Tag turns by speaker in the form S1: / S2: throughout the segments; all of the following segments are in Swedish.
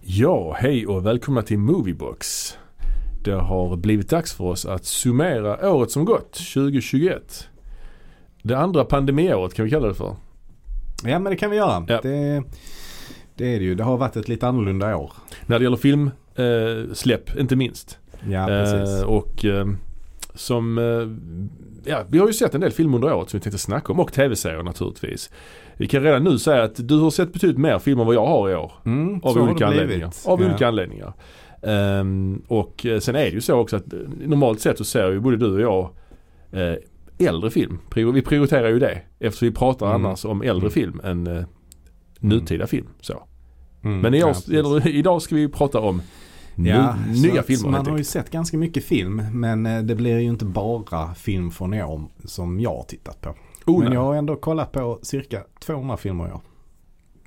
S1: Ja, hej och välkomna till Moviebox. Det har blivit dags för oss att summera året som gått, 2021. Det andra pandemiåret kan vi kalla det för.
S2: Ja men det kan vi göra.
S1: Ja.
S2: Det, det är det ju. Det har varit ett lite annorlunda år.
S1: När det gäller filmsläpp, eh, släpp, inte minst.
S2: Ja precis.
S1: Eh, och eh, som, eh, ja vi har ju sett en del film under året som vi tänkte snacka om och tv-serier naturligtvis. Vi kan redan nu säga att du har sett betydligt mer film än vad jag har i år.
S2: Mm,
S1: Av
S2: så har det
S1: olika
S2: blivit.
S1: anledningar. Av
S2: ja.
S1: olika anledningar. Ehm, och eh, sen är det ju så också att eh, normalt sett så ser ju både du och jag eh, äldre film. Prior- Vi prioriterar ju det eftersom vi pratar
S2: Mm.
S1: annars om äldre
S2: Mm.
S1: film än eh, nutida film. Så.
S2: Mm,
S1: Men i år,
S2: ja, precis.
S1: eller, idag ska vi ju prata om ny,
S2: Ja, så
S1: nya
S2: att
S1: filmer
S2: Man
S1: helt
S2: har ju
S1: enkelt.
S2: sett ganska mycket film men eh, det blir ju inte bara film från i år som jag har tittat på.
S1: Oh,
S2: men
S1: nej.
S2: jag har ändå kollat på cirka 200 filmer i år.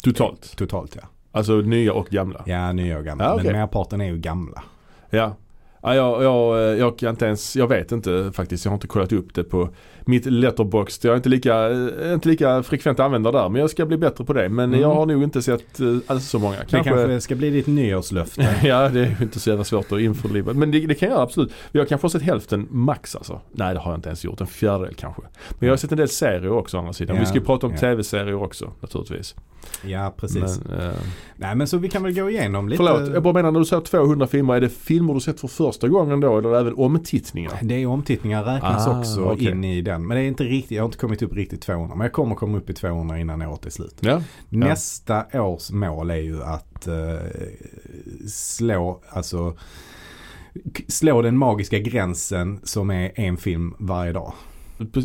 S1: Totalt.
S2: Totalt ja.
S1: Alltså nya och gamla.
S2: Ja nya och gamla.
S1: Ja, okej.
S2: Men merparten är ju gamla.
S1: Ja. Ja, jag, jag, eh, jag kan inte ens, jag vet inte faktiskt. Jag har inte kollat upp det på mitt letterbox. Jag är inte lika, eh, inte lika frekvent användare där. Men jag ska bli bättre på det. Men
S2: Mm.
S1: jag har nog inte sett eh, alls så många. Kanske,
S2: Det kanske ska bli ditt nyårslöfte.
S1: ja, det är ju inte så jävla svårt att införliva. Men det, det kan jag absolut. Jag kanske har sett hälften max alltså. Nej, det har jag inte ens gjort. En fjärdedel kanske. Men jag har sett en del serier också å andra sidan.
S2: Ja,
S1: Vi ska ju prata om
S2: ja.
S1: tv-serier också naturligtvis.
S2: ja precis.
S1: Men, eh,
S2: Nej men så vi kan väl gå igenom lite.
S1: förlåt, jag bara menar när du säger 200 filmer. Är det filmer du sett för första gången då? Eller även omtittningar?
S2: Det är omtittningar räknas
S1: Ah,
S2: också
S1: okej.
S2: in i den. Men det är inte riktigt, jag har inte kommit upp riktigt 200. Men jag kommer komma upp i 200 innan året är slut.
S1: Ja.
S2: Nästa års mål är ju att eh, slå, alltså k- slå den magiska gränsen som är en film varje dag.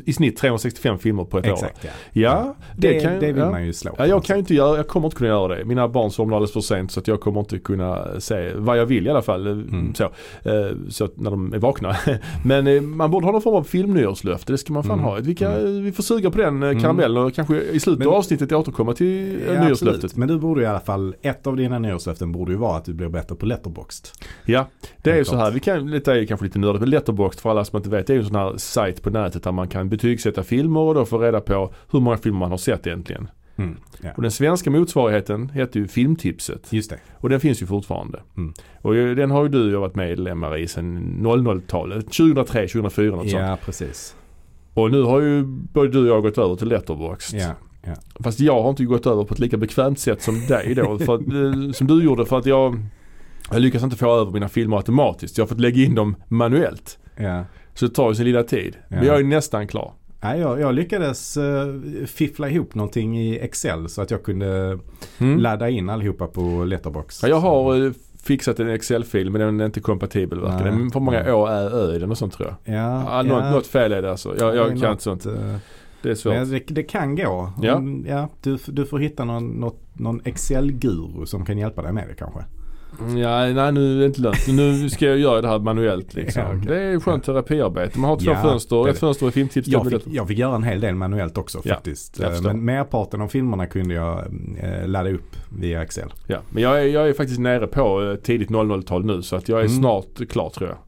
S1: I snitt 365 filmer på ett år.
S2: Exakt ja.
S1: Ja, det,
S2: Det, det,
S1: kan jag-
S2: vill
S1: ja.
S2: man ju slå.
S1: Ja, jag kan ju inte göra, jag kommer inte kunna göra det. Mina barn somnar alldeles för sent så att jag kommer inte kunna se vad jag vill i alla fall. eh,
S2: Mm.
S1: Så, Eh, så att när de är vakna. Men eh, man borde ha någon form av filmnyårslöfte. Det ska man fan
S2: Mm.
S1: ha. Vi, kan, vi får suga på den eh, karamellen och kanske i slutet
S2: Men-
S1: av avsnittet återkomma till eh,
S2: Ja,
S1: nyårslöftet.
S2: absolut. Men du borde i alla fall, ett av dina nyårslöften borde ju vara att du blir bättre på letterboxd.
S1: Ja, det är ju
S2: Helt
S1: så här.
S2: klart.
S1: Vi kan, detta är ju kanske lite nördigt. men Letterboxd för alla som inte vet. Det är ju en sån här sajt på nätet där man kan betygsätta filmer och då få reda på hur många filmer man har sett egentligen.
S2: Mm. Ja.
S1: Och den svenska motsvarigheten heter ju Filmtipset.
S2: Just det.
S1: Och den finns ju fortfarande.
S2: Mm.
S1: Och ju- den har ju du och jag varit medlemmar i sedan 00-talet. 2003, 2004 något sånt.
S2: Ja, precis.
S1: Och nu har ju både du och jag gått över till Letterboxd.
S2: Ja. Ja.
S1: Fast jag har inte gått över på ett lika bekvämt sätt som dig då. För att, eh, som du gjorde för att jag, jag lyckas inte få över mina filmer automatiskt. Jag har fått lägga in dem manuellt.
S2: Ja.
S1: Så det tar ju sin lilla tid. Men
S2: Ja.
S1: jag är nästan klar.
S2: Nej, jag, jag lyckades eh, fiffla ihop någonting i Excel så att jag kunde
S1: Mm.
S2: ladda in allihopa på Letterboxd.
S1: Ja, jag har eh, fixat en Excel-fil men den är inte kompatibel verkar det.
S2: Nej.
S1: Men För många å, ä, ö i den och sånt tror jag.
S2: Ja,
S1: Ja,
S2: ja,
S1: Något, något fel är det alltså. Jag, jag
S2: det är
S1: kan
S2: något,
S1: inte sånt.
S2: eh,
S1: Det är svårt.
S2: Men det, det kan gå.
S1: Ja.
S2: Om- ja du, f- du får hitta någon, något, någon Excel-guru som kan hjälpa dig med det kanske.
S1: Mm, Ja, nej nu är det inte lönt. Nu ska jag göra det här manuellt liksom.
S2: Ja, okej.
S1: Det är skönt terapiarbete. Man har två
S2: Ja,
S1: fönster.
S2: det är
S1: Ett
S2: det.
S1: fönster är filmtips.
S2: Jag
S1: det är
S2: fick, jag fick göra en hel del manuellt också
S1: Ja,
S2: faktiskt.
S1: jag
S2: Eh,
S1: förstår.
S2: Men merparten av filmerna kunde jag eh, ladda upp via Excel.
S1: Ja. Men jag är, jag är faktiskt nere på eh, tidigt 00-tal nu så att jag är
S2: Mm.
S1: snart klar tror jag.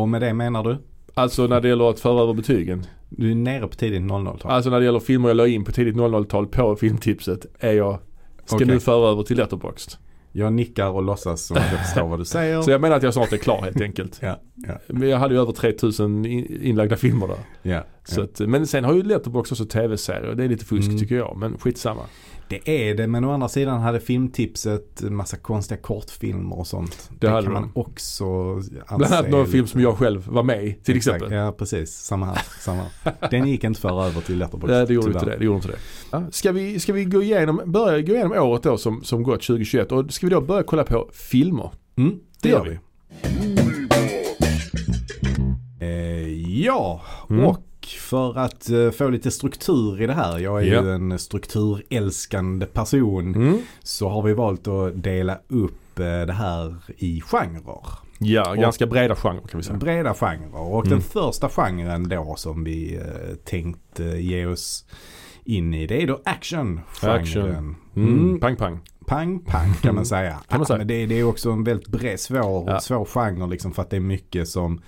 S2: Och med det menar du?
S1: Alltså när det gäller att föra över betygen.
S2: Du är nere på tidigt 00-tal.
S1: Alltså när det gäller filmer jag la in på tidigt 00-tal på filmtipset är jag Ska
S2: Okej.
S1: nu föra över till Letterboxd.
S2: Jag nickar och låtsas som att jag förstår vad du säger.
S1: Så jag menar att jag snart är klar helt enkelt.
S2: Ja, ja,
S1: Men jag hade ju över 3000 in- inlagda filmer där.
S2: ja.
S1: Så att, men sen har ju Letterboxd också tv-serier. Det är lite fusk
S2: Mm.
S1: tycker jag. Men skitsamma.
S2: Det är det, men å andra sidan hade filmtipset en massa konstiga kortfilmer och sånt. Det,
S1: hade
S2: kan man
S1: de.
S2: också anse
S1: Bland annat någon
S2: lite-
S1: film som jag själv var med i till
S2: Exakt,
S1: exempel.
S2: Ja, precis. Samma här. Samma här. Den gick inte för över till Letterboxd.
S1: Nej, det gjorde inte
S2: tyvärr.
S1: det. det, gjorde inte det. Ja, ska, vi, ska vi gå igenom, börja gå igenom året då som, som gått 2021 och ska vi då börja kolla på filmer?
S2: Mm, det
S1: gör
S2: gör vi. Eh, ja,
S1: Mm.
S2: och för att eh, få lite struktur i det här. Jag är
S1: Ja. Mm.
S2: ju en strukturälskande person. Så har vi valt att dela upp eh, det här i genrer.
S1: Ja,
S2: Och-
S1: ganska breda genrer kan vi säga.
S2: Breda genrer. Och
S1: Mm.
S2: den första genren då som vi eh, tänkt eh, ge oss in i det är då actiongenren.
S1: Action. Mm.
S2: Mm.
S1: Pang pang.
S2: Pang, pang kan man säga.
S1: Kan man säga.
S2: Ja, men det, det är också en väldigt bred, svår,
S1: Ja.
S2: svår genre liksom för att det är mycket som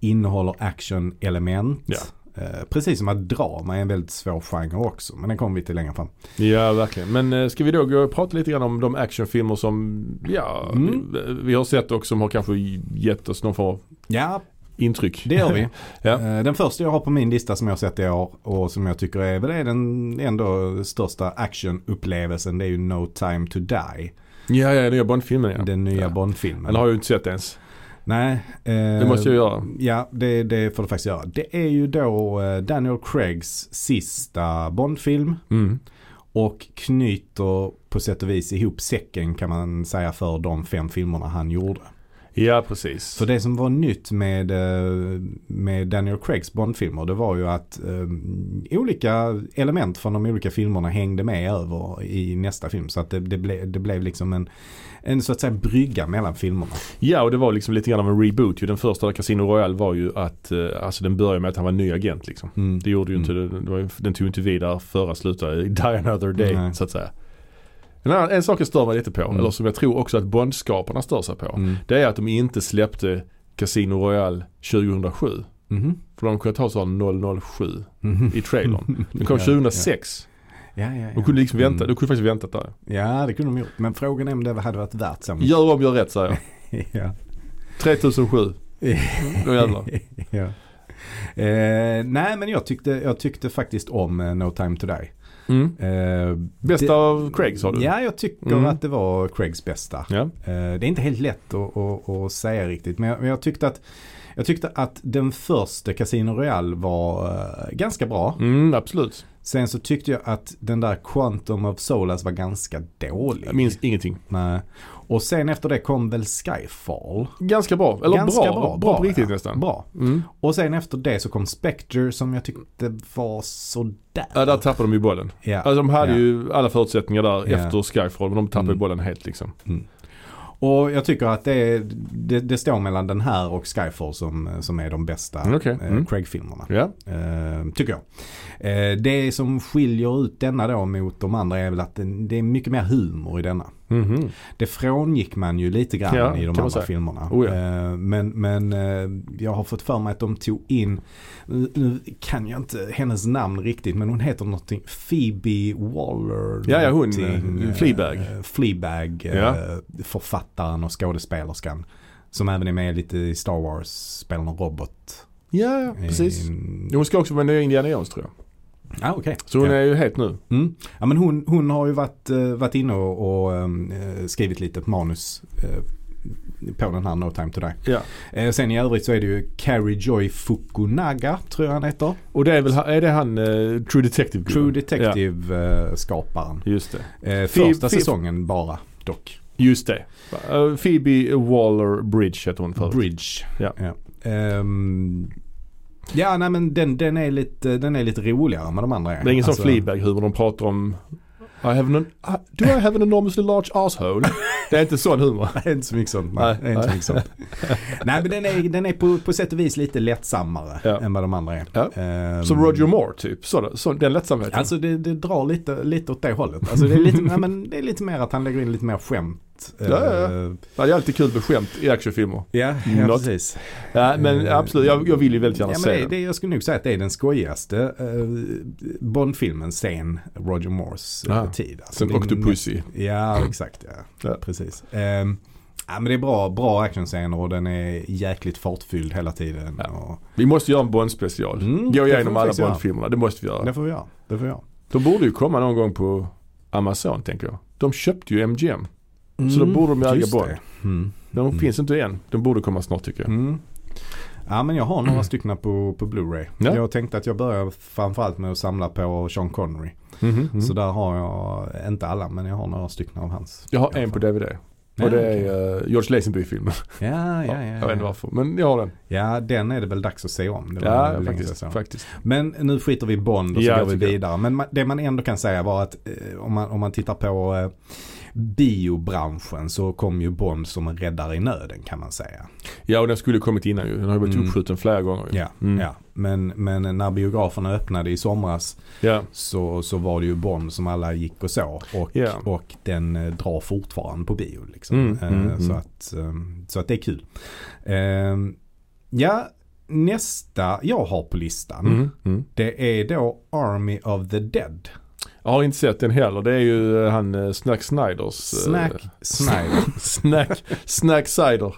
S2: innehåller actionelement. Eh, precis som att drama är en väldigt svår genre också. Men den kommer vi till längre fram.
S1: Ja, verkligen. Men eh, ska vi då gå och prata lite grann om de actionfilmer som ja,
S2: Mm.
S1: vi, vi har sett och som har kanske gett oss någon form av
S2: Ja,
S1: intryck.
S2: det gör vi.
S1: Ja.
S2: Eh, Den första jag har på min lista som jag har sett i år och som jag tycker är, väl är den ändå största actionupplevelsen. Det är ju No Time To Die.
S1: Ja, ja, den nya Bond-filmen ja.
S2: Den nya
S1: Ja.
S2: Bond-filmen.
S1: Den har jag ju inte sett ens.
S2: Nej. eh,
S1: Det måste jag göra.
S2: Ja, det, det får du faktiskt göra. Det är ju då eh, Daniel Craigs sista Bond-film
S1: Mm.
S2: och knyter på sätt och vis ihop säcken kan man säga för de fem filmerna han gjorde.
S1: Ja, precis.
S2: För det som var nytt med, eh, med Daniel Craigs Bond-filmer det var ju att eh, olika element från de olika filmerna hängde med över i nästa film. Så att det, det, ble, det blev liksom en, en så att säga brygga mellan filmerna.
S1: Ja, och det var liksom lite grann av en reboot. ju. Den första där Casino Royale var ju att, eh, alltså den började med att han var ny agent liksom.
S2: Mm.
S1: Det gjorde ju inte, det var ju, den tog ju inte vid där förra slutade i Die Another Day
S2: Nej.
S1: så att säga. En, annan, en sak jag stör mig lite på,
S2: Mm.
S1: eller som jag tror också att Bondskaparna stör sig på.
S2: Mm.
S1: Det är att de inte släppte Casino Royale 2007.
S2: Mhm.
S1: För de kunde ta så här 007
S2: Mhm.
S1: i trailern. Den kom
S2: Ja,
S1: 2006.
S2: Ja, ja,
S1: De
S2: ja.
S1: kunde liksom vänta,
S2: Mm.
S1: de kunde faktiskt väntat där.
S2: ja, det kunde de gjort. Men frågan är om det hade varit värt så mycket.
S1: Gör om, gör rätt säger jag.
S2: Ja.
S1: 3007. Då jävlar.
S2: ja. Eh, nej, men jag tyckte, jag tyckte faktiskt om eh, No Time To Die.
S1: Mm.
S2: Eh,
S1: Bästa
S2: det-
S1: av Craig sa du?
S2: Ja, jag tycker
S1: Mm.
S2: att det var Craigs bästa.
S1: Ja.
S2: Eh, det är inte helt lätt att, att, att säga riktigt, men jag, men jag tyckte att jag tyckte att den första Casino Royale var eh, ganska bra.
S1: Mm, absolut.
S2: Sen så tyckte jag att den där Quantum of Solace var ganska dålig.
S1: Jag minns ingenting.
S2: Nej. Och sen efter det kom väl Skyfall.
S1: Ganska bra. Eller
S2: Ganska
S1: bra. Bra, på riktigt
S2: ja.
S1: nästan.
S2: Bra.
S1: Mm.
S2: Och sen efter det så kom Spectre som jag tyckte var sådär.
S1: Ja, där tappade de ju bollen.
S2: Ja.
S1: Alltså de hade
S2: Ja.
S1: ju alla förutsättningar där
S2: Ja.
S1: efter Skyfall men de tappade
S2: Mm.
S1: bollen helt liksom.
S2: Och jag tycker att det, det, det står mellan den här och Skyfall som, som är de bästa
S1: Mm, okej.
S2: eh,
S1: Mm.
S2: Craig-filmerna.
S1: Ja.
S2: Eh, tycker jag. Eh, det som skiljer ut denna då mot de andra är väl att den, det är mycket mer humor i denna.
S1: Mhm.
S2: Det frångick man ju lite grann
S1: Ja,
S2: i de
S1: kan man
S2: andra
S1: säga.
S2: filmerna.
S1: Oh ja.
S2: Eh, Men, men eh, jag har fått för mig att de tog in, nu kan jag inte hennes namn riktigt, men hon heter någonting, Phoebe Waller.
S1: Ja, ja, hon,
S2: någonting,
S1: eh, Fleabag.
S2: eh, Fleabag, eh,
S1: Ja.
S2: författaren och skådespelerskan. Som även är med lite i Star Wars, spelar någon robot.
S1: Ja, ja, precis.
S2: Mm.
S1: Hon ska också vara nya Indiana Jones tror jag.
S2: Ah, okay.
S1: Så hon
S2: ja.
S1: är ju het nu.
S2: Mm. Ja, men hon, hon har ju varit, eh, varit inne och, och eh, skrivit lite manus eh, på den här No Time To Die.
S1: Ja.
S2: Eh, sen i övrigt så är det ju Carrie Joy Fukunaga, tror jag han heter.
S1: Och det är väl är det han eh, True Detective?
S2: True Detective-skaparen. Eh,
S1: Ja, just det.
S2: första
S1: Phoebe-
S2: säsongen bara dock.
S1: Just det. Eh, Phoebe Waller Bridge heter hon förut.
S2: Bridge.
S1: Ja.
S2: Ja, Ehm, ja nej men den, den, är lite, den är lite roligare än vad de andra är.
S1: Det är ingen
S2: Alltså,
S1: sån Fleabag-humor de pratar om I have an, I- do I have an enormously large asshole? Det är inte sån humor.
S2: Det är inte så mycket sånt.
S1: Nej,
S2: Nej, det är inte så
S1: nej.
S2: mycket sånt. nej men den är, den är på, på sätt och vis lite lättsammare
S1: Ja.
S2: än vad de andra är.
S1: Ja.
S2: Ehm,
S1: Som Roger Moore typ. Så, så, den lättsamheten.
S2: Alltså det, det drar lite, lite åt det hållet. Alltså det, är lite, nej, men det är lite mer att han lägger in lite mer skämt.
S1: Ja, ja,
S2: Ehm,
S1: Ja, det är alltid kul med skämt i actionfilmer.
S2: ja,
S1: Något.
S2: precis.
S1: Ja, men
S2: Eh,
S1: absolut. Jag, jag vill ju väldigt gärna
S2: ja, men
S1: se
S2: det,
S1: den.
S2: det, Jag skulle nog säga att det är den skojigaste eh, Bond-filmen sen Roger Moores eh,
S1: Ah,
S2: tid. Alltså,
S1: Sen
S2: det är
S1: Octopussy.
S2: Ja, exakt. Ja.
S1: Ja.
S2: Precis. Ehm, ja, men det är bra, bra actionscener och den är jäkligt fartfylld hela tiden.
S1: Ja.
S2: Och,
S1: Vi måste göra en Bond-special.
S2: Mm, det
S1: Gå
S2: får
S1: igenom
S2: vi
S1: alla
S2: faktiskt göra.
S1: Bond-filmerna. Det måste vi göra.
S2: Det får vi göra. Det får vi göra.
S1: De borde ju komma någon gång på Amazon tänker jag. De köpte ju MGM. Så då
S2: Mm,
S1: borde de ju äga
S2: just
S1: Bond.
S2: det. Mm.
S1: De
S2: Mm.
S1: finns inte än. De borde komma snart tycker jag.
S2: Mm. Ja men jag har några stycken på, på Blu-ray.
S1: Ja.
S2: Jag tänkte att jag börjar framförallt med att samla på Sean Connery.
S1: Mhm, mhm.
S2: Mm-hmm. Så där har jag, inte alla men jag har några stycken av hans.
S1: jag har
S2: i alla
S1: en på
S2: fall.
S1: DVD.
S2: Ja,
S1: och det
S2: okej.
S1: är eh, George Lazenby-filmen.
S2: Ja, ja, ja.
S1: jag
S2: ja,
S1: vet inte varför. Men jag har den.
S2: Ja, den är det väl dags att se om. Det var
S1: Ja,
S2: länge sedan jag
S1: faktiskt.
S2: såg den.
S1: faktiskt.
S2: Men nu skiter vi i Bond och så
S1: Ja,
S2: går vi
S1: tycker jag.
S2: vidare. Men ma- det man ändå kan säga var att eh, om, man, om man tittar på eh, biobranschen så kom ju Bond som en räddare i nöden kan man säga.
S1: Ja, och den skulle ju kommit innan ju. Den har ju varit
S2: Mm.
S1: uppskjuten flera gånger ju.
S2: Ja,
S1: Mm.
S2: ja. Men, men när biograferna öppnade i somras
S1: Ja.
S2: så, så var det ju Bond som alla gick och så. Och,
S1: Ja.
S2: och den eh, drar fortfarande på bio. Liksom.
S1: Mm,
S2: Eh,
S1: mm,
S2: så,
S1: mm.
S2: att, eh, så att det är kul. Eh, Ehm, ja, Nästa jag har på listan,
S1: Mm. Mm.
S2: det är då Army of the Dead.
S1: Jag har inte sett den heller. Det är ju eh, han eh, Snack Sniders.
S2: Snack Snyder.
S1: Snack, Snack Snyder.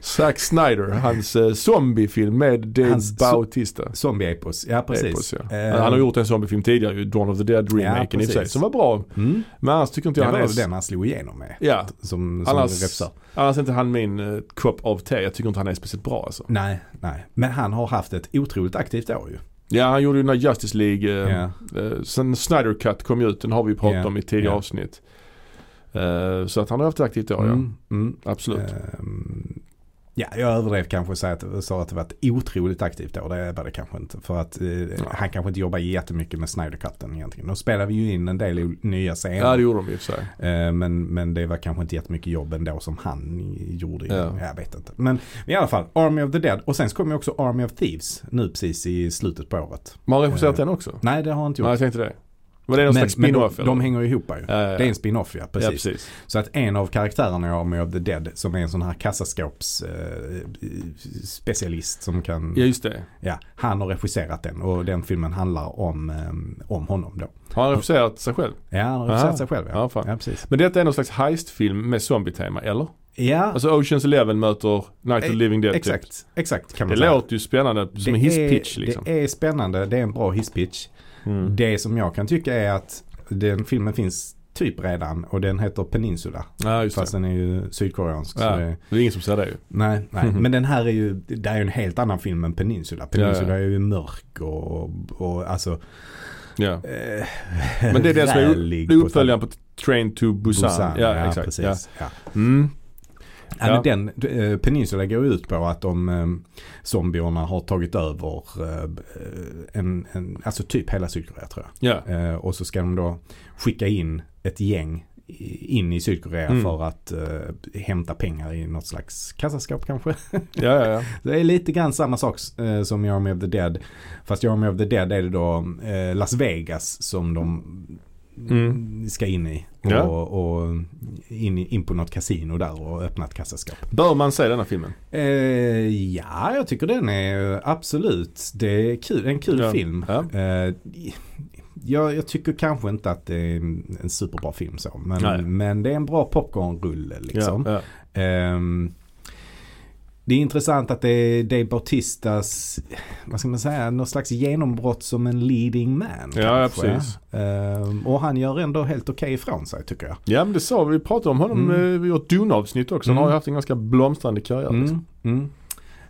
S1: Zack Snyder, hans eh, zombiefilm med Dave
S2: Hans zo-
S1: Bautista.
S2: Zombie-epos, ja precis.
S1: Epos, ja.
S2: Eh,
S1: han har gjort en zombiefilm tidigare ju, Dawn of the Dead remaken i och för sig,
S2: precis.
S1: som var bra.
S2: Mm.
S1: Men annars tycker inte
S2: Det
S1: jag
S2: var
S1: han är...
S2: väl den han slog igenom med.
S1: Ja,
S2: Som, som
S1: annars,
S2: regissör.
S1: annars är inte han min eh, cup of tea. Jag tycker inte han är speciellt bra alltså.
S2: Nej, nej. Men han har haft ett otroligt aktivt år ju.
S1: Ja, han gjorde ju den här Justice League. Eh,
S2: Ja.
S1: eh, sen Snyder Cut kom ju ut, den har vi pratat
S2: Ja,
S1: om i tidigare
S2: ja.
S1: avsnitt. Eh, så att han har haft ett aktivt år,
S2: Mm, mm.
S1: ja. Absolut.
S2: Ehm, Ja, jag överdrev kanske och sa att, sa att det var ett otroligt aktivt år. Det var det kanske inte. För att eh, han kanske inte jobbar jättemycket med Snyder Cutten egentligen. De spelade vi ju in en del o- nya scener.
S1: Ja, det gjorde de i och för sig.
S2: Eh, Men, men det var kanske inte jättemycket jobb ändå som han gjorde.
S1: Ja.
S2: Jag vet inte. Men i alla fall, Army of the Dead. Och sen så kom ju också Army of Thieves nu precis i slutet på året.
S1: Men har regisserat
S2: Eh,
S1: den också?
S2: Nej, det har jag inte
S1: Nej,
S2: gjort.
S1: jag tänkte det. Var det någon slags spin-off?
S2: de,
S1: eller?
S2: de hänger ihop ju.
S1: Ja, ja, ja.
S2: Det är en spin-off ja, precis.
S1: Ja, precis.
S2: Så att en av karaktärerna i Army of the Dead som är en sån här kassaskåpsspecialist som kan,
S1: Ja, just det.
S2: ja, han har regisserat den och den filmen handlar om, eh, om honom då.
S1: Har han regisserat sig själv?
S2: Ja, han har regisserat
S1: Ah.
S2: sig själv ja.
S1: Ja, fan.
S2: Ja, precis.
S1: Men detta är någon slags heistfilm med zombietema, eller?
S2: Ja,
S1: Alltså Oceans Eleven möter Night of the
S2: Eh,
S1: Living Dead typ.
S2: exakt. Exakt kan
S1: Det
S2: man säga.
S1: låter ju spännande som en hisspitch
S2: är,
S1: liksom.
S2: Det är spännande, det är en bra hisspitch.
S1: Mm.
S2: Det som jag kan tycka är att den filmen finns typ redan och den heter Peninsula.
S1: Ja, just det.
S2: Fast den är ju sydkoreansk. Så
S1: Ja.
S2: det,
S1: Det är ingen som ser det ju.
S2: Nej, nej.
S1: Mhm.
S2: men den här är ju, det är ju en helt annan film än Peninsula. Peninsula
S1: Ja, ja.
S2: är ju mörk och, och alltså...
S1: Ja.
S2: Eh,
S1: Men det är den som är
S2: rälig
S1: det är
S2: på
S1: uppföljaren
S2: ett-
S1: på Train to Busan. Ja, exakt. Ja.
S2: precis. Ja.
S1: Mm.
S2: Ja.
S1: Ja.
S2: men den, eh, Peninsula går ut på att de eh, zombierna har tagit över eh, en, en, alltså typ hela Sydkorea tror jag.
S1: ja.
S2: Eh, och så ska de då skicka in ett gäng i- in i Sydkorea
S1: Mm.
S2: för att eh, hämta pengar i något slags kassaskåp kanske.
S1: Ja, ja, ja.
S2: Det är lite grann samma sak eh, som i Army of the Dead. Fast i Army of the Dead är det då eh, Las Vegas som de
S1: Mm.
S2: ska in i.
S1: Ja.
S2: Och, och in, i- in på något kasino där och öppna ett kassaskåp.
S1: Bör man se denna filmen?
S2: Eh, ja, jag tycker den är absolut, det är kul, en kul
S1: Ja.
S2: film.
S1: Ja.
S2: Eh, jag, jag tycker kanske inte att det är en en superbra film så.
S1: Nej.
S2: Men, men det är en bra popcornrulle liksom.
S1: Ja, ja.
S2: Ehm, det är intressant att det är Dave Bautistas, vad ska man säga, någon slags genombrott som en leading man.
S1: Ja, ja,
S2: kanske.
S1: precis.
S2: Ehm, och han gör ändå helt okej ifrån sig tycker jag.
S1: ja, men det sa vi. Vi pratade om honom
S2: Mm.
S1: mm. vi gjort Dune-avsnitt också. Han
S2: Mm.
S1: har ju haft en ganska blomstrande karriär. Liksom.
S2: Mm, mm.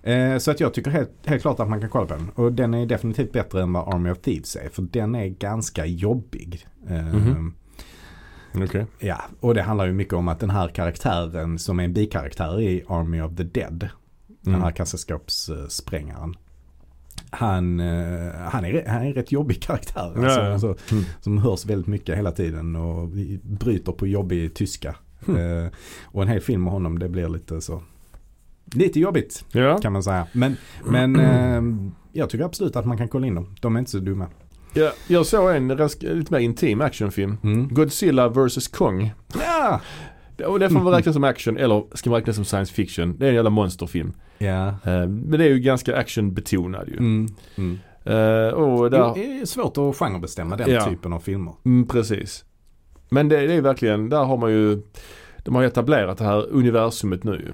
S2: Ehm, så att jag tycker helt, helt klart att man kan kolla på den. Och den är definitivt bättre än vad Army of Thieves är. För den är ganska jobbig. Ehm,
S1: Mhm. Okej.
S2: Ja, och det handlar ju mycket om att den här karaktären som är en bikaraktär i Army of the Dead. Den här
S1: Mm.
S2: kassaskåpssprängaren. Han, eh, han, är, han är en rätt jobbig karaktär.
S1: Ja,
S2: alltså,
S1: ja.
S2: Alltså,
S1: Mm.
S2: som hörs väldigt mycket hela tiden och bryter på jobbig tyska.
S1: Hm.
S2: Eh, och en hel film med honom det blir lite så. Lite jobbigt
S1: Ja.
S2: kan man säga. Men, men eh, jag tycker absolut att man kan kolla in dem. De är inte så dumma.
S1: Ja, jag såg en ganska, lite mer intim actionfilm.
S2: Mm.
S1: Godzilla vs Kong.
S2: Ja!
S1: Det- Och det får man räkna som action eller ska man räkna som science fiction. Det är en jävla monsterfilm.
S2: Ja.
S1: Eh, Men det är ju ganska actionbetonad ju.
S2: Mm. Mm.
S1: Eh, Och
S2: Jo,
S1: där,
S2: Det är svårt att genrebestämma den
S1: Ja.
S2: typen av filmer.
S1: mm, precis. Men det, det är verkligen, där har man ju, de har ju etablerat det här universumet nu ju.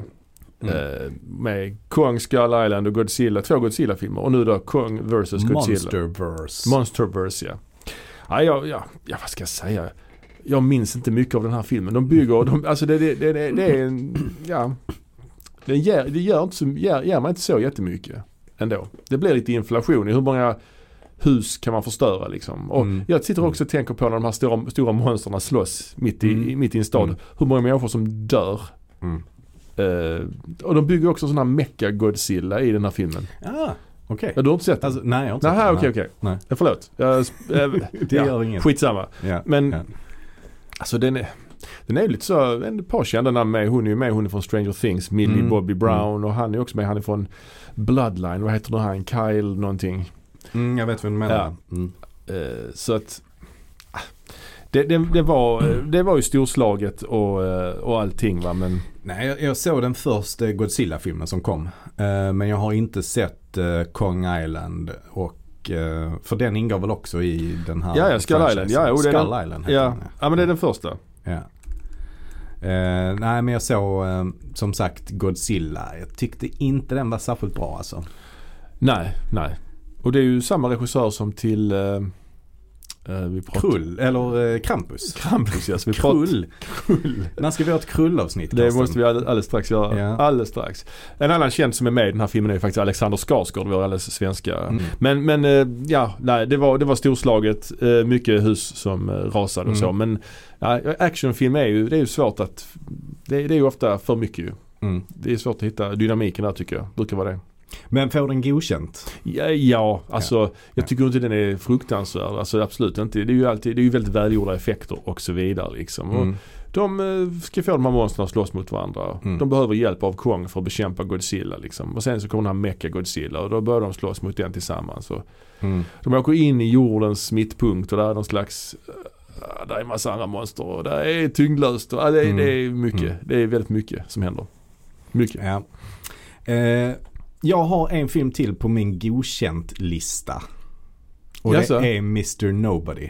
S2: Mm.
S1: Eh, Med Kong, Skull Island och Godzilla, två Godzilla-filmer. Och nu då Kong vs Godzilla.
S2: Monsterverse.
S1: Monsterverse ja. Ja, ja, ja, ja, vad ska jag säga? Jag minns inte mycket av den här filmen. De bygger, de, alltså det, det, det, det, det är en, ja. Det ger, det gör, inte så, ger, ger mig inte så jättemycket ändå. Det blir lite inflation i hur många hus kan man förstöra liksom. Och
S2: Mm.
S1: Jag sitter också och tänker på när de här stora, stora monstren slåss mitt i,
S2: Mm.
S1: mitt i en stad.
S2: Mm.
S1: Hur många människor som dör.
S2: Mm.
S1: Eh, och de bygger också sådana här mecha-Godzilla i den här filmen.
S2: Ah, okej.
S1: Ja, du har inte sett den?
S2: Alltså, nej, jag har inte sett
S1: Nähä,
S2: den.
S1: okej, okej.
S2: Nej.
S1: Eh, Förlåt. Jag, eh,
S2: Det
S1: Ja.
S2: gör inget.
S1: skitsamma.
S2: Ja.
S1: Men
S2: Ja.
S1: alltså den är, den är ju lite så, en par kända namn med. Hon är ju med, hon är från Stranger Things, Millie
S2: Mm.
S1: Bobby Brown och han är också med, han är från Bloodline, vad heter nu han, Kyle någonting.
S2: Mm, jag vet vad du menar.
S1: Ja.
S2: Mm.
S1: Eh, så att, ah, det, det, det, var, det var ju storslaget och, eh, och allting va men
S2: Nej, jag, jag såg den första Godzilla-filmen som kom. Eh, men jag har inte sett eh, Kong Island. Och, eh, för den ingår väl också i den här
S1: Ja, ja, Skull Island.
S2: franchisen.
S1: Ja, jo, det är
S2: Skull
S1: den-
S2: Island heter
S1: ja,
S2: den, ja.
S1: ja men det är den första.
S2: Ja. Eh, nej men jag såg eh, som sagt Godzilla. Jag tyckte inte den var särskilt bra alltså.
S1: Nej, nej. Och det är ju samma regissör som till eh, eh, vi pratar,
S2: Krull, eller eh, Krampus.
S1: Krampus yes, vi pratar,
S2: Krull. Krull. När ska vi ha ett krullavsnitt
S1: Det
S2: Karsten?
S1: måste vi alldeles, alldeles strax göra.
S2: Ja.
S1: Alldeles strax. En annan känd som är med i den här filmen är ju faktiskt Alexander Skarsgård, vår alldeles svenska.
S2: Mm.
S1: Men, men eh, ja, nej, det var, det var storslaget. Eh, Mycket hus som eh, rasade och så.
S2: Mm.
S1: Men ja, actionfilm är ju, det är ju svårt att, det, det är ju ofta för mycket ju.
S2: Mm.
S1: Det är svårt att hitta dynamiken där tycker jag. Brukar vara det.
S2: Men får den godkänt?
S1: Ja, ja alltså
S2: Ja.
S1: jag tycker inte den är fruktansvärd. Alltså absolut inte. Det är ju alltid, det är ju väldigt välgjorda effekter och så vidare liksom. Och
S2: Mm.
S1: de eh, ska få de här monstren att slåss mot varandra.
S2: Mm.
S1: De behöver hjälp av Kong för att bekämpa Godzilla liksom. Och sen så kommer den här Mecha-Godzilla och då börjar de slåss mot den tillsammans. Och
S2: Mm.
S1: de åker in i jordens mittpunkt och där är någon slags eh, där är en massa andra monster och där är tyngdlöst och ja, det, är-
S2: Mm.
S1: det är mycket.
S2: Mm.
S1: Det är väldigt mycket som händer. Mycket.
S2: Ja. Eh, jag har en film till på min godkänt-lista. Och
S1: Jaså?
S2: det är Mr. Nobody.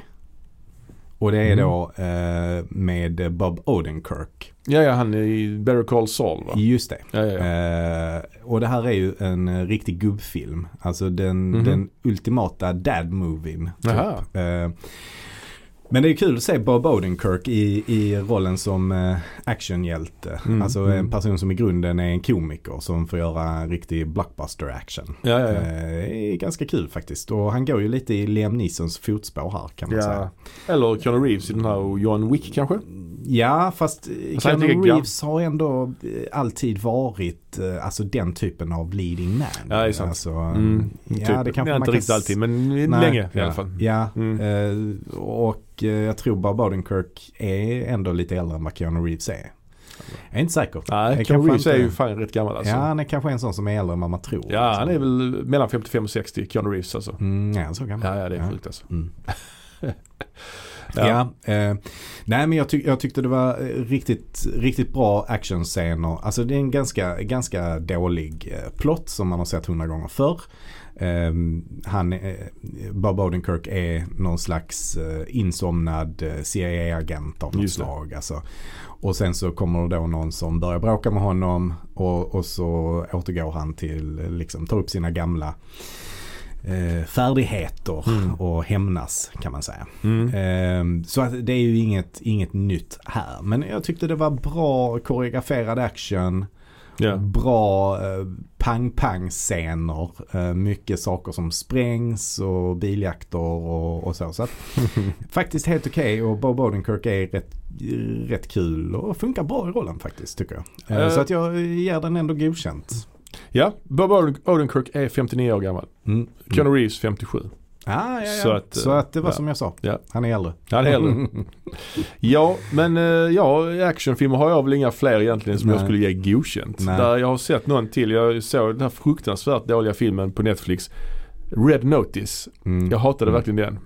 S2: Och det är
S1: Mm.
S2: då eh, med Bob Odenkirk.
S1: Ja, ja han är i Better Call Saul va?
S2: Just det.
S1: Ja, ja, ja.
S2: Eh, och det här är ju en eh, riktig gubbfilm. Alltså den,
S1: Mhm.
S2: den ultimata dad-movien. typ.
S1: Jaha.
S2: Eh, men det är kul att se Bob Odenkirk i, i rollen som eh, actionhjälte.
S1: Mm,
S2: Alltså
S1: mm.
S2: en person som i grunden är en komiker som får göra en riktig blockbuster action.
S1: Ja, ja,
S2: Eh,
S1: ja.
S2: Det är ganska kul faktiskt. Och han går ju lite i Liam Neesons fotspår här kan man säga.
S1: ja. Eller Keanu Reeves i den här och John Wick kanske?
S2: Ja, fast eh,
S1: han är inte
S2: Keanu
S1: riktigt
S2: Reeves har ändå eh, alltid varit eh, alltså den typen av leading man.
S1: Ja, det är sant.
S2: Alltså,
S1: Mm,
S2: ja,
S1: typ.
S2: det kanske
S1: Nej,
S2: man
S1: inte
S2: kan
S1: riktigt alltid men
S2: Nej,
S1: länge i
S2: ja.
S1: alla fall.
S2: Ja,
S1: Mm.
S2: eh, och eh, jag tror bara Bodenkirk är ändå lite äldre än vad Keanu Reeves är. Jag är inte säker.
S1: Nej, Keanu
S2: Jag kanske
S1: Reeves är
S2: inte-
S1: ju fan rätt gammal alltså.
S2: Ja,
S1: Ja,
S2: han är kanske en sån som är äldre än vad man tror. liksom.
S1: han är väl mellan 55 och 60, Keanu Reeves alltså.
S2: Mm, ja, så gammal.
S1: Ja, ja det är sjukt alltså.
S2: Mm.
S1: Ja.
S2: ja. eh, nej men jag, tyck, jag tyckte det var eh, riktigt, riktigt bra actionscener. Alltså det är en ganska, ganska dålig eh, plott som man har sett hundra gånger förr. Eh, han, eh, Bob Odenkirk är någon slags eh, insomnad eh, CIA-agent av något
S1: Just det.
S2: slag. Alltså. Och sen så kommer det då någon som börjar bråka med honom och, och så återgår han till, eh, liksom tar upp sina gamla eh, färdigheter
S1: Mm.
S2: och hämnas kan man säga.
S1: Mm.
S2: Ehm, Så att det är ju inget, inget nytt här. Men jag tyckte det var bra koreograferad action.
S1: Ja.
S2: Bra eh, pang-pang-scener. Eh, Mycket saker som sprängs och biljakter och, och så. så att, faktiskt helt okej och Bob Odenkirk är rätt, rätt kul och funkar bra i rollen faktiskt tycker jag. Eh,
S1: Eh.
S2: Så att jag ger den ändå godkänt.
S1: ja, Bob Oden- Odenkirk är 59 år gammal.
S2: Mm.
S1: Keanu Reeves 57.
S2: Ah, ja, ja.
S1: Så
S2: Så,
S1: att,
S2: att,
S1: eh,
S2: så att det var
S1: ja.
S2: som jag sa.
S1: Ja.
S2: Han är äldre.
S1: Han är äldre. Ja, men eh, ja, actionfilmer har jag väl inga fler egentligen som jag
S2: Nej.
S1: skulle ge godkänt.
S2: Nej.
S1: Där jag har sett någon till. Jag såg den här fruktansvärt dåliga filmen på Netflix. Red Notice.
S2: Mm.
S1: Jag hatade
S2: Mm.
S1: verkligen den.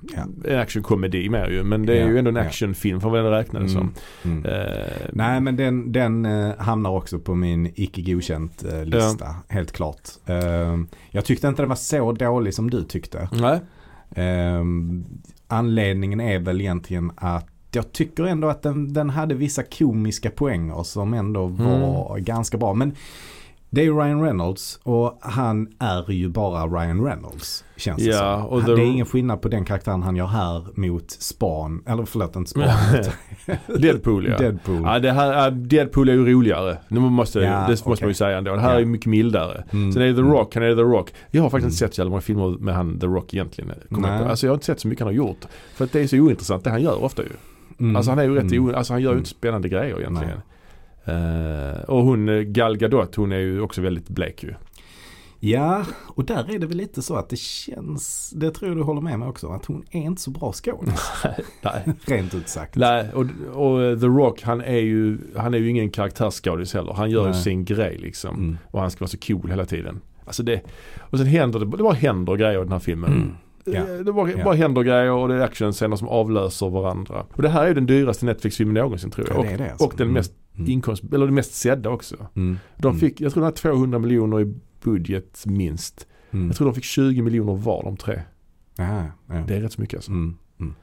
S2: Ja.
S1: En actionkomedi mer ju. Men det är
S2: Ja,
S1: ju ändå en
S2: ja.
S1: actionfilm för vad den räknades som.
S2: Mm. Mm.
S1: Eh,
S2: Nej men den, den eh, hamnar också på min icke godkänt eh, lista. Helt klart. Eh, jag tyckte inte den var så dålig som du tyckte.
S1: Nej.
S2: Eh, anledningen är väl egentligen att jag tycker ändå att den, den hade vissa komiska poänger som ändå
S1: Mm.
S2: var ganska bra. Men det är ju Ryan Reynolds och han är ju bara Ryan Reynolds. Känns det
S1: Ja,
S2: som.
S1: och
S2: Han-
S1: the-
S2: Det är ingen skillnad på den karaktären han gör här mot Span. Eller förlåt, inte Span.
S1: Deadpool ja.
S2: Deadpool.
S1: Ja, det här, ja, Deadpool är ju roligare. Nu måste,
S2: Ja,
S1: det måste
S2: okej.
S1: man ju säga ändå. Det här
S2: Ja.
S1: är ju mycket mildare.
S2: Mm.
S1: Sen är det The Rock, han är The Rock. Jag har faktiskt
S2: Mm.
S1: inte sett så jävla många filmer med han The Rock egentligen. Kommer jag
S2: Nej.
S1: på. Alltså jag har inte sett så mycket han har gjort. För att det är så ointressant det han gör ofta ju.
S2: Mm.
S1: Alltså han är ju rätt
S2: Mm.
S1: o, alltså han gör ju inte spännande grejer egentligen. Eh, och hon eh, Gal Gadot, hon är ju också väldigt blek ju.
S2: Ja, och där är det väl lite så att det känns, det tror jag du håller med mig också, att hon är inte så bra skådis.
S1: Nej.
S2: Rent ut sagt.
S1: Nej, och, och eh, The Rock han är ju, han är ju ingen karaktärsskådis heller. Han gör ju
S2: Nej.
S1: sin grej liksom.
S2: Mm.
S1: Och han ska vara så cool hela tiden. Alltså det, och sen händer det, det bara händer grejer i den här filmen.
S2: Mm. Ja.
S1: Eh, Det bara,
S2: Ja.
S1: bara händer grejer och det är actionscener som avlöser varandra. Och det här är den dyraste Netflix-filmen någonsin tror jag.
S2: Ja,
S1: Och,
S2: det är det alltså.
S1: och den
S2: Mm.
S1: mest
S2: Mm.
S1: inkomst, eller den mest sedda också.
S2: Mm.
S1: De
S2: Mm.
S1: fick, jag tror den har 200 miljoner i budget minst.
S2: Mm.
S1: Jag tror de fick 20 miljoner var de tre.
S2: Aha, ja.
S1: Det är rätt så mycket alltså.
S2: Mm. Mm.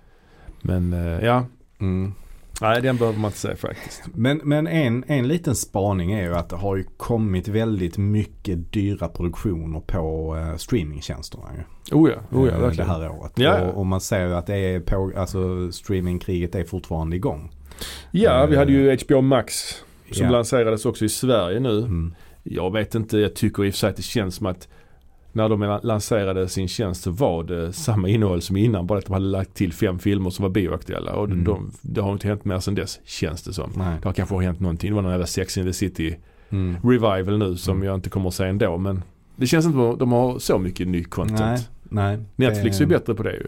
S1: Men eh, ja,
S2: Mm.
S1: nej den behöver man inte säga faktiskt.
S2: Men, men en, en liten spaning är ju att det har ju kommit väldigt mycket dyra produktioner på eh, streamingtjänsterna. Ju.
S1: Oh ja, oh ja,
S2: eh, det
S1: verkligen.
S2: här året.
S1: Ja, ja.
S2: Och, och man ser ju att det är på, alltså, streamingkriget är fortfarande igång.
S1: Ja, vi hade ju HBO Max som
S2: Ja.
S1: lanserades också i Sverige nu.
S2: Mm.
S1: Jag vet inte, jag tycker i och för sig att det känns som att när de lanserade sin tjänst så var det samma innehåll som innan. Bara att de hade lagt till fem filmer som var bioaktuella. Och
S2: Mm.
S1: de, det har inte hänt mer sedan dess, känns det som.
S2: Nej.
S1: Det har kanske hänt någonting. Det var någon jävla Sex in the City
S2: Mm.
S1: revival nu som
S2: Mm.
S1: jag inte kommer att se ändå. Men det känns inte som att de har så mycket ny
S2: Nej,
S1: content.
S2: nej. Eh,
S1: Netflix är ju bättre på det ju.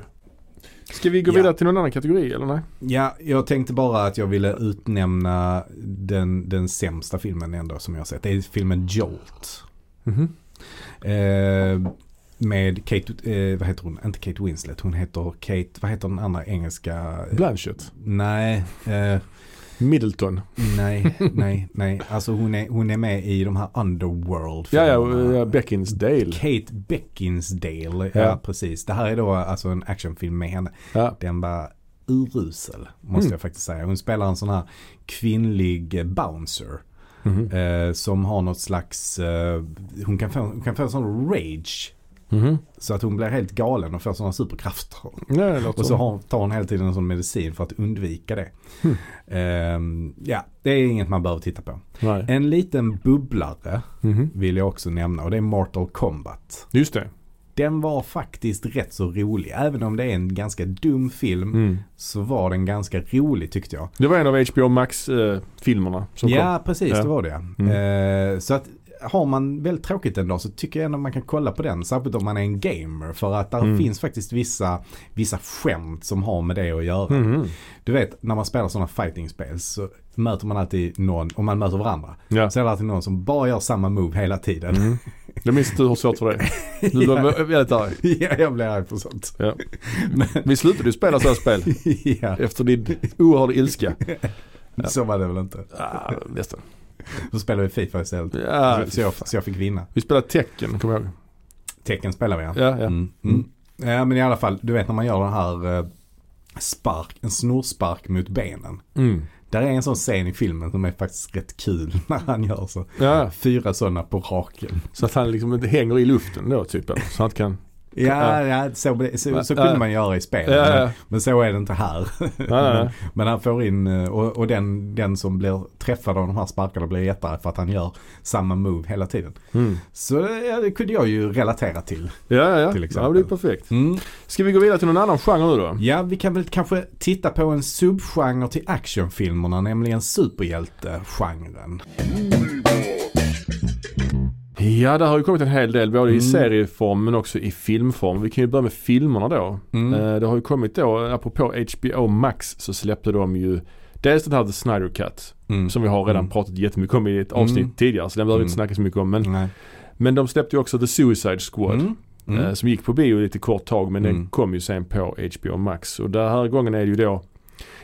S1: Ska vi gå
S2: Ja.
S1: vidare till någon annan kategori eller nej?
S2: Ja, jag tänkte bara att jag ville utnämna den, den sämsta filmen ändå som jag har sett. Det är filmen Jolt.
S1: Mhm.
S2: Eh, med Kate, eh, vad heter hon? Inte Kate Winslet, hon heter Kate, vad heter den andra engelska?
S1: Blanchett.
S2: Nej, eh,
S1: Middleton.
S2: nej, nej, nej. Alltså hon är, hon är med i de här Underworld
S1: Ja, ja, ja Beckinsdale.
S2: Kate Beckinsdale, ja.
S1: Ja.
S2: precis. Det här är då alltså en actionfilm med henne.
S1: Ja.
S2: Den var urusel, måste
S1: Mm.
S2: jag faktiskt säga. Hon spelar en sån här kvinnlig eh, bouncer.
S1: Mhm.
S2: Eh, som har något slags, eh, hon, kan få, hon kan få en sån rage.
S1: Mhm.
S2: Så att hon blir helt galen och får sådana superkrafter.
S1: Ja, det låter
S2: Och så
S1: som.
S2: har, tar hon hela tiden en sån medicin för att undvika det.
S1: Hmm.
S2: Ehm, ja, det är inget man behöver titta på.
S1: Nej.
S2: En liten bubblare
S1: Mhm.
S2: vill jag också nämna och det är Mortal Kombat.
S1: Just det.
S2: Den var faktiskt rätt så rolig. Även om det är en ganska dum film
S1: Hmm. Mm.
S2: så var den ganska rolig tyckte jag.
S1: Det var en av HBO Max-filmerna eh, som
S2: ja, precis
S1: Ja. Mm.
S2: det var det. Eh, så att har man väldigt tråkigt en dag så tycker jag ändå man kan kolla på den. Särskilt om man är en gamer. För att där
S1: Mm.
S2: finns faktiskt vissa, vissa skämt som har med det att göra.
S1: kom. Mhm.
S2: Du vet när man spelar sådana fighting-spel så möter man alltid någon, om man möter varandra,
S1: Ja.
S2: så är det alltid någon som bara gör samma move hela tiden.
S1: Mm. Jag minns inte hur svårt för det Du blev väldigt arg.
S2: ja, jag blir arg på sånt.
S1: Ja.
S2: Men,
S1: Vi slutade ju spela sådana spel
S2: ja,
S1: efter din oerhörda ilska. Ja.
S2: så var det väl inte.
S1: Ah, nästan.
S2: Då spelade vi Fifa istället.
S1: Ja,
S2: så, jag, så jag fick vinna.
S1: vi spelade tecken, kommer jag ihåg.
S2: Tecken spelar vi ja.
S1: Ja, ja.
S2: Mm. Mm. ja. men i alla fall, du vet när man gör den här eh, spark, en snorspark mot benen.
S1: Mm.
S2: Där är en sån scen i filmen som är faktiskt rätt kul när han gör så.
S1: ja.
S2: Fyra sådana på raken.
S1: Så att han liksom inte hänger i luften då typ. eller? Så han inte kan...
S2: Ja, ja så, så, så
S1: Ja.
S2: kunde man göra i spel.
S1: Ja, ja.
S2: Men, men så är det inte här.
S1: nej, nej.
S2: Men, men han får in, eh, och, och den, den som blir träffad av de här sparkarna blir jättearg för att han gör samma move hela tiden.
S1: Mm.
S2: Så eh, ja, det kunde jag ju relatera till.
S1: Ja, ja, ja.
S2: Till
S1: ja
S2: exempel.
S1: det är perfekt.
S2: Mm.
S1: Ska vi gå vidare till någon annan genre nu då?
S2: Ja, vi kan väl kanske titta på en subgenre till actionfilmerna, nämligen superhjältegenren.
S1: Ja, det har ju kommit en hel del både
S2: Mm.
S1: i serieform men också i filmform. Vi kan ju börja med filmerna då.
S2: Mm.
S1: Eh, Det har ju kommit då, apropå HBO Max så släppte de ju dels den här The Snyder Cut
S2: Mm.
S1: som vi har redan
S2: Mm.
S1: pratat jättemycket om i ett avsnitt
S2: Mm.
S1: tidigare så den behöver vi inte
S2: Mm.
S1: snacka så mycket om. Men,
S2: Nej.
S1: men de släppte ju också The Suicide Squad
S2: Mm. Mm.
S1: eh, som gick på bio lite kort tag men
S2: Mm.
S1: den kom ju sen på HBO Max. Och den här gången är det ju då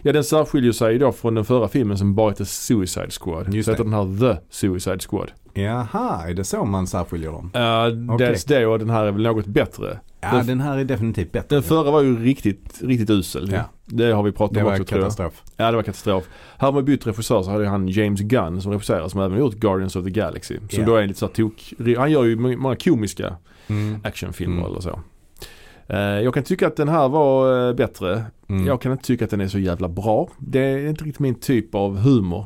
S1: Ja den särskiljer sig ju då från den förra filmen som bara hette Suicide Squad.
S2: Just
S1: så
S2: det.
S1: heter den här The Suicide Squad.
S2: Jaha, är det så man särskiljer dem?
S1: Uh,
S2: Okej.
S1: Dels det och den här är väl något bättre.
S2: Ja,
S1: Den-
S2: den, här är definitivt bättre.
S1: Den förra var ju riktigt, riktigt usel.
S2: Ja.
S1: Det har vi pratat
S2: det
S1: om
S2: var
S1: också tror jag.
S2: katastrof.
S1: Ja det var katastrof. Här med bytt regissör så hade ju han James Gunn som regisserar som även gjort Guardians of the Galaxy. Som
S2: Ja.
S1: då är lite så här tok... Han gör ju må- många komiska
S2: Mm.
S1: actionfilmer
S2: Mm.
S1: eller så. Eh, Jag kan tycka att den här var eh, bättre.
S2: Mm.
S1: Jag kan inte tycka att den är så jävla bra. Det är inte riktigt min typ av humor.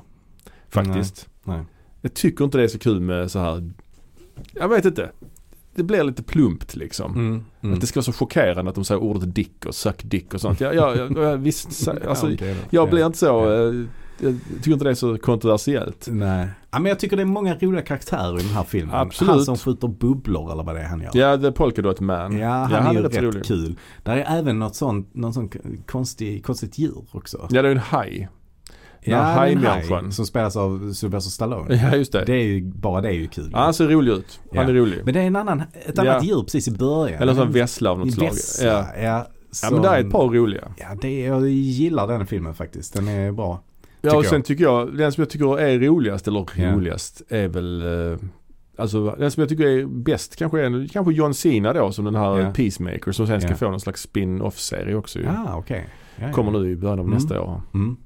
S1: Faktiskt.
S2: Nej, nej.
S1: Jag tycker inte det är så kul med så här. Jag vet inte. Det blir lite plumpt liksom.
S2: Mm. Mm.
S1: Att det ska vara så chockerande att de säger ordet dick och suck dick och sånt. Jag, jag, jag, jag, visst, sä- alltså,
S2: Ja, okej då.
S1: jag
S2: Ja.
S1: blir inte så, eh, jag tycker inte det är så kontroversiellt.
S2: Nej. Ja, men jag tycker det är många roliga karaktärer i den här filmen.
S1: Absolut.
S2: Han som skjuter bubblor eller vad det är han gör.
S1: Ja, The Polkadot Man.
S2: Ja, han,
S1: Ja, han
S2: är
S1: är
S2: ju
S1: rätt
S2: rätt
S1: rolig.
S2: kul. Där är även något sånt, någon sån konstig, konstigt djur också.
S1: Ja, det är en haj. Den här
S2: det är en
S1: hajmänniskan.
S2: haj som spelas av Sylvester Stallone.
S1: Ja, just det.
S2: Det är ju, bara det är ju kul.
S1: Ja, han ser rolig ut. Han är rolig.
S2: Men det är en annan, ett annat
S1: Ja.
S2: djur precis i början.
S1: Eller så en vessla av
S2: I
S1: något slag.
S2: vässa,
S1: Ja.
S2: Ja. Ja,
S1: ja, men där är ett par roliga.
S2: Ja, det, jag gillar den filmen faktiskt. Den är bra.
S1: Ja,
S2: Tycker
S1: och sen
S2: jag.
S1: tycker jag, den som jag tycker är roligast, eller
S2: Ja.
S1: roligast, är väl eh, Alltså den som jag tycker är bäst kanske är kanske John Cena då som den här
S2: Ja.
S1: Peacemaker som sen ska
S2: Ja.
S1: få någon slags spin-off-serie också ju.
S2: Ah, okej. Ja, ja.
S1: Kommer nu i början av
S2: Mm.
S1: nästa år.
S2: Mm.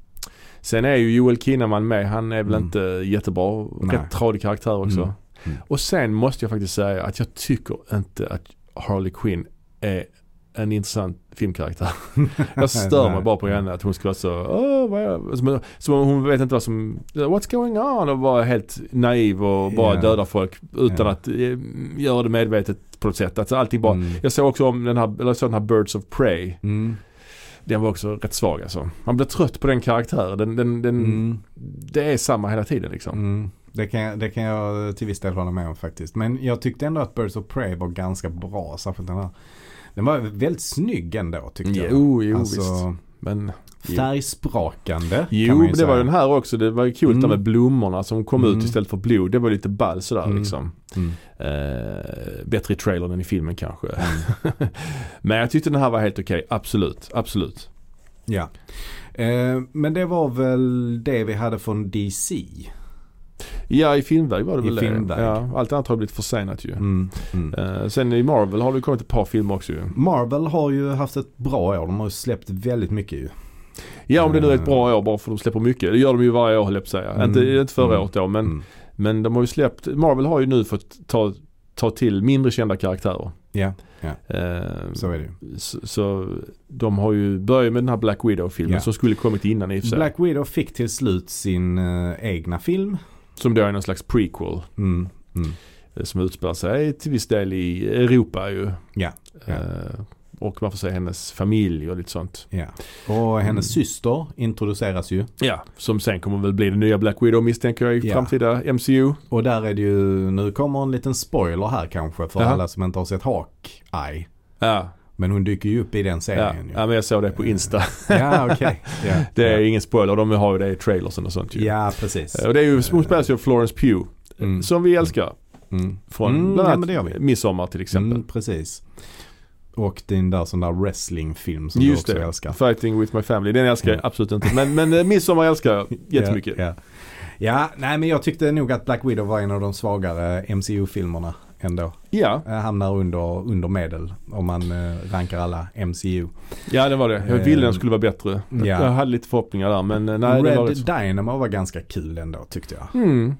S1: Sen är ju Joel Kinnaman med. Han är väl
S2: Mm.
S1: inte jättebra.
S2: Nej.
S1: Rätt tradig karaktär också.
S2: Mm. Mm.
S1: Och sen måste jag faktiskt säga att jag tycker inte att Harley Quinn är en intressant filmkaraktär. Jag stör mig
S2: Nej.
S1: bara på henne att hon ska vara så, "Åh, vad är-" som, som om hon vet inte vad som, what's going on och vara helt naiv och bara
S2: Ja.
S1: döda folk utan
S2: Ja.
S1: att eh, göra det medvetet på något sätt. Alltså allting bara,
S2: Mm.
S1: jag såg också om den här, eller jag såg den här Birds of Prey.
S2: Mm.
S1: Den var också rätt svag alltså. Man blir trött på den karaktären. Den, den, den,
S2: Mm.
S1: Det är samma hela tiden liksom.
S2: Mm. Det, kan, jag- det kan jag till viss del hålla med om faktiskt. Men jag tyckte ändå att Birds of Prey var ganska bra. Särskilt den här. Den var väldigt snygg ändå tyckte jag.
S1: Jo, jo visst.
S2: Alltså,
S1: Men,
S2: färgsprakande
S1: jo,
S2: kan man
S1: men
S2: ju
S1: det
S2: säga.
S1: var ju den här också. Det var ju coolt där
S2: Mm.
S1: med blommorna som kom
S2: Mm.
S1: ut istället för blod. Det var lite ball sådär
S2: Mm.
S1: liksom.
S2: Mm.
S1: Eh, bättre i trailern än i filmen kanske.
S2: Mm.
S1: men jag tyckte den här var helt okej. Absolut, absolut.
S2: Ja. Eh, men det var väl det vi hade från DC.
S1: Ja, i filmväg var det
S2: I
S1: väl
S2: filmväg.
S1: det. Ja, allt annat har blivit försenat ju.
S2: Mm. Mm.
S1: Eh, sen i Marvel har det kommit ett par filmer också ju.
S2: Marvel har ju haft ett bra år. De har ju släppt väldigt mycket ju.
S1: Ja, om det nu är ett
S2: Eh.
S1: bra år bara för de släpper mycket. Det gör de ju varje år höll jag på att säga.
S2: Mm.
S1: Inte, inte förra
S2: Mm.
S1: året då men
S2: Mm.
S1: Men de har ju släppt, Marvel har ju nu fått ta, ta till mindre kända karaktärer.
S2: Ja,
S1: Eh,
S2: så är det ju.
S1: så, så de har ju börjat med den här Black Widow-filmen
S2: Ja.
S1: som skulle kommit innan i och för sig.
S2: Black Widow fick till slut sin eh, egna film.
S1: Som då är någon slags prequel
S2: Mm. Mm.
S1: eh, som utspelar sig till viss del i Europa ju.
S2: Ja, ja.
S1: Eh, och man får se hennes familj och lite sånt.
S2: Ja. Och hennes
S1: Mm.
S2: syster introduceras ju.
S1: Ja, som sen kommer väl bli den nya Black Widow misstänker jag i
S2: Ja.
S1: framtida MCU.
S2: Och där är det ju, nu kommer en liten spoiler här kanske för
S1: Jaha.
S2: alla som inte har sett Hawkeye.
S1: Ja,
S2: Men hon dyker ju upp i den
S1: ja.
S2: serien
S1: ja, men jag såg det på Insta.
S2: ju. Ja, okej. Ja.
S1: Det är ingen spoiler, de har ju det i trailersen och sånt ju.
S2: Ja, precis.
S1: Eh, Och det är ju, hon spelas ju av Florence Pugh.
S2: Mm.
S1: Som vi älskar.
S2: Mm.
S1: Från
S2: Mm,
S1: bland
S2: ja,
S1: annat
S2: men det gör vi.
S1: Midsommar till exempel.
S2: Mm, precis. Och din där sån där wrestlingfilm som
S1: Just
S2: du också
S1: det.
S2: älskar.
S1: Fighting with my family. Den älskar jag
S2: Ja.
S1: absolut inte. Men, men eh, Midsommar älskar jag jättemycket.
S2: Mm. Ja, ja. ja, nej men jag tyckte nog att Black Widow var en av de svagare MCU-filmerna ändå.
S1: Ja,
S2: Eh, Hamnar under, under medel om man eh, rankar alla MCU.
S1: ja det var det. Jag ville den skulle vara bättre.
S2: Eh, Ja.
S1: Jag hade lite förhoppningar där men eh, nej det var rätt
S2: Red
S1: så.
S2: Dynamo var ganska kul ändå tyckte jag.
S1: Mm.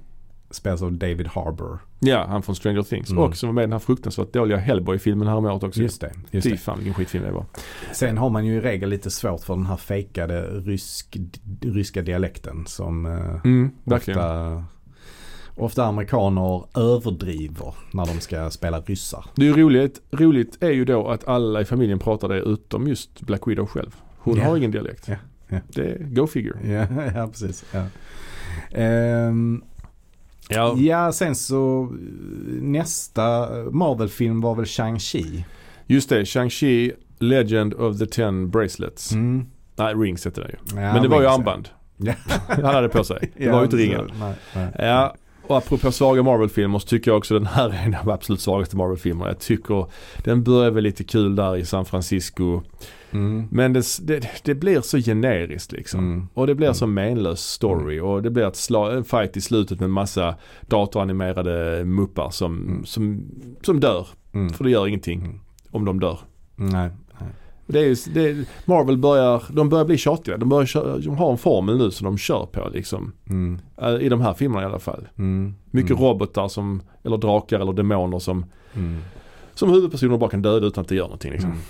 S2: Spelas av David Harbour.
S1: Ja, han från Stranger Things.
S2: Mm.
S1: Och som var med i den här fruktansvärt dåliga Hellboy-filmen häromåret också.
S2: Just det, just
S1: Fy
S2: det.
S1: fan vilken skitfilm det var.
S2: Sen har man ju i regel lite svårt för den här fejkade rysk, d- ryska dialekten som eh,
S1: Mm, verkligen.
S2: ofta, ofta amerikaner överdriver när de ska spela ryssar.
S1: Det är ju roligt, roligt är ju då att alla i familjen pratar det utom just Black Widow själv. Hon
S2: Ja.
S1: har ingen dialekt.
S2: Ja, ja.
S1: Det är go figure.
S2: Ja, ja precis. Ja. Ehm,
S1: Ja,
S2: ja, sen så eh, nästa Marvel-film var väl Shang-Chi.
S1: Just det, Shang-Chi Legend of the Ten Bracelets.
S2: Mm.
S1: Nej, rings hette den ju.
S2: Ja,
S1: Men det var ju
S2: Wings, ja.
S1: armband.
S2: Ja.
S1: Han hade på sig. Det var ju inte ringen.
S2: så- nej, nej.
S1: Ja, och apropå svaga Marvel-filmer så tycker jag också den här är en av de absolut svagaste Marvel-filmerna. Jag tycker den börjar väl lite kul där i San Francisco.
S2: Mm.
S1: Men det, det, det blir så generiskt liksom.
S2: Mm.
S1: Och det blir så menlös story och det blir ett sla- en fight i slutet med massa datoranimerade muppar som,
S2: Mm.
S1: som, som dör.
S2: Mm.
S1: För det gör ingenting
S2: Mm.
S1: om de dör.
S2: Nej. nej.
S1: Det är ju, det är, Marvel börjar, de börjar bli tjatiga. De, börjar, kö- de har en formel nu som de kör på liksom.
S2: Mm.
S1: Eh, I de här filmerna i alla fall.
S2: Mm.
S1: Mycket
S2: mm.
S1: robotar som, eller drakar eller demoner som,
S2: Mm.
S1: som huvudpersoner bara kan döda utan att det gör någonting liksom.
S2: Mm.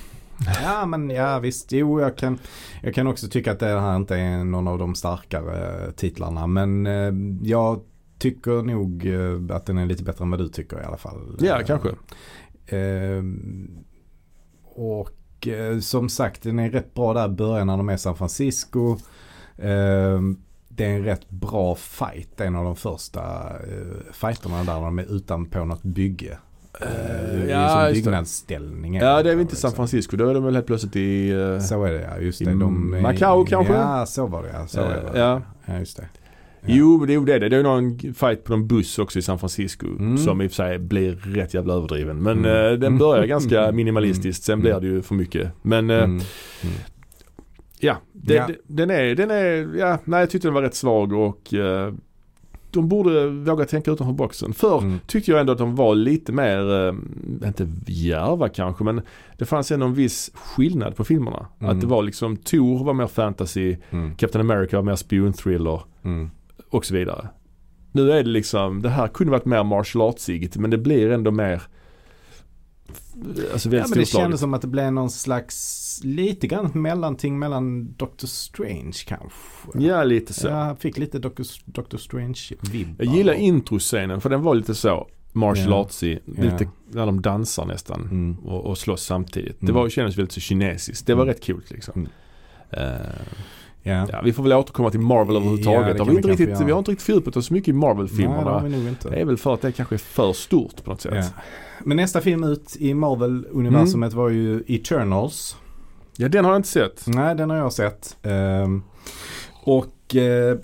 S2: Ja men ja visst, jo jag kan, jag kan också tycka att det här inte är någon av de starkare eh, titlarna. Men eh, jag tycker nog eh, att den är lite bättre än vad du tycker i alla fall.
S1: Ja,
S2: Eh,
S1: kanske.
S2: Eh, och eh, som sagt den är rätt bra där i början när de är i San Francisco. Eh, det är en rätt bra fight, en av de första eh, fighterna där när de är utanpå något bygge. Eh,
S1: Eh,
S2: i
S1: ja,
S2: som
S1: just det.
S2: byggnadsställning.
S1: Ja, det är väl inte
S2: liksom.
S1: San Francisco. Då är de väl helt plötsligt i... eh,
S2: Så är det ja, just
S1: I
S2: det. De, är-
S1: Macau kanske?
S2: Ja, så var det ja. Så
S1: Eh,
S2: är det.
S1: ja.
S2: ja, just det. Ja.
S1: Jo, det jo, det är det. Det är ju någon fight på någon buss också i San Francisco.
S2: Mm.
S1: Som i och för sig blir rätt jävla överdriven. Men
S2: Mm.
S1: eh, den börjar ganska
S2: Mm.
S1: minimalistiskt. Sen
S2: Mm.
S1: blir det ju för mycket. Men eh,
S2: Mm.
S1: ja, det,
S2: Ja.
S1: det- Den, är, den är... Ja, nej, jag tyckte den var rätt svag och eh, de borde våga tänka utanför boxen. Förr
S2: Mm.
S1: tyckte jag ändå att de var lite mer, eh, inte djärva kanske, men det fanns ändå en viss skillnad på filmerna.
S2: Mm.
S1: Att det var liksom, Thor var mer fantasy,
S2: Mm.
S1: Captain America var mer spionthriller
S2: Mm.
S1: och så vidare. Nu är det liksom, det här kunde varit mer martial artsigt men det blir ändå mer Alltså väldigt
S2: Ja, men det
S1: storslaget.
S2: kändes som att det blev någon slags, lite grann mellanting mellan Doctor Strange kanske.
S1: Ja, lite så.
S2: Jag fick lite Doctor, Doctor Strange-vibbar.
S1: Jag gillar introscenen för den var lite så martial
S2: Ja.
S1: artsy.
S2: Ja.
S1: Lite när de dansar nästan
S2: Mm.
S1: och, och slåss samtidigt. Det
S2: Mm.
S1: var, kändes väldigt så kinesiskt. Det var
S2: Mm.
S1: rätt coolt liksom.
S2: Mm.
S1: Eh,
S2: Ja.
S1: Ja, vi får väl återkomma till Marvel
S2: Ja,
S1: överhuvudtaget. Ja,
S2: det kan
S1: vi, har
S2: vi
S1: inte
S2: kanske
S1: riktigt,
S2: göra.
S1: vi har inte riktigt fördjupat oss så mycket i
S2: Nej, det har
S1: Marvel-filmerna.
S2: vi nog inte.
S1: Det är väl för att det kanske är för stort på något sätt.
S2: Ja. Men nästa film ut i Marvel-universumet
S1: Mm.
S2: var ju Eternals.
S1: Ja, den har jag inte sett.
S2: Nej, den har jag sett. Ehm, och eh,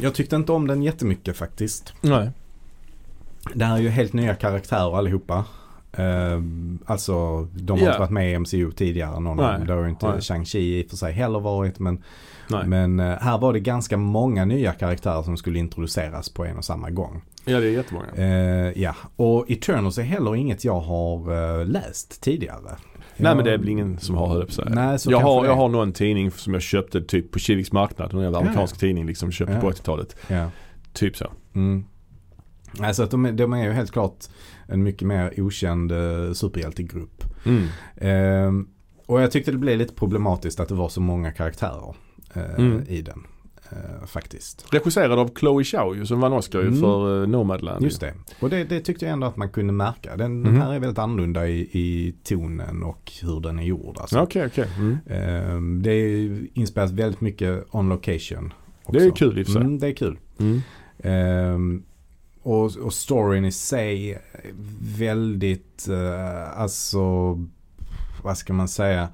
S2: jag tyckte inte om den jättemycket faktiskt.
S1: Nej.
S2: Det här är ju helt nya karaktärer allihopa. Ehm, alltså de har
S1: Ja.
S2: inte varit med i MCU tidigare någon av
S1: Nej.
S2: dem. Det har ju inte
S1: Nej.
S2: Shang-Chi i och för sig heller varit. Men,
S1: Nej.
S2: men eh, här var det ganska många nya karaktärer som skulle introduceras på en och samma gång.
S1: Ja, det är jättemånga.
S2: Eh, ja, och Eternals är heller inget jag har eh, läst tidigare.
S1: Nej, men det är väl ingen som har, höll jag på att säga.
S2: Nej, så
S1: jag,
S2: kanske
S1: har,
S2: det
S1: jag
S2: är.
S1: har någon tidning som jag köpte typ på Kiviks marknad. Någon jävla
S2: Ja, ja.
S1: amerikansk tidning liksom köpte
S2: Ja.
S1: på 80-talet.
S2: Ja.
S1: Typ så.
S2: Mm. Alltså att de, är- de är ju helt klart en mycket mer okänd eh, superhjältegrupp.
S1: Mm.
S2: Ehm, och jag tyckte det blev lite problematiskt att det var så många karaktärer eh,
S1: Mm.
S2: i den. eh, faktiskt.
S1: Regisserad av Chloe Zhao ju, som vann Oscar ju
S2: Mm.
S1: för eh, Nomadland. ju.
S2: Just det. Och det, det tyckte jag ändå att man kunde märka. Den,
S1: Mhm.
S2: den här är väldigt annorlunda i, i tonen och hur den är gjord. Alltså.
S1: Ja, Okej, okej. Mm.
S2: Ehm, det är ju inspirerat väldigt mycket on location.
S1: Det är ju kul i och för sig.
S2: Mm, det är kul.
S1: Mm.
S2: Ehm, och, och storyn i sig är väldigt, eh, alltså, vad ska man säga,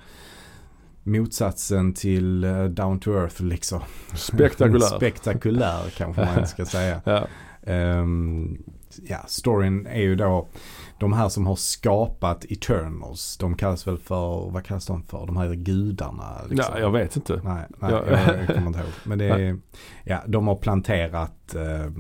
S2: motsatsen till eh, Down to Earth liksom.
S1: Spektakulär.
S2: Spektakulär kanske man ska säga.
S1: ja.
S2: Ehm, ja, storyn är ju då de här som har skapat Eternals. De kallas väl för, vad kallas de för? De här gudarna. Liksom.
S1: ja, jag vet inte.
S2: Nej, nej
S1: Ja.
S2: jag, jag kommer inte ihåg. Men det är, ja, de har planterat eh,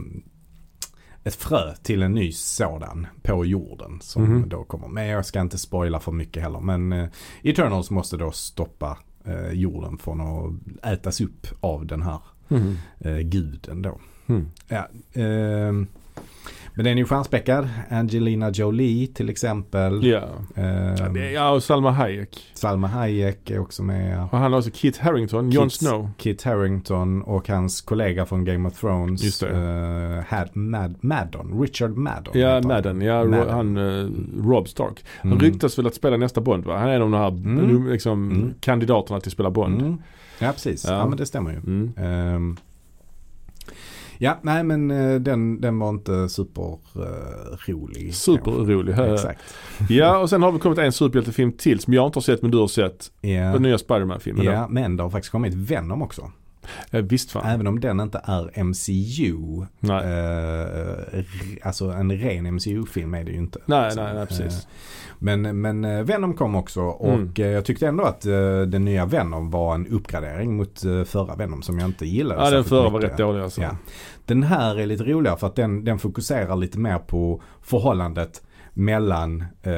S2: ett frö till en ny sådan på jorden som
S1: Mhm.
S2: då kommer. Men jag ska inte spoila för mycket heller. Men eh, Eternals måste då stoppa eh, jorden från att ätas upp av den här
S1: Mm.
S2: eh, guden då.
S1: Mm.
S2: Ja, ehm, men den är ju stjärnspäckad. Angelina Jolie till exempel.
S1: Ja. Ja,
S2: Ehm,
S1: det- ja, och Salma Hayek.
S2: Salma Hayek är också med.
S1: Och han har också Kit Harington, Jon
S2: Kit-
S1: Snow.
S2: Kit Harington och hans kollega från Game of Thrones.
S1: Just det.
S2: eh, Had, Mad, Maddon, Richard Maddon.
S1: Ja,
S2: heter han.
S1: Madden. Ja, Ro-
S2: Madden.
S1: han eh, Rob Stark. Han
S2: Mm.
S1: ryktas väl att spela nästa Bond va? Han är en av de här
S2: Mm.
S1: liksom,
S2: Mm.
S1: kandidaterna till att spela Bond. Mm.
S2: Mm. Ja, precis.
S1: Ja.
S2: Ja. men det stämmer ju. Ehm, ja, nej men eh, den, den var inte superrolig.
S1: Superrolig.
S2: Exakt.
S1: Ja, och sen har vi kommit en superhjältefilm till som jag inte har sett men du har sett.
S2: Ja.
S1: Den nya Spiderman-filmen. då.
S2: Ja, men det har faktiskt kommit Venom också.
S1: Ja, visst fan.
S2: Även om den inte är MCU.
S1: Nej.
S2: eh, re- alltså en ren MCU-film är det ju inte.
S1: Nej,
S2: Liksom.
S1: nej, nej, precis.
S2: Eh, Men, men eh, Venom kom också och
S1: Mm.
S2: eh, jag tyckte ändå att eh, den nya Venom var en uppgradering mot eh, förra Venom som jag inte gillade.
S1: ja, den
S2: särskilt
S1: förra var
S2: mycket.
S1: rätt dålig alltså.
S2: Ja. Den här är lite roligare för att den, den fokuserar lite mer på förhållandet mellan eh,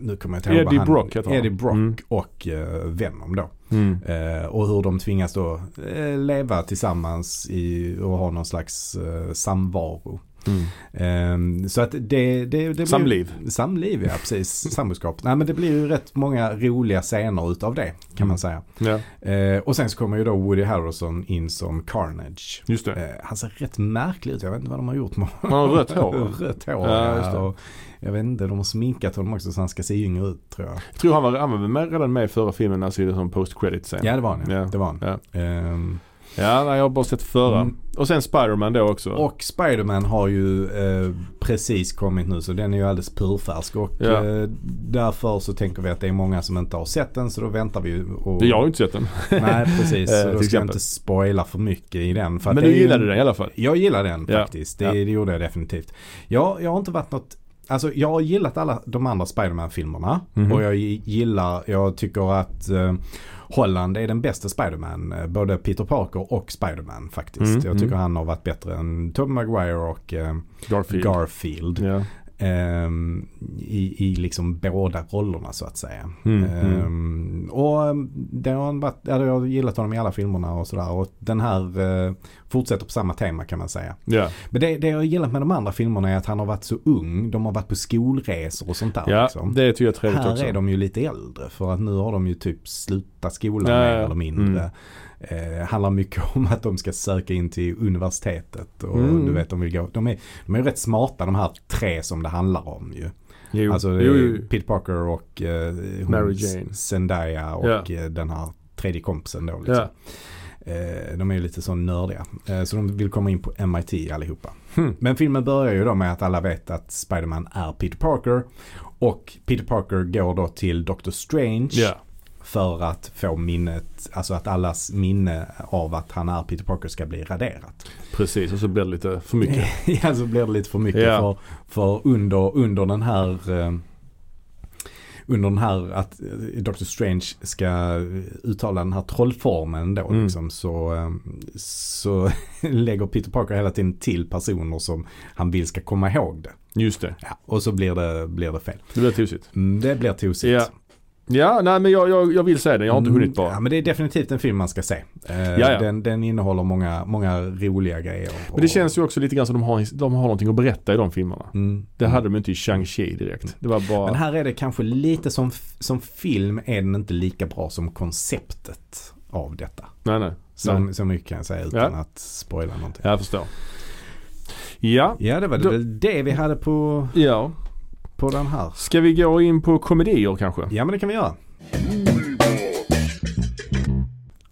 S2: nu kommer jag inte ihåg vad
S1: Eddie
S2: han,
S1: Brock heter han.
S2: Eddie Brock
S1: Mm.
S2: och eh, Venom då.
S1: Mm.
S2: Eh, och hur de tvingas då eh, leva tillsammans i, och ha någon slags eh, samvaro.
S1: Mm.
S2: Ehm, så att det, det, det
S1: Samliv.
S2: Blir, samliv ja, precis. Samboskap. Nej men det blir ju rätt många roliga scener utav det kan
S1: Mm.
S2: man säga.
S1: Ja,
S2: Eh, och sen så kommer ju då Woody Harrelson in som Carnage.
S1: just det.
S2: Eh, han ser rätt märklig ut, jag vet inte vad de har gjort med
S1: Han har rött hår. va?
S2: Rött hår
S1: Ja,
S2: ja,
S1: just det.
S2: och Jag vet inte, de har sminkat honom också så han ska se yngre ut tror jag.
S1: Jag tror han var, han var med, redan med i förra filmen, alltså i det som post credit scen.
S2: Ja det var han ja.
S1: Ja.
S2: Det var han.
S1: Ja.
S2: Ehm,
S1: Ja, nej, jag har bara sett förra.
S2: Mm.
S1: Och sen Spiderman då också.
S2: Och Spiderman har ju eh, precis kommit nu så den är ju alldeles purfärsk. Och
S1: Ja.
S2: eh, därför så tänker vi att det är många som inte har sett den så då väntar vi ju. Och,
S1: det, jag har ju inte sett den.
S2: Nej precis,
S1: Eh, till
S2: så då ska jag
S1: exempel.
S2: inte spoila för mycket i den. För att
S1: Men
S2: det är
S1: du
S2: ju-
S1: gillade den i alla fall.
S2: Jag gillar den
S1: Ja.
S2: faktiskt. Det,
S1: Ja.
S2: det gjorde jag definitivt. Jag, jag har inte varit något Alltså jag har gillat alla de andra Spiderman-filmerna.
S1: Mhm.
S2: Och jag gillar, jag tycker att eh, Holland är den bästa Spiderman. eh, Både Peter Parker och Spiderman faktiskt.
S1: Mm,
S2: Jag tycker
S1: mm.
S2: han har varit bättre än Tom Maguire och eh,
S1: Garfield.
S2: Garfield.
S1: ja.
S2: Ehm, i, I liksom båda rollerna så att säga.
S1: Mm,
S2: Ehm, och ehm, det har han varit, ja, jag har gillat honom i alla filmerna och sådär. Och den här eh, fortsätter på samma tema kan man säga.
S1: Ja.
S2: Men det, det jag har gillat med de andra filmerna är att han har varit så ung. De har varit på skolresor och sånt där.
S1: ja,
S2: liksom.
S1: det tycker jag är trevligt
S2: Här
S1: också.
S2: är de ju lite äldre för att nu har de ju typ slutat skolan
S1: Ja, Mm.
S2: mer
S1: ja.
S2: eller mindre. Eh, handlar mycket om att de ska söka in till universitetet och
S1: Mm.
S2: du vet de vill gå. De är, de är ju rätt smarta de här tre som det handlar om ju.
S1: Jo.
S2: Alltså det är
S1: jo, jo.
S2: Pete Parker och eh, hon,
S1: Mary Jane.
S2: Zendaya och eh, den här tredje kompisen då. Liksom.
S1: Ja.
S2: Eh, de är ju lite så nördiga. Eh, så de vill komma in på MIT allihopa.
S1: Hmm.
S2: Men filmen börjar ju då med att alla vet att Spiderman är Peter Parker. Och Peter Parker går då till Doctor Strange
S1: Ja.
S2: för att få minnet, alltså att allas minne av att han är Peter Parker ska bli raderat.
S1: Precis, och så blir det lite för mycket.
S2: ja, så blir det lite för mycket
S1: Ja.
S2: för, för under, under den här eh, under den här att eh, Dr. Strange ska uttala den här trollformen då
S1: Mm.
S2: liksom, så, eh, så lägger Peter Parker hela tiden till personer som han vill ska komma ihåg det.
S1: Just det.
S2: Ja, och så blir det, blir det fel.
S1: Det blir tosigt.
S2: Mm, Det blir tosigt.
S1: Ja. Ja, nej men jag, jag, jag vill säga det. Jag har inte
S2: Mm,
S1: hunnit bara.
S2: Ja, men det är definitivt en film man ska se. Eh,
S1: Jaja.
S2: Den, den innehåller många, många roliga grejer.
S1: Men det känns ju också lite grann som de har, de har någonting att berätta i de filmerna.
S2: Mm.
S1: Det hade de inte i Shang-Chi direkt. Det var bara...
S2: Men här är det kanske lite som, f- som film är den inte lika bra som konceptet av detta.
S1: Nej, nej.
S2: Så, så mycket kan jag säga utan
S1: Ja.
S2: att spoila någonting.
S1: Jag förstår. Ja.
S2: Ja, det var
S1: Då-
S2: det, väl det vi hade på,
S1: Ja.
S2: på den här.
S1: Ska vi gå in på komedier kanske?
S2: Ja, men det kan vi göra.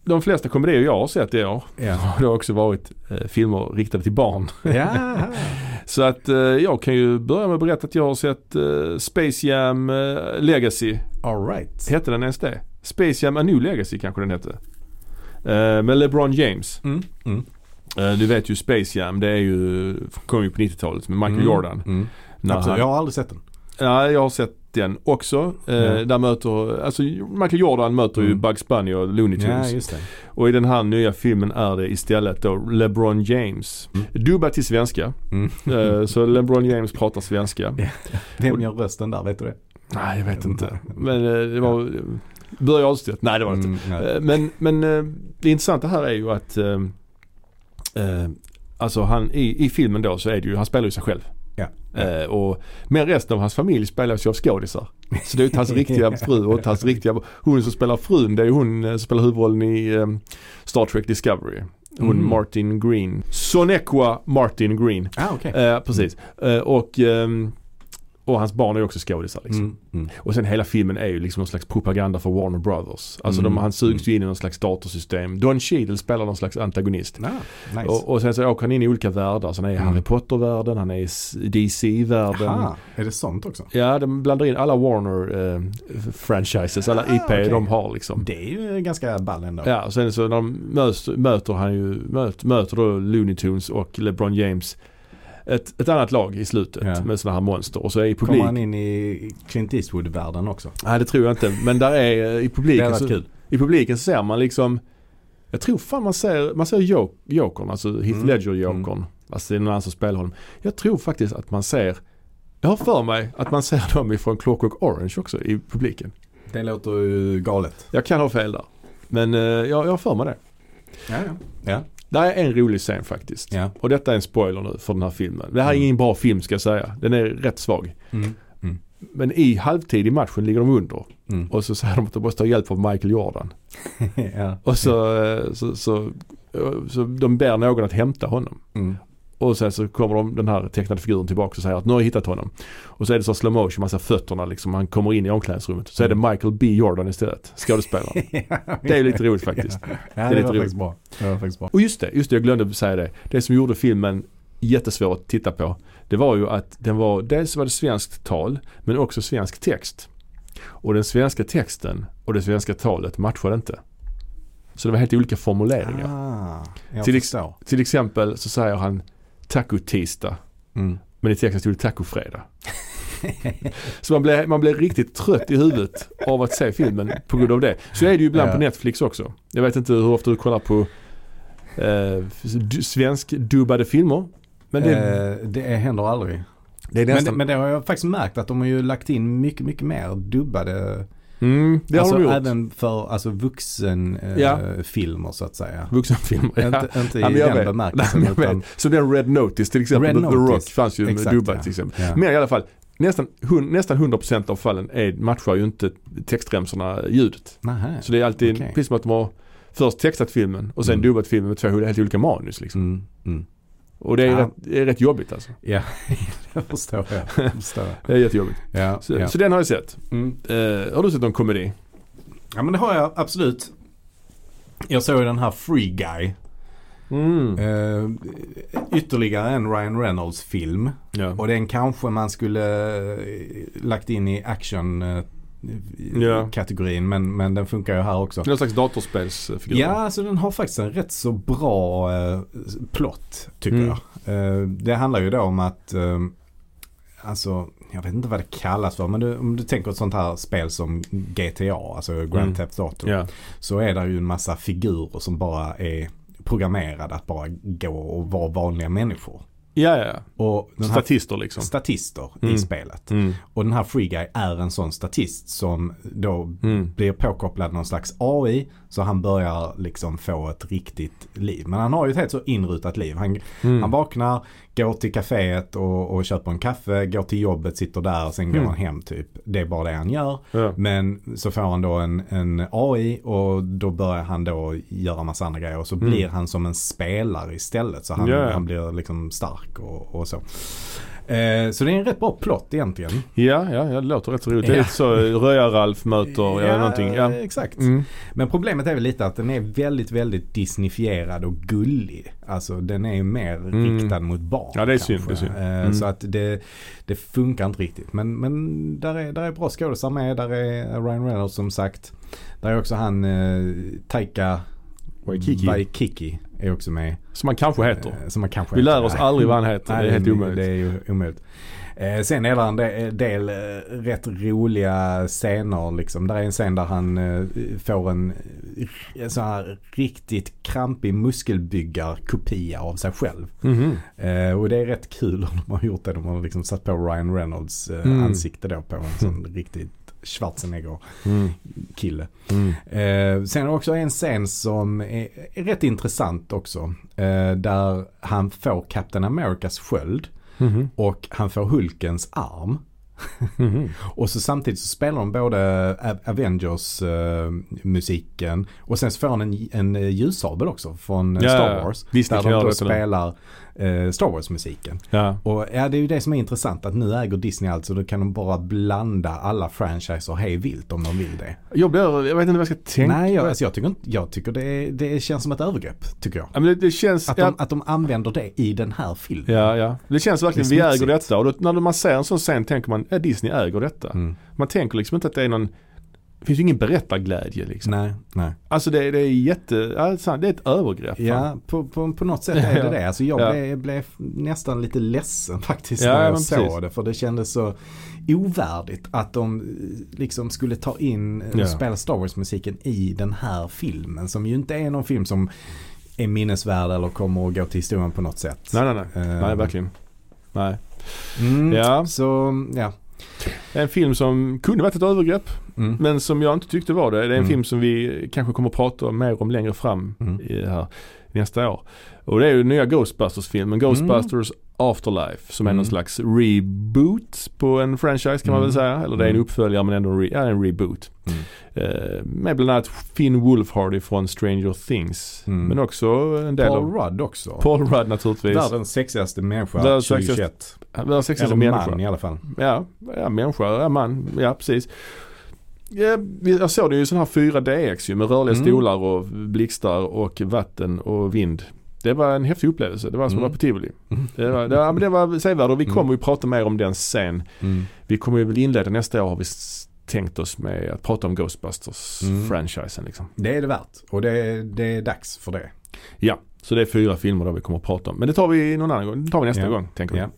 S1: De flesta komedier jag har sett i år
S2: Ja,
S1: har det också varit eh, filmer riktade till barn.
S2: ja.
S1: Så att eh, jag kan ju börja med att berätta att jag har sett eh, Space Jam eh, Legacy.
S2: all right.
S1: Hette den ens det? Space Jam A New Legacy kanske den hette. Eh, med LeBron James.
S2: Mm. Mm.
S1: Eh, du vet ju Space Jam, det är ju, kom ju på 90-talet med Michael
S2: Mm.
S1: Jordan.
S2: Mm.
S1: När
S2: Absolut,
S1: han-
S2: jag har aldrig sett den.
S1: Ja, jag har sett den också. Eh,
S2: Ja.
S1: Där möter, alltså Michael Jordan möter ju
S2: Mm.
S1: Bugs Bunny och Looney
S2: Ja,
S1: Tunes.
S2: just det.
S1: och i den här nya filmen är det istället då LeBron James.
S2: Mm.
S1: Dubbad till svenska.
S2: Mm.
S1: Eh, så LeBron James pratar svenska.
S2: Vem gör rösten där, vet du det?
S1: Nej, jag vet inte. Men eh, det var eh, Börje Ahlstedt. Nej, det var det inte.
S2: Mm, nej.
S1: Eh, Men, men eh, det intressanta här är ju att eh, eh, Alltså han, i, i filmen då så är det ju, han spelar ju sig själv.
S2: Ja.
S1: Eh, och, men resten av hans familj spelas ju av skådisar. Så det är ju inte hans riktiga fru och inte hans riktiga, hon som spelar frun det är ju hon eh, som spelar huvudrollen i eh, Star Trek Discovery. Hon
S2: Mm.
S1: Martin Green. Sonequa Martin Green.
S2: Ah, okej.
S1: Eh, precis. Eh, och, ehm, och hans barn är ju också skådisar liksom.
S2: Mm, mm.
S1: Och sen hela filmen är ju liksom någon slags propaganda för Warner Brothers. Alltså
S2: Mm.
S1: de, han sugs ju in i någon slags datorsystem. Don Cheadle spelar någon slags antagonist.
S2: Ah, nice.
S1: Och, och sen så åker han in i olika världar. Så han är i
S2: Mm.
S1: Harry Potter-världen, han är i s- DC-världen.
S2: Aha, är det sånt också?
S1: Ja, de blandar in alla Warner-franchises, alla
S2: Ah,
S1: IP
S2: okej.
S1: de har liksom.
S2: Det är ju ganska ball ändå.
S1: Ja, och sen så när de möts, möter han ju, möt, möter då Looney Tunes och LeBron James ett, ett annat lag i slutet
S2: Ja.
S1: med sådana här monster. Och så är i
S2: Kommer
S1: publik,
S2: han in i Clint Eastwood-världen också?
S1: nej det tror jag inte, men där är eh, i
S2: Det
S1: publiken
S2: hade
S1: så,
S2: varit kul.
S1: I publiken så ser man liksom Jag tror fan man ser, man ser jo- Jokern, alltså Heath
S2: Mm.
S1: Ledger-Jokern. Alltså det är någon annan som spelar honom. Jag tror faktiskt att man ser jag har för mig att man ser dem ifrån Clockwork Orange också i publiken.
S2: Det låter ju galet.
S1: Jag kan ha fel där. Men eh, jag, jag har för mig det.
S2: Ja, ja. ja.
S1: Där är en rolig scen faktiskt.
S2: ja.
S1: Och detta är en spoiler nu för den här filmen. Det här är
S2: Mm.
S1: ingen bra film ska jag säga. Den är rätt svag.
S2: Mm.
S1: Men i halvtid i matchen ligger de under.
S2: Mm.
S1: Och så säger de att de måste ha hjälp av Michael Jordan.
S2: ja.
S1: Och så, eh, så, så, eh, så de ber någon att hämta honom.
S2: Mm.
S1: Och sen så kommer de, den här tecknade figuren tillbaka och säger att nu har jag hittat honom. Och så är det så slow motion, man ser fötterna liksom. Han kommer in i omklädningsrummet. Så är det Michael B Jordan istället, skådespelaren.
S2: ja,
S1: Det är ju lite roligt faktiskt.
S2: Ja, det,
S1: lite
S2: var
S1: roligt.
S2: faktiskt bra. Det var faktiskt bra.
S1: Och just det, just det, jag glömde säga det. Det som gjorde filmen jättesvår att titta på. Det var ju att den var, dels var det svenskt tal men också svensk text. Och den svenska texten och det svenska talet matchade inte. Så det var helt olika formuleringar.
S2: Ah, jag
S1: Till ex-
S2: förstår.
S1: Till exempel så säger han taco-tisdag
S2: Mm.
S1: men i texten stod det taco-fredag. så man blev, man blev riktigt trött i huvudet av att se filmen på grund av det. Så är det ju ibland
S2: Ja.
S1: på Netflix också. Jag vet inte hur ofta du kollar på eh, du- svenskdubbade filmer. Men det,
S2: Eh, det händer aldrig.
S1: det är
S2: Men,
S1: nästan...
S2: det- men det har jag faktiskt märkt att de har ju lagt in mycket, mycket mer dubbade.
S1: mm, det
S2: alltså
S1: har de gjort.
S2: även för alltså vuxenfilmer
S1: Ja.
S2: eh, filmer så att säga.
S1: Vuxenfilmer. ja.
S2: Inte, inte i
S1: Ja, men jag
S2: den
S1: vet.
S2: bemärkelsen.
S1: Nej, men jag
S2: utan,
S1: vet. Så den Red Notice till exempel,
S2: Red
S1: The- The
S2: Notice.
S1: Rock fanns ju
S2: Exakt,
S1: med dubbad
S2: ja.
S1: till exempel.
S2: ja.
S1: Men i alla fall, nästan, hun, nästan 100% av fallen är, matchar ju inte textremsorna ljudet.
S2: Nähä.
S1: Så det är alltid
S2: Okej.
S1: precis som att de har först textat filmen och sen
S2: Mm.
S1: dubbat filmen med två helt olika manus. Liksom.
S2: Mm, mm.
S1: Och det är,
S2: Ja.
S1: rätt, det är rätt jobbigt alltså.
S2: Ja, det förstår jag. Det Förstår jag.
S1: Det är jättejobbigt.
S2: Ja,
S1: Så,
S2: ja.
S1: så den har jag sett.
S2: Mm.
S1: Eh, har du sett någon komedi?
S2: ja, men det har jag absolut. Jag såg ju den här Free Guy.
S1: Mm.
S2: Eh, ytterligare en Ryan Reynolds film.
S1: Ja.
S2: Och den kanske man skulle eh, lagt in i
S1: Ja.
S2: action-kategorin. Men, men den funkar ju här också.
S1: Någon slags datorspelsfigur?
S2: Ja, alltså den har faktiskt en rätt så bra eh, plott tycker
S1: Mm.
S2: jag. Eh, det handlar ju då om att, eh, alltså jag vet inte vad det kallas för, men du, om du tänker ett sånt här spel som GTA, alltså Grand
S1: Mm.
S2: Theft Auto,
S1: Ja.
S2: så är det ju en massa figurer som bara är programmerade att bara gå och vara vanliga människor.
S1: ja, ja,
S2: Och
S1: ja.
S2: den här
S1: Statister liksom.
S2: statister
S1: Mm.
S2: i spelet.
S1: Mm.
S2: Och den här Free Guy är en sån statist som då
S1: Mm.
S2: blir påkopplad någon slags AI så han börjar liksom få ett riktigt liv. Men han har ju ett helt så inrutat liv. Han,
S1: Mm.
S2: han vaknar, går till kaféet och, och köper en kaffe, går till jobbet, sitter där och sen
S1: Mm.
S2: går han hem typ. Det är bara det han gör.
S1: Ja.
S2: Men så får han då en, en AI och då börjar han då göra massa andra grejer och så
S1: Mm.
S2: blir han som en spelare istället. Så han,
S1: Ja, ja.
S2: han blir liksom stark och, och så. Eh, så det är en rätt bra plott egentligen.
S1: Ja, ja, ja, det låter rätt så roligt. Det är
S2: Ja.
S1: lite så eh, Röja-Ralf möter, ja, någonting. Ja.
S2: exakt.
S1: Mm.
S2: Men problemet är väl lite att den är väldigt, väldigt disneyfierad och gullig. Alltså den är ju mer
S1: Mm.
S2: riktad mot barn.
S1: Ja, det är
S2: kanske.
S1: synd, det är synd.
S2: Eh,
S1: Mm.
S2: Så att det, det funkar inte riktigt. Men, men där, är, där är bra skådisar med. Där är Ryan Reynolds som sagt. Där är också han eh, Taika
S1: Waikiki.
S2: Waikiki är också med.
S1: Som man kanske heter.
S2: Eh, Som man kanske
S1: Vi lär oss
S2: Ja.
S1: aldrig vad han heter.
S2: Nej,
S1: det är helt omöjligt.
S2: Det är ju omöjligt. Eh, sen är det en de- del eh, rätt roliga scener liksom. Där är en scen där han eh, får en eh, sån här riktigt krampig muskelbyggarkopia av sig själv.
S1: Mhm.
S2: Eh, och det är rätt kul om de har gjort det. De har liksom satt på Ryan Reynolds eh,
S1: Mm.
S2: ansikte då på en sån riktigt Schwarzenegger-kille.
S1: Mm. Mm.
S2: Eh, sen är det också en scen som är, är rätt intressant också. Eh, där han får Captain Americas sköld
S1: Mhm.
S2: och han får Hulkens arm.
S1: Mhm.
S2: Och så samtidigt så spelar de både A- Avengers eh, musiken och sen så får han en, en eh, ljussabel också från eh,
S1: Ja, ja,
S2: Star
S1: ja.
S2: Wars.
S1: Disney
S2: där
S1: kan
S2: de
S1: göra
S2: då
S1: det till den.
S2: spelar eh, Star Wars musiken.
S1: Ja.
S2: Och ja, det är ju det som är intressant att nu äger Disney allt så då kan de bara blanda alla franchiser hej vilt om de vill det.
S1: Jag blir, jag vet inte vad jag ska tänka.
S2: Nej, jag, alltså, jag tycker, inte, jag tycker det, det känns som ett övergrepp tycker jag.
S1: Ja, men det, det känns,
S2: Att de,
S1: ja,
S2: att de använder det i den här filmen.
S1: ja, ja. Det känns verkligen,
S2: Det är
S1: vi äger
S2: smutsigt.
S1: detta. Och då, när man ser en sån scen tänker man, ja, Disney äger detta.
S2: Mm.
S1: Man tänker liksom inte att det är någon, det finns ju ingen berättarglädje liksom.
S2: Nej, nej.
S1: Alltså det, det är jätte, ja, det är sant, det är ett övergrepp. fan.
S2: Ja, på, på, på något sätt är
S1: Ja.
S2: det det. Alltså jag
S1: Ja.
S2: blev, blev nästan lite ledsen faktiskt
S1: Ja,
S2: när
S1: men
S2: jag såg
S1: precis.
S2: det. För det kändes så ovärdigt att de eh, liksom skulle ta in eh, och
S1: Ja.
S2: spela Star Wars-musiken i den här filmen. Som ju inte är någon film som är minnesvärd eller kommer att gå till historien på något sätt.
S1: Nej, nej, nej.
S2: Eh,
S1: Nej, verkligen. Nej.
S2: Mm,
S1: Ja.
S2: Så, ja.
S1: En film som kunde varit ett övergrepp.
S2: Mm.
S1: Men som jag inte tyckte var det. Det är en
S2: Mm.
S1: film som vi kanske kommer att prata mer om längre fram
S2: Mm.
S1: i det här, nästa år. Och det är ju den nya Ghostbusters-filmen. Ghostbusters Afterlife som är
S2: Mm.
S1: någon slags reboot på en franchise kan man väl
S2: Mm.
S1: säga. Eller det är en
S2: Mm.
S1: uppföljare men ändå en, re- ja, en reboot.
S2: Mm.
S1: Eh, med bland annat Finn Wolfhard från Stranger Things.
S2: Mm.
S1: Men också en del
S2: Paul
S1: av
S2: Rudd också.
S1: Paul Rudd naturligtvis.
S2: Världens sexigaste människa
S1: Världens sexigaste
S2: 2021.
S1: Världens sexigaste
S2: Eller
S1: människa.
S2: man i alla fall.
S1: Ja, ja, människa, ja, man, ja precis. Ja, vi- jag såg det ju i sån här 4DX ju med rörliga
S2: Mm.
S1: stolar och blixtar och vatten och vind. Det var en häftig upplevelse. Det var som att
S2: Mm.
S1: vara på tivoli. Det var, det, var- men det var sevärd och vi
S2: Mm.
S1: kommer ju prata mer om den sen.
S2: Mm.
S1: Vi kommer ju väl inleda nästa år har vi s- tänkt oss med att prata om
S2: Mm.
S1: Ghostbusters-franchisen liksom.
S2: Det är det värt och det, det är dags för det.
S1: Ja, så det är fyra filmer där vi kommer att prata om. Men det tar vi någon annan gång. Det tar vi nästa
S2: Ja.
S1: gång tänker vi.
S2: Ja.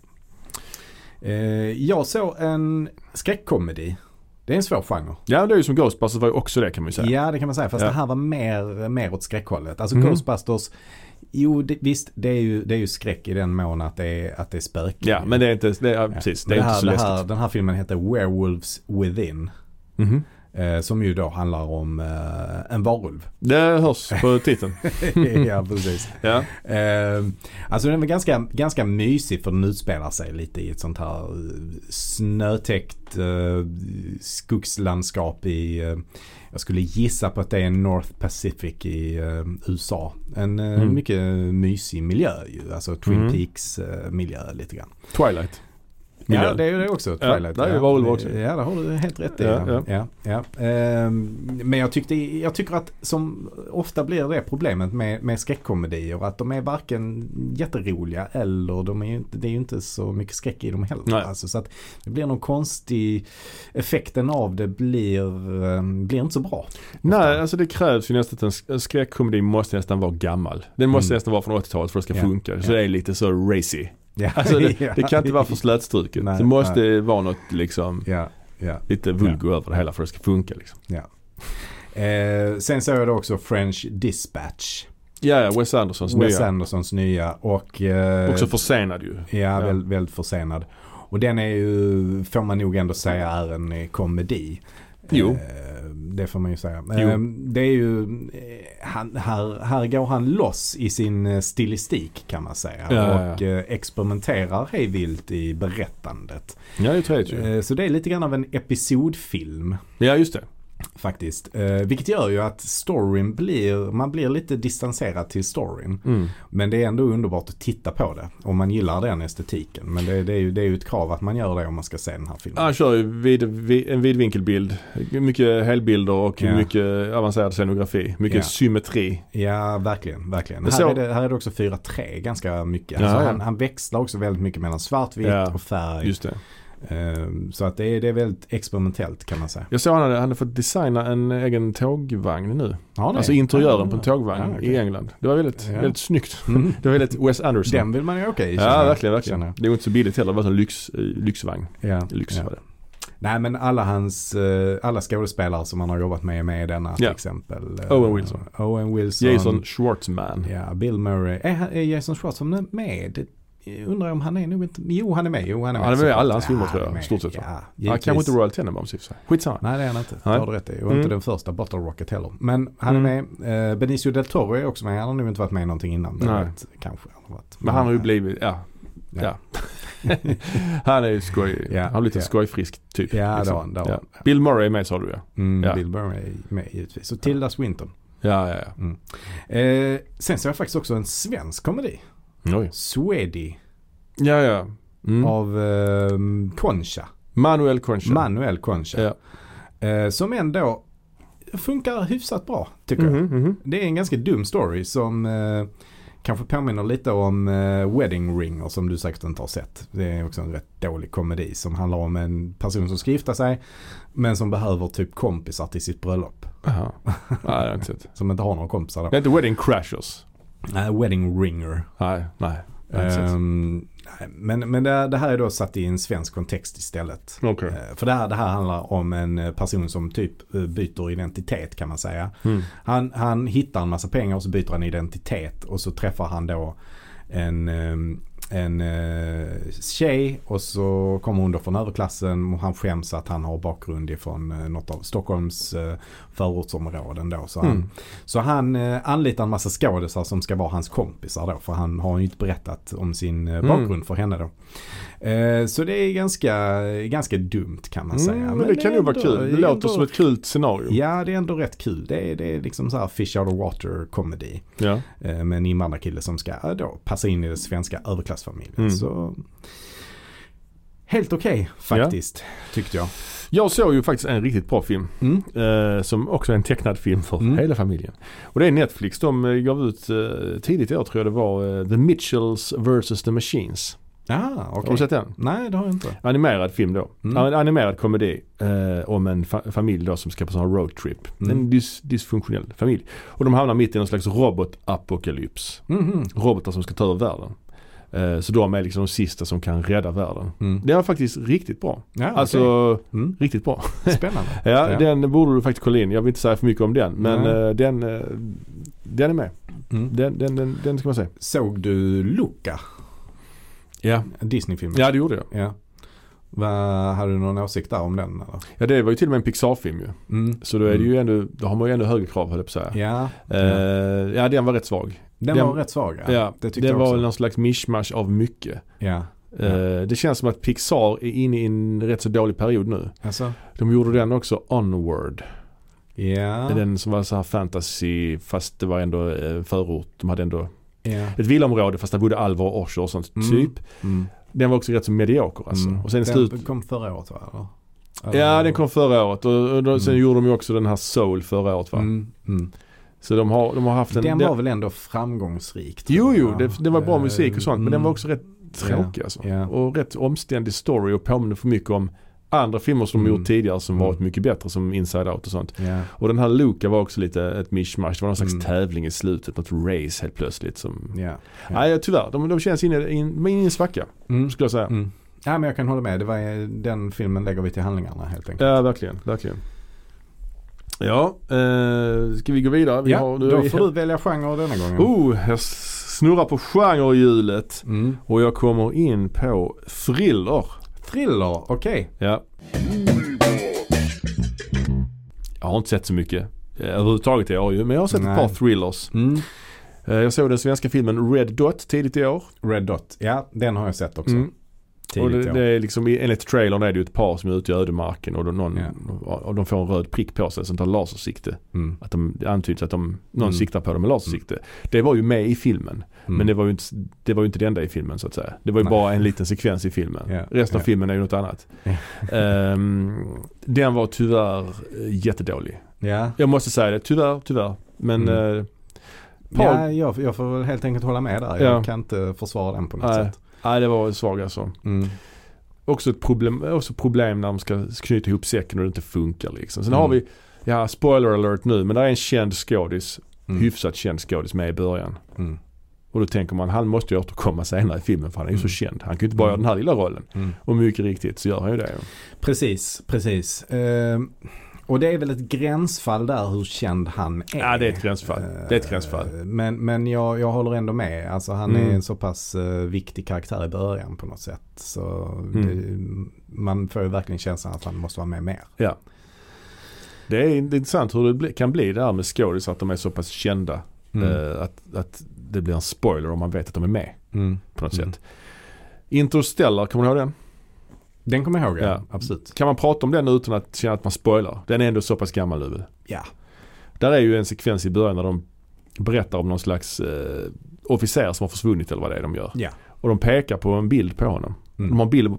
S2: Eh, jag såg en skräckkomedi. Det är en svår genre.
S1: Ja, det är ju som Ghostbusters var ju också det kan man ju säga.
S2: Ja det kan man säga fast
S1: Ja.
S2: det här var mer, mer åt skräckhållet. Alltså
S1: Mhm.
S2: Ghostbusters, jo det, visst det är, ju, det är ju skräck i den mån att det är, att det är spöken.
S1: Ja, men det är inte, det är, ja,
S2: Ja.
S1: precis. Det
S2: Men
S1: är
S2: det
S1: inte
S2: här,
S1: så
S2: det
S1: läskigt.
S2: här, den här filmen heter Werewolves Within.
S1: Mhm.
S2: Eh, som ju då handlar om eh, en varulv.
S1: Det hörs på titeln.
S2: ja precis.
S1: ja.
S2: Eh, alltså den var ganska, ganska mysig för den utspelar sig lite i ett sånt här eh, snötäckt eh, skogslandskap i, eh, jag skulle gissa på att det är North Pacific i eh, USA. En eh,
S1: Mm.
S2: mycket mysig miljö ju, alltså Twin
S1: Mm.
S2: Peaks eh, miljö lite grann.
S1: Twilight. Miljö.
S2: Ja, det är ju det också.
S1: Ja,
S2: Twilight.
S1: där är ju varulvar också.
S2: Ja, det har du helt rätt i.
S1: Ja,
S2: Ja, ja. ja. Ehm, men jag, tyckte, jag tycker att som ofta blir det problemet med, med skräckkomedier att de är varken jätteroliga eller de är ju inte, det är ju inte så mycket skräck i dem heller.
S1: Nej.
S2: Alltså, så att det blir någon konstig, effekten av det blir, ehm, blir inte så bra.
S1: Nej, alltså det krävs ju nästan att en sk- en skräckkomedi måste nästan vara gammal. Den måste
S2: Mm.
S1: nästan vara från 80-talet för att det ska
S2: Ja,
S1: funka. Så
S2: ja.
S1: det är lite så racy.
S2: Ja.
S1: Alltså det,
S2: Ja.
S1: det kan inte vara för slätstruket.
S2: Nej,
S1: Det måste vara något liksom
S2: Ja, ja.
S1: lite vulgo över det hela för att det ska funka liksom.
S2: Eh, sen såg jag då också French Dispatch.
S1: Ja, ja, Wes Andersons
S2: Wes
S1: nya.
S2: Andersons nya och... eh,
S1: Också försenad ju.
S2: Ja, Väldigt, väldigt försenad. Och den är ju, får man nog ändå säga, är en eh, komedi.
S1: Jo.
S2: Eh, Det får man ju säga.
S1: Jo.
S2: Eh, Det är ju, eh, han, här, här går han loss i sin eh, stilistik kan man säga.
S1: Ja, ja, ja.
S2: och eh, experimenterar hejvilt i berättandet.
S1: Ja, det är trevligt ju.
S2: Eh, Så det är lite grann av en episodfilm
S1: Ja, just det.
S2: faktiskt. Eh, Vilket gör ju att storyn blir, man blir lite distanserad till storyn.
S1: Mm.
S2: Men det är ändå underbart att titta på det. Om man gillar den estetiken. Men det, det, är, ju, det är ju ett krav att man gör det om man ska se den här filmen.
S1: Han kör ju vid, vid, en vidvinkelbild. Mycket helbilder och
S2: Ja.
S1: mycket avancerad scenografi. Mycket
S2: Ja.
S1: symmetri.
S2: Ja, verkligen. verkligen.
S1: Men
S2: Här,
S1: så-
S2: är det, här är det också 4-3 ganska mycket. Alltså
S1: Ja, ja.
S2: han, han växlar också väldigt mycket mellan svartvitt
S1: Ja,
S2: och färg.
S1: Just det.
S2: Ehm, så att det, är, det är väldigt experimentellt kan man säga.
S1: Jag såg han hade, han hade fått designa en egen tågvagn nu.
S2: Ja, det är-
S1: Alltså interiören på en
S2: Ja,
S1: tågvagn
S2: okej.
S1: i England. Det var väldigt,
S2: Ja.
S1: väldigt snyggt.
S2: Mm.
S1: Det var väldigt Wes Anderson.
S2: Den vill man ju åka i.
S1: ja,
S2: känner jag.
S1: verkligen, verkligen.
S2: Känner jag.
S1: Det var inte så billigt heller. Det var en lyx, eh, lyxvagn.
S2: Ja,
S1: Lyx
S2: ja.
S1: var det.
S2: Nej men alla hans, eh, alla skådespelare som han har jobbat med är med i denna till
S1: Ja.
S2: exempel. Eh,
S1: Owen Wilson.
S2: Owen Wilson.
S1: Jason Schwartzman.
S2: Ja, Bill Murray. Är, han- är Jason Schwartzman med? Jag Undrar om han är nog inte... Jo, han är med. Jo, han är med.
S1: Han är med i
S2: såklart.
S1: alla hans filmer,
S2: Ja,
S1: tror jag,
S2: han är med.
S1: stort sett, va?
S2: Ja,
S1: Ja,
S2: givetvis.
S1: kanske inte Royal Tenenbaums i och för sig. Skitsamma.
S2: Nej, det är han inte. Det
S1: Nej.
S2: har du rätt i. Och
S1: Mm.
S2: inte den första Bottle Rocket heller. Men han är
S1: Mm.
S2: med. Eh, Benicio del Toro är också med. Han har nog inte varit med i någonting innan. Det
S1: Nej.
S2: Vet, kanske. Han har varit.
S1: Men han har ju blivit, ja. ja. han är ju skoj,
S2: Ja,
S1: han är lite
S2: ja.
S1: skojfrisk typ.
S2: Ja, det
S1: liksom.
S2: har han. det har
S1: Ja.
S2: han.
S1: Bill Murray är med sa du ja.
S2: Mm,
S1: Ja.
S2: Bill Murray är med givetvis. Och Tilda Swinton.
S1: Ja, ja, ja.
S2: Eh, sen såg jag faktiskt också en svensk komedi.
S1: Oj.
S2: Swedi
S1: Ja, ja. Mm.
S2: av eh, Concha.
S1: Manuel Concha.
S2: Manuel Concha.
S1: Ja.
S2: Eh, som ändå funkar hyfsat bra tycker jag.
S1: Mhm, mhm.
S2: Det är en ganska dum story som eh, kanske påminner lite om eh, Wedding Ringer som du säkert inte har sett. Det är också en rätt dålig komedi som handlar om en person som ska gifta sig men som behöver typ kompisar till sitt bröllop.
S1: Jaha. Nej, det har jag inte sett.
S2: Som inte har några kompisar då.
S1: Det är inte Wedding Crashers.
S2: Nej, Wedding Ringer.
S1: Nej, nej. det har jag inte sett.
S2: Ehm, nej, men men det, det här är då satt i en svensk kontext istället.
S1: Okej.
S2: Eh, För det här, det här handlar om en eh, person som typ eh, byter identitet kan man säga.
S1: Mm.
S2: Han, han hittar en massa pengar och så byter han identitet och så träffar han då en, eh, en eh, tjej och så kommer hon då från överklassen och han skäms att han har bakgrund ifrån eh, något av Stockholms eh, förortsområden då. Så han,
S1: Mm.
S2: så han eh, anlitar en massa skådisar som ska vara hans kompisar då för han har ju inte berättat om sin
S1: Mm.
S2: eh, bakgrund för henne då. Eh, Så det är ganska, ganska dumt kan man säga.
S1: Mm, men, det kan ju vara
S2: ändå-
S1: kul. Det
S2: ändå-
S1: låter som ett kul scenario.
S2: Ja, det är ändå rätt kul. Det är, det är liksom så här fish out of water comedy.
S1: Ja.
S2: eh, Med en invandrarkille som ska eh, då passa in i den svenska överklassfamiljen.
S1: Mm.
S2: Så Helt okej faktiskt, tyckte jag.
S1: Jag såg ju faktiskt en riktigt bra film.
S2: Mm.
S1: Eh, som också är en tecknad film för
S2: Mm.
S1: hela familjen. Och det är Netflix. De eh, gav ut eh, tidigt i år tror jag det var eh, The Mitchells vs. The Machines.
S2: Ah, okej.
S1: Har du sett den?
S2: Nej, det har jag inte.
S1: Animerad film då.
S2: Mm.
S1: En animerad komedi eh, om en fa- familj då som ska på sån här roadtrip.
S2: Mm.
S1: En dys- dysfunktionell familj. Och de hamnar mitt i någon slags robotapokalyps.
S2: Mhm.
S1: Robotar som ska ta över världen. Eh, så de är liksom de sista som kan rädda världen.
S2: Mm.
S1: Det är faktiskt riktigt bra.
S2: Ja, okej.
S1: Alltså
S2: mm.
S1: riktigt bra.
S2: Spännande.
S1: Ja,
S2: Ja.
S1: den borde du faktiskt kolla in. Jag vill inte säga för mycket om den. Men
S2: Nej.
S1: eh, den, eh, den är med.
S2: Mm.
S1: Den, den, den, den ska man se.
S2: Såg du Luca?
S1: Ja.
S2: Disney-filmen?
S1: ja, det gjorde jag.
S2: Ja. Va, hade du någon åsikt där om den? Eller?
S1: Ja, det var ju till och med en Pixar-film ju.
S2: Mm.
S1: Så då, är det
S2: Mm.
S1: ju ändå, då har man ju ändå högre krav höll jag på att säga.
S2: Ja,
S1: Eh, ja, den var rätt svag.
S2: den,
S1: den-
S2: var rätt svag.
S1: Ja,
S2: det tyckte
S1: det
S2: jag
S1: var
S2: också.
S1: någon slags mishmash av mycket.
S2: Ja.
S1: Eh, Det känns som att Pixar är inne i en rätt så dålig period nu.
S2: Alltså?
S1: De gjorde den också, Onward.
S2: Ja.
S1: Den som var så här fantasy fast det var ändå eh, förort. De hade ändå
S2: ja.
S1: ett villaområde fast där bodde Alvar och Osher och sånt.
S2: Mm.
S1: Typ.
S2: Mm.
S1: Den var också rätt så medioker alltså.
S2: Mm.
S1: Och sen i
S2: den
S1: slut...
S2: kom förra året va? Eller?
S1: Ja den kom förra året och, och då, sen
S2: Mm.
S1: gjorde de ju också den här Soul förra året va.
S2: Mm. Mm.
S1: Så de har, de har haft en...
S2: Den, var väl ändå framgångsrik? tror
S1: Jo jo,
S2: jag.
S1: det, det var bra
S2: Eh,
S1: musik och sånt men den var
S2: mm.
S1: också rätt tråkig alltså.
S2: Ja.
S1: Och rätt omständig story och påminner för mycket om andra filmer som de
S2: Mm.
S1: gjort tidigare som
S2: Mm.
S1: varit mycket bättre som Inside Out och sånt.
S2: Ja.
S1: Och den här Luca var också lite ett mishmash. Det var någon slags
S2: Mm.
S1: tävling i slutet, något race helt plötsligt som...
S2: Ja. Ja.
S1: Nej tyvärr, de, de känns inne in, de är inne i en svacka
S2: Mm.
S1: skulle jag säga.
S2: Mm. Ja, men jag kan hålla med. Det var, eh, den filmen lägger vi till handlingarna helt enkelt.
S1: Ja, verkligen. verkligen. Ja, eh, ska vi gå vidare? Vi
S2: ja,
S1: har-
S2: då får du välja genre denna gången.
S1: Oh, jag snurrar på genrehjulet
S2: Mm.
S1: och jag kommer in på thriller.
S2: Thriller, okej.
S1: Ja. Jag har inte sett så mycket eh, överhuvudtaget i år ju, men jag har sett
S2: Nej.
S1: ett par thrillers. Eh, Jag såg den svenska filmen Red Dot tidigt i år.
S2: Red Dot, ja den har jag sett också.
S1: Mm. Och
S2: Tidigt
S1: det,
S2: i år.
S1: det är liksom, i- enligt trailern är det ju ett par som är ute i ödemarken och, de- någon, och de får en röd prick på sig, sånt där lasersikte.
S2: Mm.
S1: Att de, det antyds att de, någon
S2: Mm.
S1: siktar på dem med lasersikte. Det var ju med i filmen.
S2: Mm.
S1: Men det var, ju inte, det var ju inte det enda i filmen så att säga. Det var ju
S2: Nej.
S1: bara en liten sekvens i filmen.
S2: Ja,
S1: Resten
S2: ja.
S1: av filmen är ju något annat.
S2: Ja.
S1: Ehm, den var tyvärr eh, jättedålig.
S2: ja.
S1: Jag måste säga det, tyvärr, tyvärr. Men
S2: Mm.
S1: eh, Paul-
S2: ja jag, jag får väl helt enkelt hålla med där. Jag
S1: Ja.
S2: kan inte försvara den på något
S1: Nej.
S2: sätt.
S1: nej, det var svag alltså.
S2: Mm.
S1: Också ett problem, också problem när de ska knyta ihop säcken och det inte funkar liksom. Sen
S2: Mm.
S1: har vi, ja spoiler alert nu, men där är en känd skådis,
S2: Mm.
S1: hyfsat känd skådis med i början.
S2: Mm.
S1: Och då tänker man, han måste ju återkomma senare i filmen för han är ju
S2: Mm.
S1: så känd. Han kan ju inte bara
S2: Mm.
S1: göra den här lilla rollen.
S2: Mm.
S1: Och mycket riktigt så gör han ju det.
S2: Precis, precis. Ehm, och det är väl ett gränsfall där hur känd han är.
S1: Ja, det är ett gränsfall. Det är ett gränsfall.
S2: Ehm, Men, men jag, jag håller ändå med. Alltså han är
S1: Mm.
S2: en så pass eh, viktig karaktär i början på något sätt. Så
S1: Mm.
S2: det, man får ju verkligen känslan att han måste vara med mer.
S1: Det är intressant hur det bli- kan bli det här med skådisar att de är så pass kända. eh, att, att det blir en spoiler om man vet att de är med
S2: Mm.
S1: på något
S2: Mm.
S1: sätt. Interstellar, kommer du ihåg den?
S2: Den kommer jag ihåg, ja.
S1: Ja.
S2: Absolut.
S1: Kan man prata om den utan att känna att man spoilar? Den är ändå så pass gammal nu väl?
S2: Ja.
S1: Där är ju en sekvens i början när de berättar om någon slags eh, officer som har försvunnit eller vad det är de gör.
S2: Ja.
S1: Och de pekar på en bild på honom.
S2: Mm.
S1: De har en bild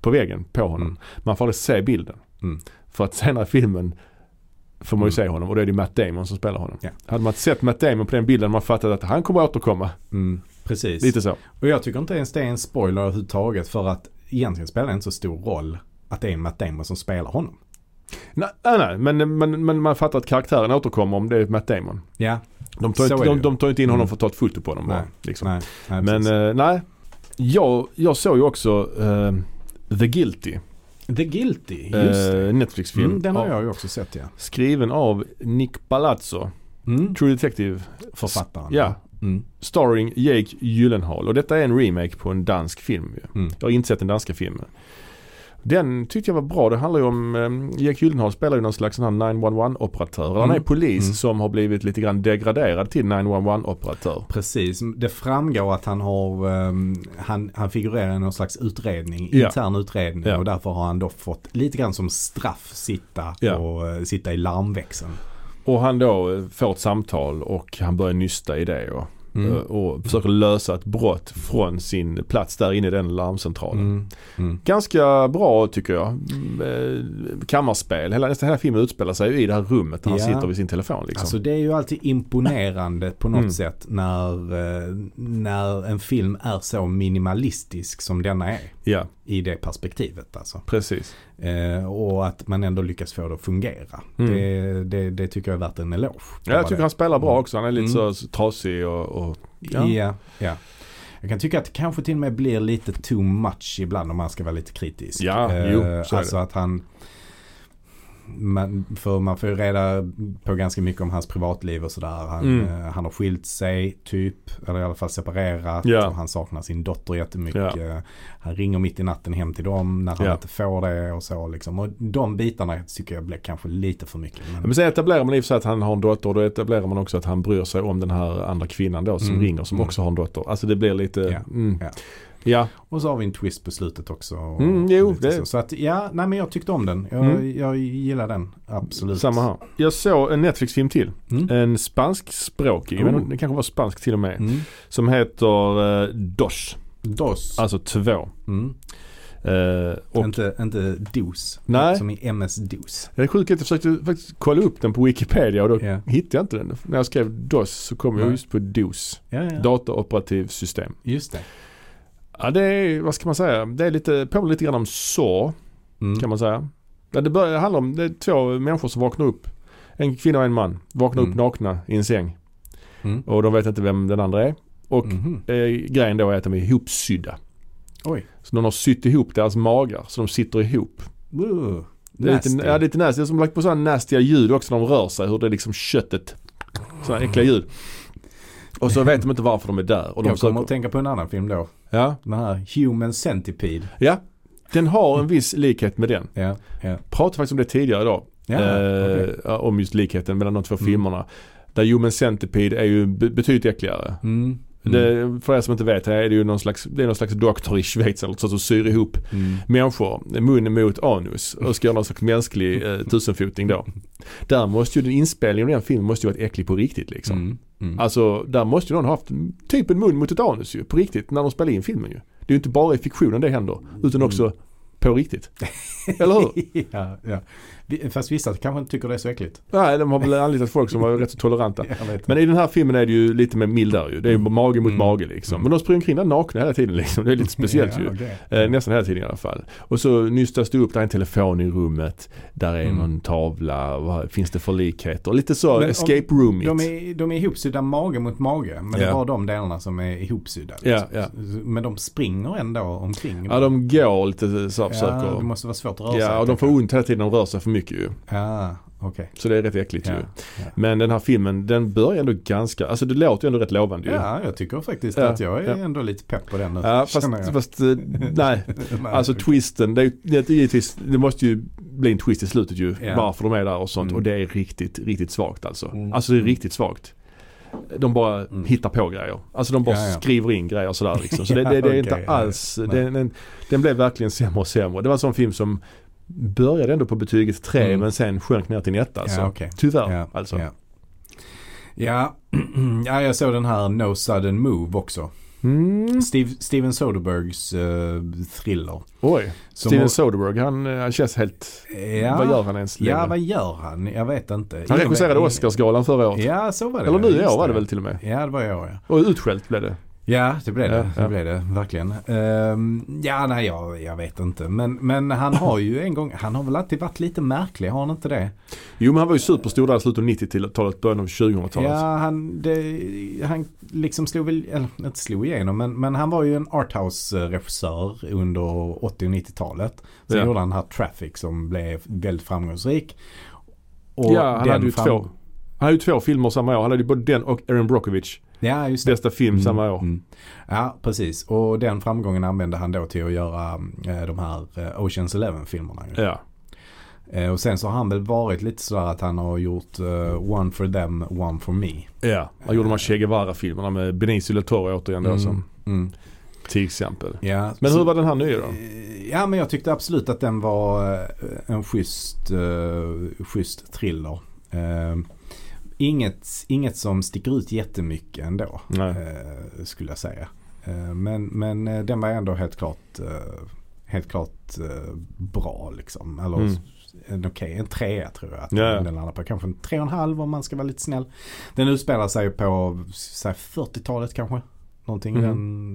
S1: på väggen på honom.
S2: Mm.
S1: Man får aldrig se bilden.
S2: Mm.
S1: För att senare i filmen får man ju
S2: Mm.
S1: se honom och då är det ju Matt Damon som spelar honom.
S2: Ja.
S1: Hade man sett Matt Damon på den bilden hade man fattat att han kommer att återkomma.
S2: Mm. Precis.
S1: Lite så.
S2: Och jag tycker inte ens det är en spoiler överhuvudtaget för att egentligen spelar det inte så stor roll att det är Matt Damon som spelar honom.
S1: Nej, nej, nej. Men, men, men man fattar att karaktären återkommer om det är Matt Damon.
S2: Ja,
S1: De tar, inte,
S2: Så är det
S1: de,
S2: ju.
S1: de tar inte in honom
S2: Mm.
S1: för att ta ett foto på honom.
S2: Nej.
S1: Bara, liksom.
S2: nej. nej
S1: Men
S2: precis.
S1: eh, nej, jag, jag såg ju också eh, The Guilty.
S2: The Guilty, just det.
S1: Eh, Netflix-film.
S2: Mm, den har
S1: av-
S2: jag ju också sett ja.
S1: Skriven av Nick Palazzo,
S2: Mm.
S1: True Detective.
S2: Författaren.
S1: Ja,
S2: Mm.
S1: starring Jake Gyllenhaal. Och detta är en remake på en dansk film ju.
S2: Mm.
S1: Jag har inte sett den danska filmen. Den tyckte jag var bra. Det handlar ju om, eh, Jake Gyllenhaal spelar ju någon slags sån här 911-operatör. Han är
S2: Mm.
S1: polis
S2: Mm.
S1: som har blivit lite grann degraderad till 911-operatör.
S2: Precis, det framgår att han har, ehm, han, han figurerar i någon slags utredning,
S1: Ja.
S2: intern utredning
S1: Ja.
S2: och därför har han då fått lite grann som straff sitta,
S1: Ja.
S2: och, eh, sitta i larmväxeln.
S1: Och han då eh, får ett samtal och han börjar nysta i det. Och
S2: Mm.
S1: eh, och försöker lösa ett brott från sin plats där inne i den larmcentralen.
S2: Mm. Mm.
S1: Ganska bra tycker jag. Mm, eh, Kammarspel. Hela, nästan hela filmen utspelar sig ju i det här rummet där
S2: Ja.
S1: han sitter vid sin telefon. Liksom.
S2: Alltså det är ju alltid imponerande på något
S1: Mm.
S2: sätt när, eh, när en film är så minimalistisk som denna är.
S1: ja,
S2: I det perspektivet alltså.
S1: precis.
S2: Eh, och att man ändå lyckas få det att fungera.
S1: Mm.
S2: Det, det, det tycker jag är värt en eloge.
S1: Ja, jag tycker han spelar bra också. Han är lite
S2: Mm.
S1: så- så trasig och, och
S2: ja. ja, ja. Jag kan tycka att det kanske till och med blir lite too much ibland om man ska vara lite kritisk.
S1: Ja, jo, så är det.
S2: alltså att han... Man, för man får ju reda på ganska mycket om hans privatliv och sådär. Han,
S1: Mm.
S2: eh, han har skilt sig, typ. Eller i alla fall separerat.
S1: Ja.
S2: Och han saknar sin dotter jättemycket. Han ringer mitt i natten hem till dem när han
S1: Ja.
S2: inte får det och så liksom. Och de bitarna tycker jag blir kanske lite för mycket. Men,
S1: Men sen etablerar man i och för sig att han har en dotter och då etablerar man också att han bryr sig om den här andra kvinnan då som
S2: Mm.
S1: ringer som
S2: Mm.
S1: också har en dotter. Alltså det blir lite...
S2: Ja.
S1: Mm.
S2: Ja.
S1: Ja.
S2: Och så har vi en twist på slutet också. och
S1: Mm, jo,
S2: lite
S1: det-
S2: Så. så att ja, nej men jag tyckte om den. Jag,
S1: Mm.
S2: jag gillar den. Absolut.
S1: samma här. Eh. Jag såg en Netflix-film till.
S2: Mm.
S1: En spanskspråkig, jag
S2: Oh.
S1: vet inte, det kanske var spansk till och med.
S2: Mm.
S1: Som heter eh, Dos,
S2: Dos.
S1: alltså två.
S2: Mm.
S1: Eh, och
S2: Inte, inte dos.
S1: Nej.
S2: Som i MS-dos.
S1: jag är sjukt att jag försökte faktiskt kolla upp den på Wikipedia och då
S2: Ja.
S1: hittade jag inte den. När jag skrev DOS så kom jag
S2: Nej.
S1: just på DOS,
S2: Ja, ja.
S1: dataoperativsystem.
S2: Just det.
S1: Ja det är, vad ska man säga, det är lite, påminner lite grann om SAW.
S2: Mm.
S1: kan man säga. Ja, det, börjar, det handlar om det är två människor som vaknar upp. En kvinna och en man. Vaknar upp
S2: Mm.
S1: nakna i en säng.
S2: Mm.
S1: Och de vet inte vem den andra är. Och
S2: Mhm.
S1: eh, grejen då är att de är ihopsydda.
S2: Oj.
S1: Så någon har sytt ihop deras magar så de sitter ihop.
S2: Uh.
S1: Det är
S2: Nasty.
S1: lite, ja, lite nasty. Det är som lagt på sådana nastiga ljud också när de rör sig. Hur det är liksom köttet. Sådana äckliga ljud. Och så vet de inte varför de är där. Och de
S2: Mm. jag kommer
S1: försöker,
S2: att tänka på en annan film då.
S1: ja,
S2: Den här Human Centipede.
S1: ja, den har en viss likhet med den.
S2: Ja, ja.
S1: Pratade faktiskt om det tidigare idag.
S2: ja.
S1: eh,
S2: okej.
S1: Om just likheten mellan de två
S2: Mm.
S1: filmerna. Där Human Centipede är ju be- betydligt äckligare.
S2: Mm. Mm.
S1: Det, för er som inte vet, här är det ju någon slags, det är någon slags doktor i Schweiz eller så som syr ihop
S2: Mm.
S1: människor, mun mot anus och ska göra någon slags mänsklig eh, tusenfoting då. Där måste ju den inspelningen av den filmen måste ju varit äcklig på riktigt liksom.
S2: Mm. Mm.
S1: Alltså där måste ju någon ha haft typ en mun mot ett anus ju på riktigt när de spelar in filmen ju. Det är ju inte bara i fiktionen det händer
S2: Mm.
S1: utan också på riktigt. Eller hur?
S2: ja, ja. Vi- Fast vissa kanske inte tycker det är så äckligt.
S1: Nej, de har väl anlitat folk som var rätt så toleranta.
S2: Jag vet
S1: Men i den här filmen är det ju lite mer mildare ju. Det är ju mage mot
S2: Mm.
S1: mage liksom.
S2: Mm.
S1: Men de springer omkring där nakna hela tiden liksom. Det är lite speciellt
S2: Ja,
S1: ju.
S2: okej.
S1: Eh, nästan hela tiden i alla fall. Och så nystas det upp, där är en telefon i rummet. Där är
S2: Mm.
S1: någon tavla. Vad finns det för likheter? Lite så
S2: Men om-
S1: escape roomigt.
S2: De är, de är ihopsydda mage mot mage. Men det
S1: Ja.
S2: är bara de delarna som är ihopsydda.
S1: Ja,
S2: liksom.
S1: ja.
S2: S- Men de springer ändå omkring.
S1: Ja, de går lite så här,
S2: Ja, det
S1: försöker.
S2: måste vara svårt att röra sig.
S1: Ja, och de får
S2: tänker
S1: ont hela tiden när de rör sig för mycket ju.
S2: jag. Ja, okej.
S1: Så det är rätt äckligt ju.
S2: Ja,
S1: Men den här filmen, den börjar ändå ganska, alltså det låter ju ändå rätt lovande
S2: ja.
S1: ju.
S2: ja, jag tycker faktiskt
S1: Ja,
S2: att jag är
S1: ja.
S2: ändå lite pepp på den nu.
S1: Ja, fast,
S2: känner jag.
S1: fast eh, nej,
S2: Nej,
S1: Alltså
S2: okej.
S1: twisten, det, är, ju- det, är givetvis, det måste ju bli en twist i slutet ju.
S2: Ja.
S1: Varför de är där och sånt.
S2: Mm.
S1: Och det är riktigt, riktigt svagt alltså.
S2: Mm.
S1: Alltså det är
S2: Mm.
S1: riktigt svagt. De bara
S2: Mm.
S1: hittar på grejer. Alltså de bara
S2: Ja, ja.
S1: skriver in grejer sådär liksom. Så det, det, det är
S2: Ja,
S1: inte
S2: okej. Ja,
S1: alls,
S2: ja.
S1: den, den, den blev verkligen sämre och sämre. Det var en sån film som började ändå på betyget 3
S2: Mm.
S1: men sen sjönk ner till en etta alltså.
S2: Ja, okej.
S1: Tyvärr
S2: Ja,
S1: alltså.
S2: Ja. Ja. ja, jag såg den här No Sudden Move också.
S1: Mm.
S2: Steve, Steven Soderbergs eh, thriller.
S1: Oj,
S2: Som-
S1: Steven Soderbergh han, eh, han känns helt...
S2: Ja.
S1: Vad gör han ens
S2: Ja,
S1: längre?
S2: vad gör han? Jag vet inte.
S1: Han regisserade Oscarsgalan förra året.
S2: Ja, så var det.
S1: Eller nu i
S2: Just
S1: år var det väl till och med.
S2: Ja, det var jag ja.
S1: Och utskällt blev det.
S2: Ja, det blev det.
S1: Ja, ja.
S2: Det blev det, verkligen. Ehm, ja, nej, jag, jag vet inte. Men, men han har ju en gång, han har väl alltid varit lite märklig, har han inte det?
S1: Jo men han var ju superstor där i slutet av 90-talet, början av 2000-talet.
S2: Ja, han, det, han liksom slog väl, eller inte slog igenom, men, men han var ju en arthouse-regissör under 80 och 90-talet. Sen
S1: Ja.
S2: gjorde han den här Traffic som blev väldigt framgångsrik. Och
S1: ja, han
S2: den
S1: hade ju
S2: fram-
S1: två. Han hade ju två filmer samma år. Han hade ju både den och Aaron Brockovich.
S2: Ja, just det.
S1: Bästa film samma år.
S2: Mm. Ja, precis. Och den framgången använde han då till att göra eh, de här eh, Oceans Eleven-filmerna. ju.
S1: Ja.
S2: Eh, och sen så har han väl varit lite sådär att han har gjort eh, One for them, One for me.
S1: ja. Han gjorde de här Che Guevara-filmerna med Benicio del Toro återigen då
S2: Mm.
S1: som
S2: Mm.
S1: till exempel.
S2: Ja,
S1: Men
S2: så-
S1: hur var den här nya då?
S2: Eh, Ja men jag tyckte absolut att den var eh, en schysst, uh, schysst thriller. Eh, Inget, inget som sticker ut jättemycket ändå.
S1: Nej.
S2: Eh, skulle jag säga. Eh, men men eh, den var ändå helt klart, eh, helt klart eh, bra liksom. Eller
S1: Mm.
S2: s- en okej, en trea tror jag att
S1: Ja, ja.
S2: den landar på. Kanske en tre och en halv om man ska vara lite snäll. Den utspelar sig på så här, 40-talet kanske. Någonting,
S1: Mhm.
S2: den,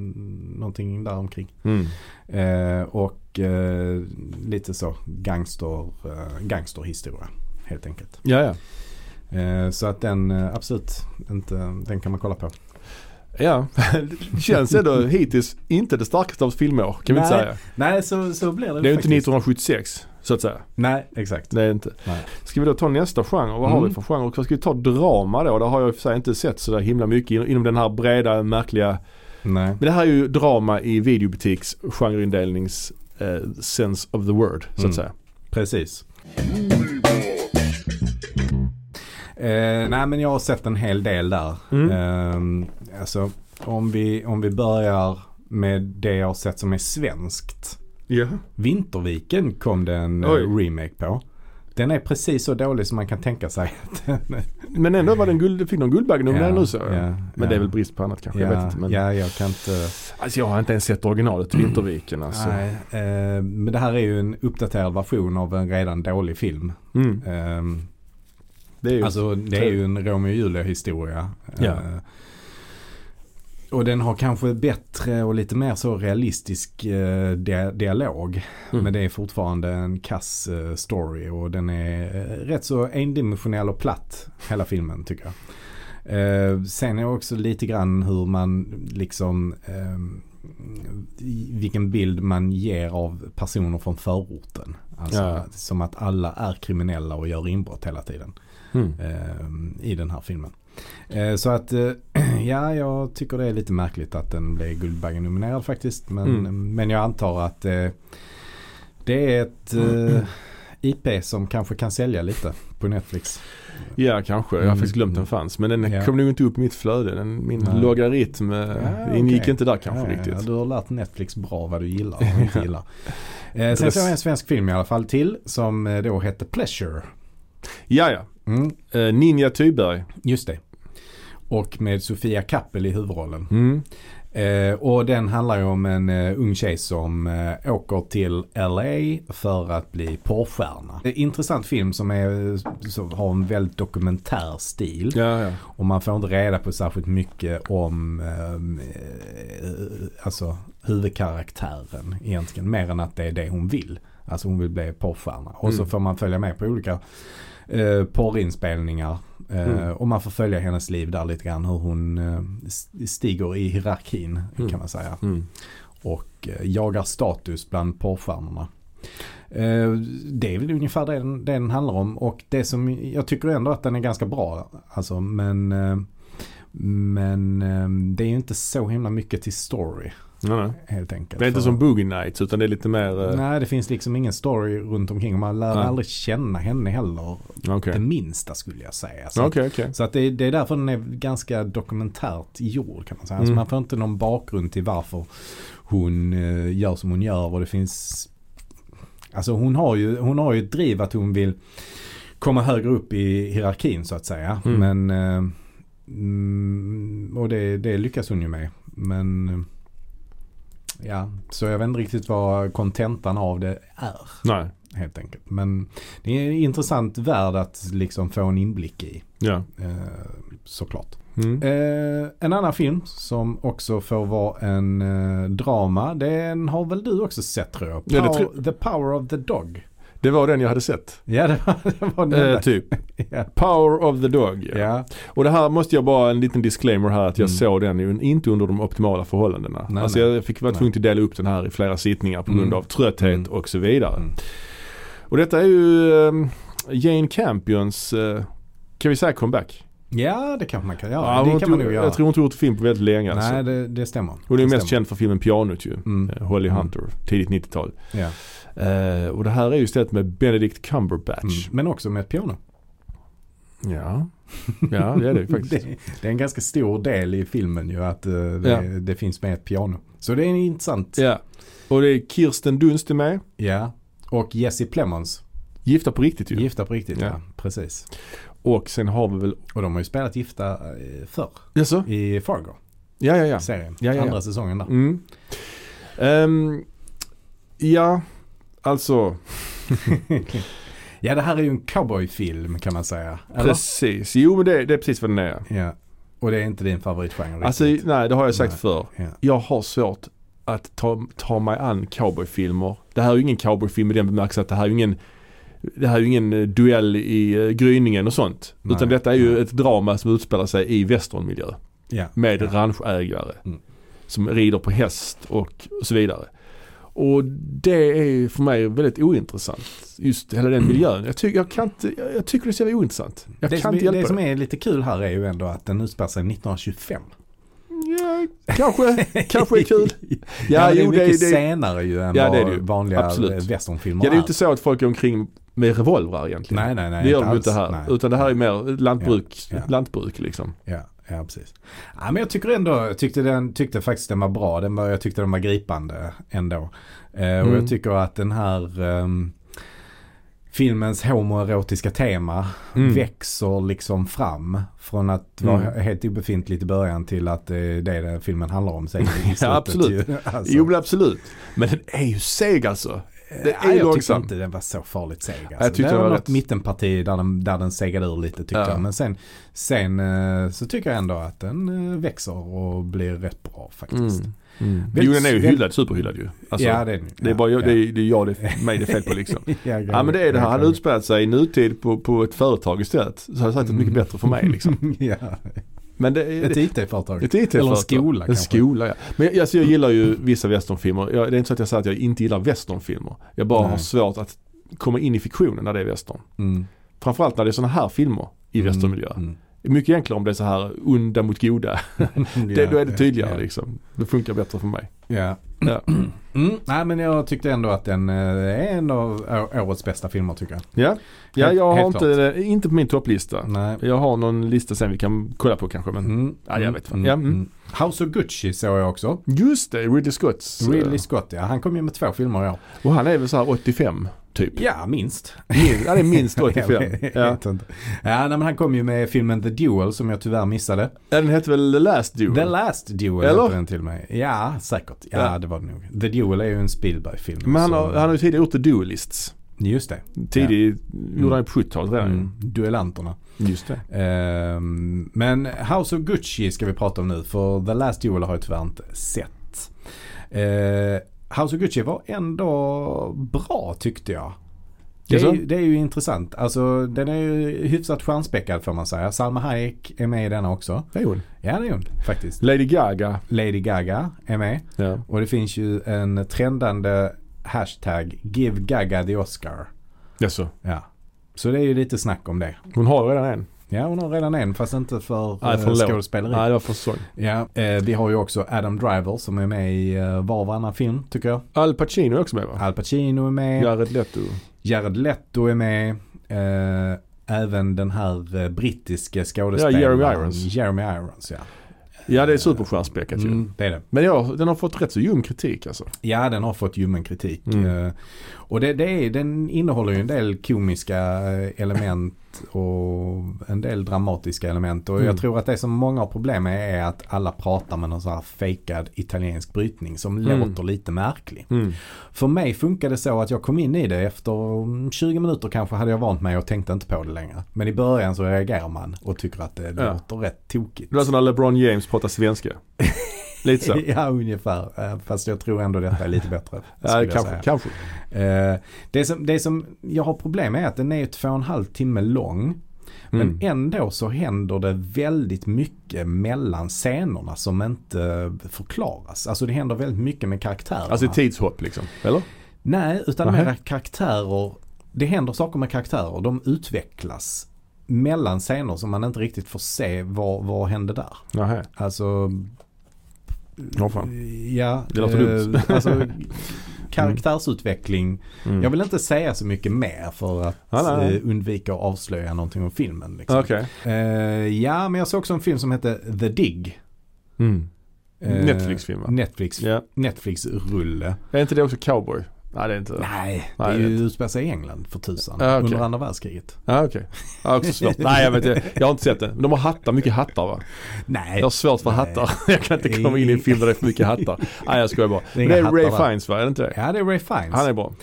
S2: någonting däromkring.
S1: Mm.
S2: Eh, och eh, lite så gangster, eh, gangsterhistoria helt enkelt.
S1: Ja, ja.
S2: Eh, så att den eh, absolut, inte, den kan man kolla på.
S1: Ja, det känns ändå hittills inte det starkaste av filmer kan vi inte
S2: Nej,
S1: säga.
S2: Nej, så, så blir det
S1: Det är ju inte
S2: faktiskt.
S1: 1976 så att säga.
S2: Nej, exakt.
S1: Det är inte.
S2: Nej.
S1: Ska vi då ta nästa genre? Vad har
S2: Mm.
S1: vi för genre? Och Ska vi ta drama då? Det har jag i och för sig inte sett så där himla mycket in- inom den här breda märkliga.
S2: Nej.
S1: Men det här är ju drama i videobutiks genreindelnings eh, sense of the word så att
S2: Mm.
S1: säga.
S2: Precis. Eh, nej men jag har sett en hel del där.
S1: Mm.
S2: Ehm, alltså om vi, om vi börjar med det jag har sett som är svenskt.
S1: Ja.
S2: Vinterviken kom det en eh,
S1: Oj.
S2: remake på. Den är precis så dålig som man kan tänka sig. att den-
S1: Men ändå var den guld, fick någon Guldbaggen om
S2: Ja,
S1: den nu så.
S2: ja,
S1: men
S2: ja.
S1: det är väl brist på annat kanske. jag vet inte. Men...
S2: ja, jag kan inte.
S1: Alltså jag har inte ens sett originalet till Vinterviken alltså.
S2: Nej, eh, men det här är ju en uppdaterad version av en redan dålig film.
S1: Mm.
S2: Ehm,
S1: Det är ju...
S2: Alltså det är ju en Romeo och Julia historia.
S1: Ja.
S2: Eh, och den har kanske bättre och lite mer så realistisk eh, dia- dialog.
S1: Mm.
S2: Men det är fortfarande en kass eh, story och den är eh, rätt så endimensionell och platt hela filmen tycker jag. Eh, sen är också lite grann hur man liksom ehm, i- vilken bild man ger av personer från förorten. Alltså
S1: Ja.
S2: som att alla är kriminella och gör inbrott hela tiden
S1: Mm.
S2: eh, i den här filmen. Eh, så att eh, ja, jag tycker det är lite märkligt att den blev Guldbaggenominerad faktiskt. Men,
S1: Mm.
S2: men jag antar att eh, det är ett eh,
S1: Mm.
S2: IP som kanske kan sälja lite på Netflix.
S1: Ja kanske, jag har
S2: Mm.
S1: faktiskt glömt den fanns. Men den
S2: Ja.
S1: kom nog inte upp i mitt flöde. Den, min
S2: Nej.
S1: logaritm eh,
S2: Ja,
S1: ingick
S2: okej.
S1: inte där kanske
S2: Ja,
S1: riktigt.
S2: Ja, du har lärt Netflix bra vad du gillar och inte gillar. Eh, sen
S1: Dress.
S2: såg jag en svensk film i alla fall till som eh, då hette Pleasure.
S1: Ja, ja.
S2: Mm,
S1: Eh, Ninja Tyberg.
S2: just det. Och med Sofia Kappel i huvudrollen.
S1: Mm.
S2: Eh, och den handlar ju om en eh, ung tjej som eh, åker till LA för att bli porrstjärna. Det är en intressant film som, är, eh, som har en väldigt dokumentär stil.
S1: Ja, ja.
S2: Och man får inte reda på särskilt mycket om ehm, eh, alltså, huvudkaraktären egentligen. Mer än att det är det hon vill. Alltså hon vill bli porrstjärna. Och så
S1: Mm.
S2: får man följa med på olika eh, porrinspelningar. Eh,
S1: Mm.
S2: Och man får följa hennes liv där lite grann. Hur hon eh, st- stiger i hierarkin
S1: Mm.
S2: kan man säga.
S1: Mm.
S2: Och eh, jagar status bland porrstjärnorna. Eh, Det är väl ungefär det den, det den handlar om. Och det som jag tycker ändå att den är ganska bra. Alltså, men eh, men eh, det är ju inte så himla mycket till story
S1: Nej, nej.
S2: helt enkelt.
S1: Det är inte
S2: För-
S1: som Boogie Nights utan det är lite mer... eh,
S2: Nej, det finns liksom ingen story runt omkring. Och Man lär
S1: Nej.
S2: aldrig känna henne heller. Det
S1: Okej,
S2: minsta skulle jag säga. Så,
S1: okej. okej.
S2: så att det, är- det är därför den är ganska dokumentärt gjord kan man säga. Alltså
S1: Mm.
S2: man får inte någon bakgrund till varför hon eh, gör som hon gör. Och det finns... Alltså hon har ju, hon har ju ett driv att hon vill komma högre upp i hierarkin så att säga.
S1: Mm.
S2: Men... eh, Mm, och det, det lyckas hon ju med. Men... eh, Ja, så jag vet inte riktigt vad kontentan av det är
S1: Nej.
S2: helt enkelt. Men det är en intressant värld att liksom få en inblick i.
S1: Ja.
S2: Eh, såklart.
S1: Mm.
S2: Eh, en annan film som också får vara en eh, drama. Den har väl du också sett tror jag?
S1: Ja, det
S2: Power-
S1: tror-
S2: The Power of the Dog.
S1: Det var den jag hade sett.
S2: Ja, det var, det var den.
S1: Eh,
S2: där.
S1: typ.
S2: Ja.
S1: Power of the Dog. ja.
S2: Ja.
S1: Och det här måste jag bara, en liten disclaimer här att jag
S2: Mm.
S1: såg den ju inte under de optimala förhållandena.
S2: Nej,
S1: alltså
S2: nej.
S1: jag fick vara
S2: Nej.
S1: tvungen att dela upp den här i flera sittningar på grund
S2: Mm.
S1: av trötthet
S2: Mm.
S1: och så vidare.
S2: Mm.
S1: Och detta är ju ehm, Jane Campions, eh, kan vi säga comeback?
S2: ja, det kanske man kan göra.
S1: Ja, hon
S2: det
S1: har
S2: kan
S1: inte
S2: man nog
S1: gjort-
S2: göra.
S1: Jag tror hon inte hon gjort film på väldigt länge
S2: Nej,
S1: alltså.
S2: det, det stämmer.
S1: Hon är ju mest
S2: stämmer.
S1: känd för filmen Pianot ju.
S2: Mm.
S1: Eh, Holly
S2: Mm.
S1: Hunter, tidigt 90-tal.
S2: Ja.
S1: Eh, och det här är ju istället med Benedict Cumberbatch.
S2: Mm. Men också med ett piano. Mm.
S1: Ja. ja, det är det ju faktiskt.
S2: Det, det är en ganska stor del i filmen ju att eh, det,
S1: Ja.
S2: det finns med ett piano. Så det är intressant.
S1: Ja. Och det är Kirsten Dunst är med.
S2: Ja. Och Jesse Plemons.
S1: Gifta på riktigt ju.
S2: Gifta på riktigt, ja.
S1: Ja.
S2: Precis.
S1: Och sen har vi väl...
S2: Och de har ju spelat gifta eh, förr
S1: Jaså?
S2: i Fargo-serien.
S1: Ja, ja, ja. Ja, ja, ja.
S2: Andra säsongen där.
S1: Mm. Ehm, ja, alltså
S2: ja, det här är ju en cowboyfilm kan man säga. Eller?
S1: precis. Jo, men det, det är precis vad den är.
S2: Ja. Och det är inte din favoritgenre
S1: Alltså,
S2: riktigt.
S1: nej, det har jag sagt
S2: Nej.
S1: förr.
S2: Ja.
S1: Jag har svårt att ta, ta mig an cowboyfilmer. Det här är ju ingen cowboyfilm i den bemärkelsen att det här är ju ingen det här är ju ingen eh, duell i eh, gryningen och sånt.
S2: Nej.
S1: Utan detta är ju
S2: Nej.
S1: ett drama som utspelar sig i westernmiljö.
S2: Ja.
S1: med
S2: ja.
S1: ranchägare
S2: Mm.
S1: som rider på häst och så vidare. Och det är för mig väldigt ointressant. Just hela den miljön. Jag, tycker jag, kan inte, jag, jag tycker det är så jävla ointressant. Jag
S2: Det,
S1: kan
S2: som,
S1: inte
S2: är-
S1: hjälpa
S2: det
S1: det.
S2: som är lite kul här är ju ändå att den utspelar sig 1925.
S1: Ja, kanske, kanske är kul.
S2: Ja,
S1: Ja,
S2: men det är
S1: jo, det,
S2: mycket
S1: är- det, är-
S2: senare ju än
S1: Ja,
S2: vad
S1: det är det ju.
S2: vanliga
S1: Absolut.
S2: eh, westernfilmer
S1: ja, det är ju inte så att folk går omkring med revolvrar egentligen.
S2: Nej, nej, nej.
S1: det gör de ju
S2: alls.
S1: inte här.
S2: Nej.
S1: Utan det här är mer ett lantbruk,
S2: Ja, ja.
S1: ett lantbruk liksom.
S2: Ja, ja precis. Ja, men jag tycker ändå, jag tyckte, den, tyckte faktiskt den var bra. Den var, jag tyckte den var gripande ändå. Eh, Och
S1: Mm.
S2: jag tycker att den här ehm, filmens homoerotiska tema
S1: Mm.
S2: växer liksom fram. Från att vara
S1: Mm.
S2: helt obefintligt i början till att eh, det är det filmen handlar om. Sen i slutet
S1: absolut.
S2: ju. Alltså,
S1: Jo, men absolut. Men den är ju seg alltså. Det är
S2: ja, Eh, jag tyckte
S1: långsam.
S2: inte den var så farligt seg. Alltså.
S1: jag tyckte
S2: det
S1: den
S2: var
S1: var
S2: något
S1: rätt-
S2: mittenparti där den, där den segade ur lite tyckte
S1: Ja.
S2: jag. Men sen, sen eh, så tycker jag ändå att den eh, växer och blir rätt bra faktiskt.
S1: Mm. Mm. Jo, den är ju
S2: Väldigt-
S1: hyllad, superhyllad ju. Alltså,
S2: ja, det är den.
S1: Det är
S2: Ja,
S1: bara jag,
S2: ja.
S1: det, är, det är jag det är mig det är fel på liksom.
S2: ja,
S1: Ja men det är det. Han hade utspelat sig i nutid på, på ett företag istället. Så hade det säkert varit mycket bättre för mig liksom.
S2: Mm. ja.
S1: Men det är...
S2: Ett
S1: det-
S2: IT-företag.
S1: Ett IT
S2: Eller en skola
S1: En
S2: kanske.
S1: skola ja. Men jag, alltså, jag gillar ju vissa westernfilmer. Jag, det är inte så att jag säger att jag inte gillar westernfilmer. Jag bara
S2: Nej.
S1: har svårt att komma in i fiktionen när det är western.
S2: Mm.
S1: Framförallt när det är sådana här filmer i
S2: Mm,
S1: westernmiljö.
S2: mm.
S1: Det är mycket enklare om det är så här onda mot goda. Det,
S2: Mm. Ja,
S1: då är det tydligare
S2: ja,
S1: liksom. Det funkar bättre för mig.
S2: Ja.
S1: Ja.
S2: Mm. Nej men jag tyckte ändå att den eh, är en av å- årets bästa filmer tycker jag.
S1: Ja, ja
S2: Helt-
S1: jag har
S2: helt
S1: inte, inte på min topplista.
S2: Nej.
S1: Jag har någon lista sen vi kan kolla på kanske. Men
S2: Mm.
S1: Ja, jag vet fan.
S2: Mm.
S1: Ja, mm.
S2: Mm. House of Gucci såg jag också.
S1: Just det, Ridley Scotts. eh,
S2: Ridley Scott ja, han kom ju med två filmer i år.
S1: Och han är väl så här 85 typ.
S2: Ja, minst.
S1: Min, han är minst 85.
S2: jag
S1: ja.
S2: vet inte. ja, nej, men han kom ju med filmen The Duel som jag tyvärr missade.
S1: Ja, Den hette väl The Last Duel?
S2: The Last Duel
S1: Eller?
S2: heter den till mig. Ja, säkert. Ja,
S1: Ja.
S2: det var det nog. The Duel är ju en Spielberg-film.
S1: Men han
S2: så-
S1: har, han har ju tidigare gjort The Duelists.
S2: Just det.
S1: Tidigt gjorde han ju på 70-talet redan.
S2: Mm. Duellanterna.
S1: Just det.
S2: Ehm, men House of Gucci ska vi prata om nu för The Last Duel har jag tyvärr inte sett. Eh, House of Gucci var ändå bra tyckte jag. Det är,
S1: Jaså?
S2: ju- det är ju intressant. Alltså den är ju hyfsat stjärnspäckad får man säga. Salma Hayek är med i denna också.
S1: Det är hon.
S2: Ja det är hon faktiskt.
S1: Lady Gaga.
S2: Lady Gaga är med.
S1: Ja.
S2: Och det finns ju en trendande hashtag Give Gaga the Oscar.
S1: Jaså?
S2: Ja. Så det är ju lite snack om det.
S1: Hon har redan en.
S2: Ja hon har redan en fast inte för
S1: Nej,
S2: eh,
S1: förlåt.
S2: skådespeleri.
S1: Nej, det var för sång.
S2: Ja, eh, vi har ju också Adam Driver som är med i eh, var och varannan film tycker jag.
S1: Al Pacino är också med va?
S2: Al Pacino är med,
S1: Jared Leto.
S2: Jared Leto är med, eh, även den här eh, brittiske
S1: Ja,
S2: skådespelaren.
S1: Jeremy Irons.
S2: Jeremy Irons, ja.
S1: Ja, det är superstjärnspäckat ju.
S2: Mm, det är det.
S1: Men ja, den har fått rätt så ljum kritik alltså.
S2: Ja, den har fått ljummen kritik.
S1: Mm.
S2: Eh, och det, det är, den innehåller ju en del komiska eh, element och en del dramatiska element. Och jag
S1: Mm.
S2: tror att det som många har problem med är att alla pratar med någon sån här fejkad italiensk brytning som
S1: Mm.
S2: låter lite märklig. För mig funkade det så att jag kom in i det efter mm, 20 minuter kanske hade jag vant mig och tänkte inte på det längre. Men i början så reagerar man och tycker att det
S1: Ja.
S2: låter rätt tokigt.
S1: Det var som när LeBron James pratar svenska. Lite så.
S2: Ja, ungefär. Eh, Fast jag tror ändå detta är lite bättre. skulle
S1: Ja,
S2: jag
S1: kanske,
S2: säga.
S1: kanske.
S2: Eh, det, som, det som jag har problem med är att den är ju två och en halv timme lång.
S1: Mm.
S2: Men ändå så händer det väldigt mycket mellan scenerna som inte förklaras. Alltså det händer väldigt mycket med karaktärerna.
S1: Alltså ett tidshopp liksom, eller?
S2: Nej, utan
S1: Nähä.
S2: mera karaktärer. Det händer saker med karaktärer. De utvecklas mellan scener som man inte riktigt får se vad, vad hände där.
S1: Nej.
S2: Alltså,
S1: Ja, fan.
S2: ja.
S1: Det låter dumt.
S2: Alltså, karaktärsutveckling.
S1: Mm.
S2: Jag vill inte säga så mycket mer för att
S1: Ja, nej, nej.
S2: eh, undvika att avslöja någonting om filmen. Liksom.
S1: Okej.
S2: Eh, ja, men jag såg också en film som hette The Dig.
S1: Mm.
S2: Eh,
S1: Netflix-film va?
S2: Netflix,
S1: Ja.
S2: Netflix-rulle.
S1: Är inte det också cowboy? Nej, det är inte...
S2: Nej, det
S1: Nej,
S2: är
S1: jag
S2: ju utspelar sig i England för tusan.
S1: Ja, okej.
S2: Under andra världskriget.
S1: Ja, okej. Ja, också svårt. Nej, jag vet inte. Jag har inte sett det. Men De har hattar, mycket hattar va?
S2: Nej,
S1: Jag har svårt för
S2: Nej.
S1: hattar. Jag kan inte komma in i en film där det är för mycket hattar. Nej, jag skojar bara.
S2: Det är
S1: Det
S2: inga
S1: är
S2: hattar,
S1: Ray
S2: va?
S1: Fiennes va? Är det inte det?
S2: ja det är Ray Fiennes.
S1: Han är bra.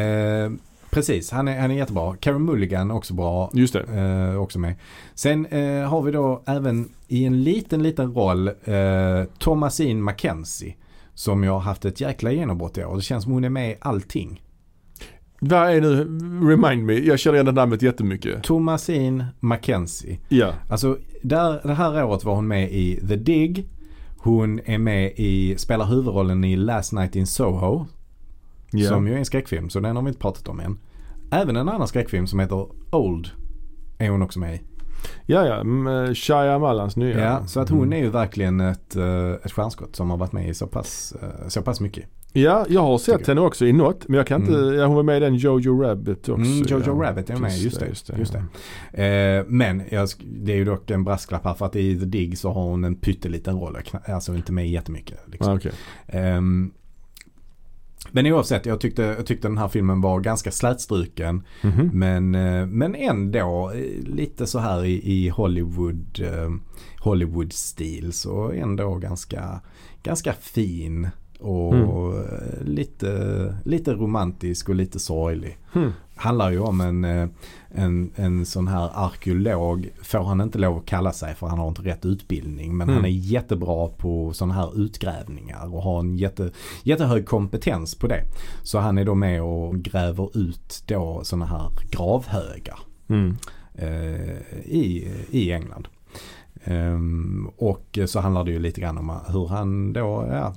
S2: Eh, precis, han är, han är jättebra. Karen Mulligan också bra.
S1: Just det.
S2: Eh, också med. Sen eh, har vi då även i en liten, liten roll eh, Thomasine Mackenzie. Som jag har haft ett jäkla genombrott i år. Det känns som hon är med i allting.
S1: Vad är nu? Remind me. Jag känner igen det namnet jättemycket.
S2: Thomasine Mackenzie.
S1: Ja.
S2: Alltså där, det här året var hon med i The Dig. Hon är med i, spelar huvudrollen i Last Night in Soho.
S1: Ja.
S2: Som ju är en skräckfilm så den har vi inte pratat om än. Även en annan skräckfilm som heter Old är hon också med i.
S1: Ja, ja. Mm, Shia Malans nya. Mm.
S2: Ja, Mm. så att hon är ju verkligen ett, eh, ett stjärnskott som har varit med i så pass, eh, så pass mycket.
S1: Ja, jag har sett
S2: Tycker
S1: henne också i något. Men jag kan inte, ja, hon var med i den Jojo Rabbit också.
S2: Mm, Jojo
S1: ja.
S2: Rabbit är med, just det. Just det, Eh, men jag, sk- det är ju dock en brasklapp här för att i The Dig så har hon en pytteliten roll. Kna- Alltså inte med jättemycket. Liksom.
S1: Ah, okej.
S2: Ehm, men oavsett, jag tyckte, jag tyckte den här filmen var ganska slätstruken.
S1: Mhm.
S2: Men, eh, men ändå eh, lite så här i, i Hollywood, eh, Hollywood-stil. Så ändå ganska, ganska fin. Och eh, lite, lite romantisk och lite sorglig.
S1: Hmm.
S2: Handlar ju om en, eh, en, en sån här arkeolog. Får han inte lov att kalla sig för han har inte rätt utbildning. Men
S1: Mm.
S2: han är jättebra på sådana här utgrävningar och har en jätte, jättehög kompetens på det. Så han är då med och gräver ut då sådana här gravhögar
S1: Mm.
S2: eh, i, i England. Ehm, och så handlar det ju lite grann om hur han då ja,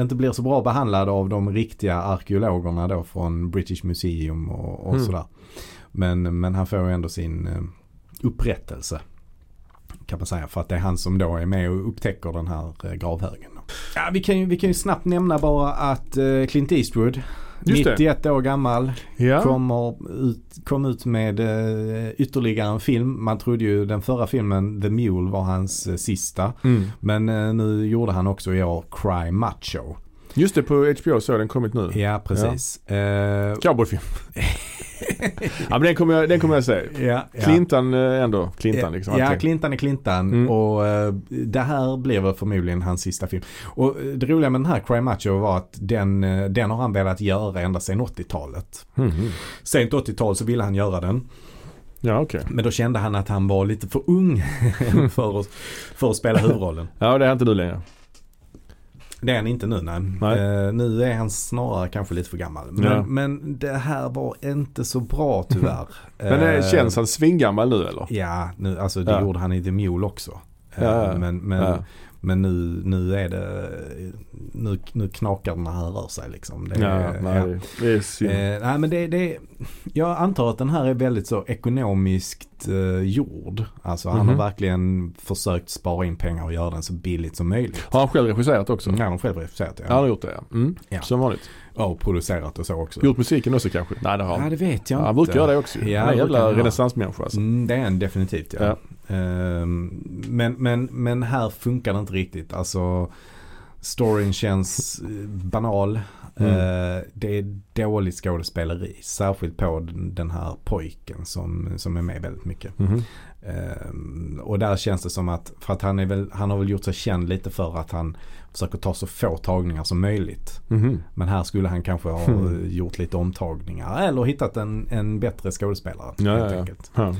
S2: inte blir så bra behandlad av de riktiga arkeologerna då från British Museum och, och
S1: Mm.
S2: sådär. Men, men han får ju ändå sin eh, upprättelse. Kan man säga för att det är han som då är med och upptäcker den här eh, gravhögen. då. Ja, vi, kan ju, vi kan ju snabbt nämna bara att eh, Clint Eastwood,
S1: Just det.
S2: 91 år gammal,
S1: Ja.
S2: kommer ut, kom ut med eh, ytterligare en film. Man trodde ju den förra filmen The Mule var hans eh, sista.
S1: Mm.
S2: Men eh, nu gjorde han också i år Cry Macho.
S1: Just det, på HBO så har den kommit nu.
S2: Ja, precis. Eh,
S1: Cowboyfilm. ja men den kommer jag, den kommer jag se.
S2: ja, ja.
S1: Clintan eh, ändå. Clintan liksom.
S2: Ja,
S1: allting.
S2: Clintan är Clintan.
S1: Mm.
S2: Och eh, det här blev väl förmodligen hans sista film. Och eh, det roliga med den här Cry Macho var att den, eh, den har han velat göra ända sedan 80-talet.
S1: Mhm.
S2: Sent 80-tal så ville han göra den.
S1: Ja okej.
S2: Men då kände han att han var lite för ung för, att, för att spela huvudrollen.
S1: Ja det är inte du längre.
S2: Eh, Det är han inte nu nej.
S1: Nej.
S2: Eh, nu är han snarare kanske lite för gammal. Men,
S1: Ja.
S2: men det här var inte så bra tyvärr.
S1: Men eh,
S2: Eh,
S1: känns han svingammal nu eller?
S2: Ja, nu, alltså det
S1: Ja.
S2: gjorde han i The Mule också. Eh,
S1: Ja, ja.
S2: Men, men, eh,
S1: Ja.
S2: men nu, nu är det, nu, nu knakar den här rör sig liksom. Det, är-
S1: Ja,
S2: ja.
S1: nej. Det är synd.
S2: Eh, nej men det, det, jag antar att den här är väldigt så ekonomiskt eh, gjord. Alltså han
S1: Mhm.
S2: har verkligen försökt spara in pengar och göra den så billigt som möjligt.
S1: Har han själv regisserat också?
S2: Så han har själv regisserat det.
S1: Mm. Ja, han
S2: Ja.
S1: har gjort det ja. Mm.
S2: Ja.
S1: Som vanligt.
S2: Ja, och producerat och så också.
S1: Gjort musiken också kanske? Nej det har
S2: Ja
S1: han.
S2: det vet jag
S1: Ja,
S2: inte.
S1: han brukar göra det också ju.
S2: Ja,
S1: Han är en
S2: det brukar
S1: jävla
S2: han.
S1: renässansmänniska alltså.
S2: Mm, det är en definitivt ja.
S1: Ja.
S2: Ehm, men, men, men här funkar det inte riktigt. Alltså storyn känns eh, banal.
S1: Mm.
S2: Eh, det är dåligt skådespeleri. Särskilt på den- den här pojken som, som är med väldigt mycket.
S1: Mhm.
S2: Ehm, och där känns det som att, för att han, är väl, han har väl gjort sig känd lite för att han försöker ta så få tagningar som möjligt.
S1: Mhm.
S2: Men här skulle han kanske ha
S1: Hmm.
S2: eh, gjort lite omtagningar eller hittat en, en bättre skådespelare.
S1: Ja,
S2: helt
S1: ja, ja.
S2: enkelt.
S1: Ja.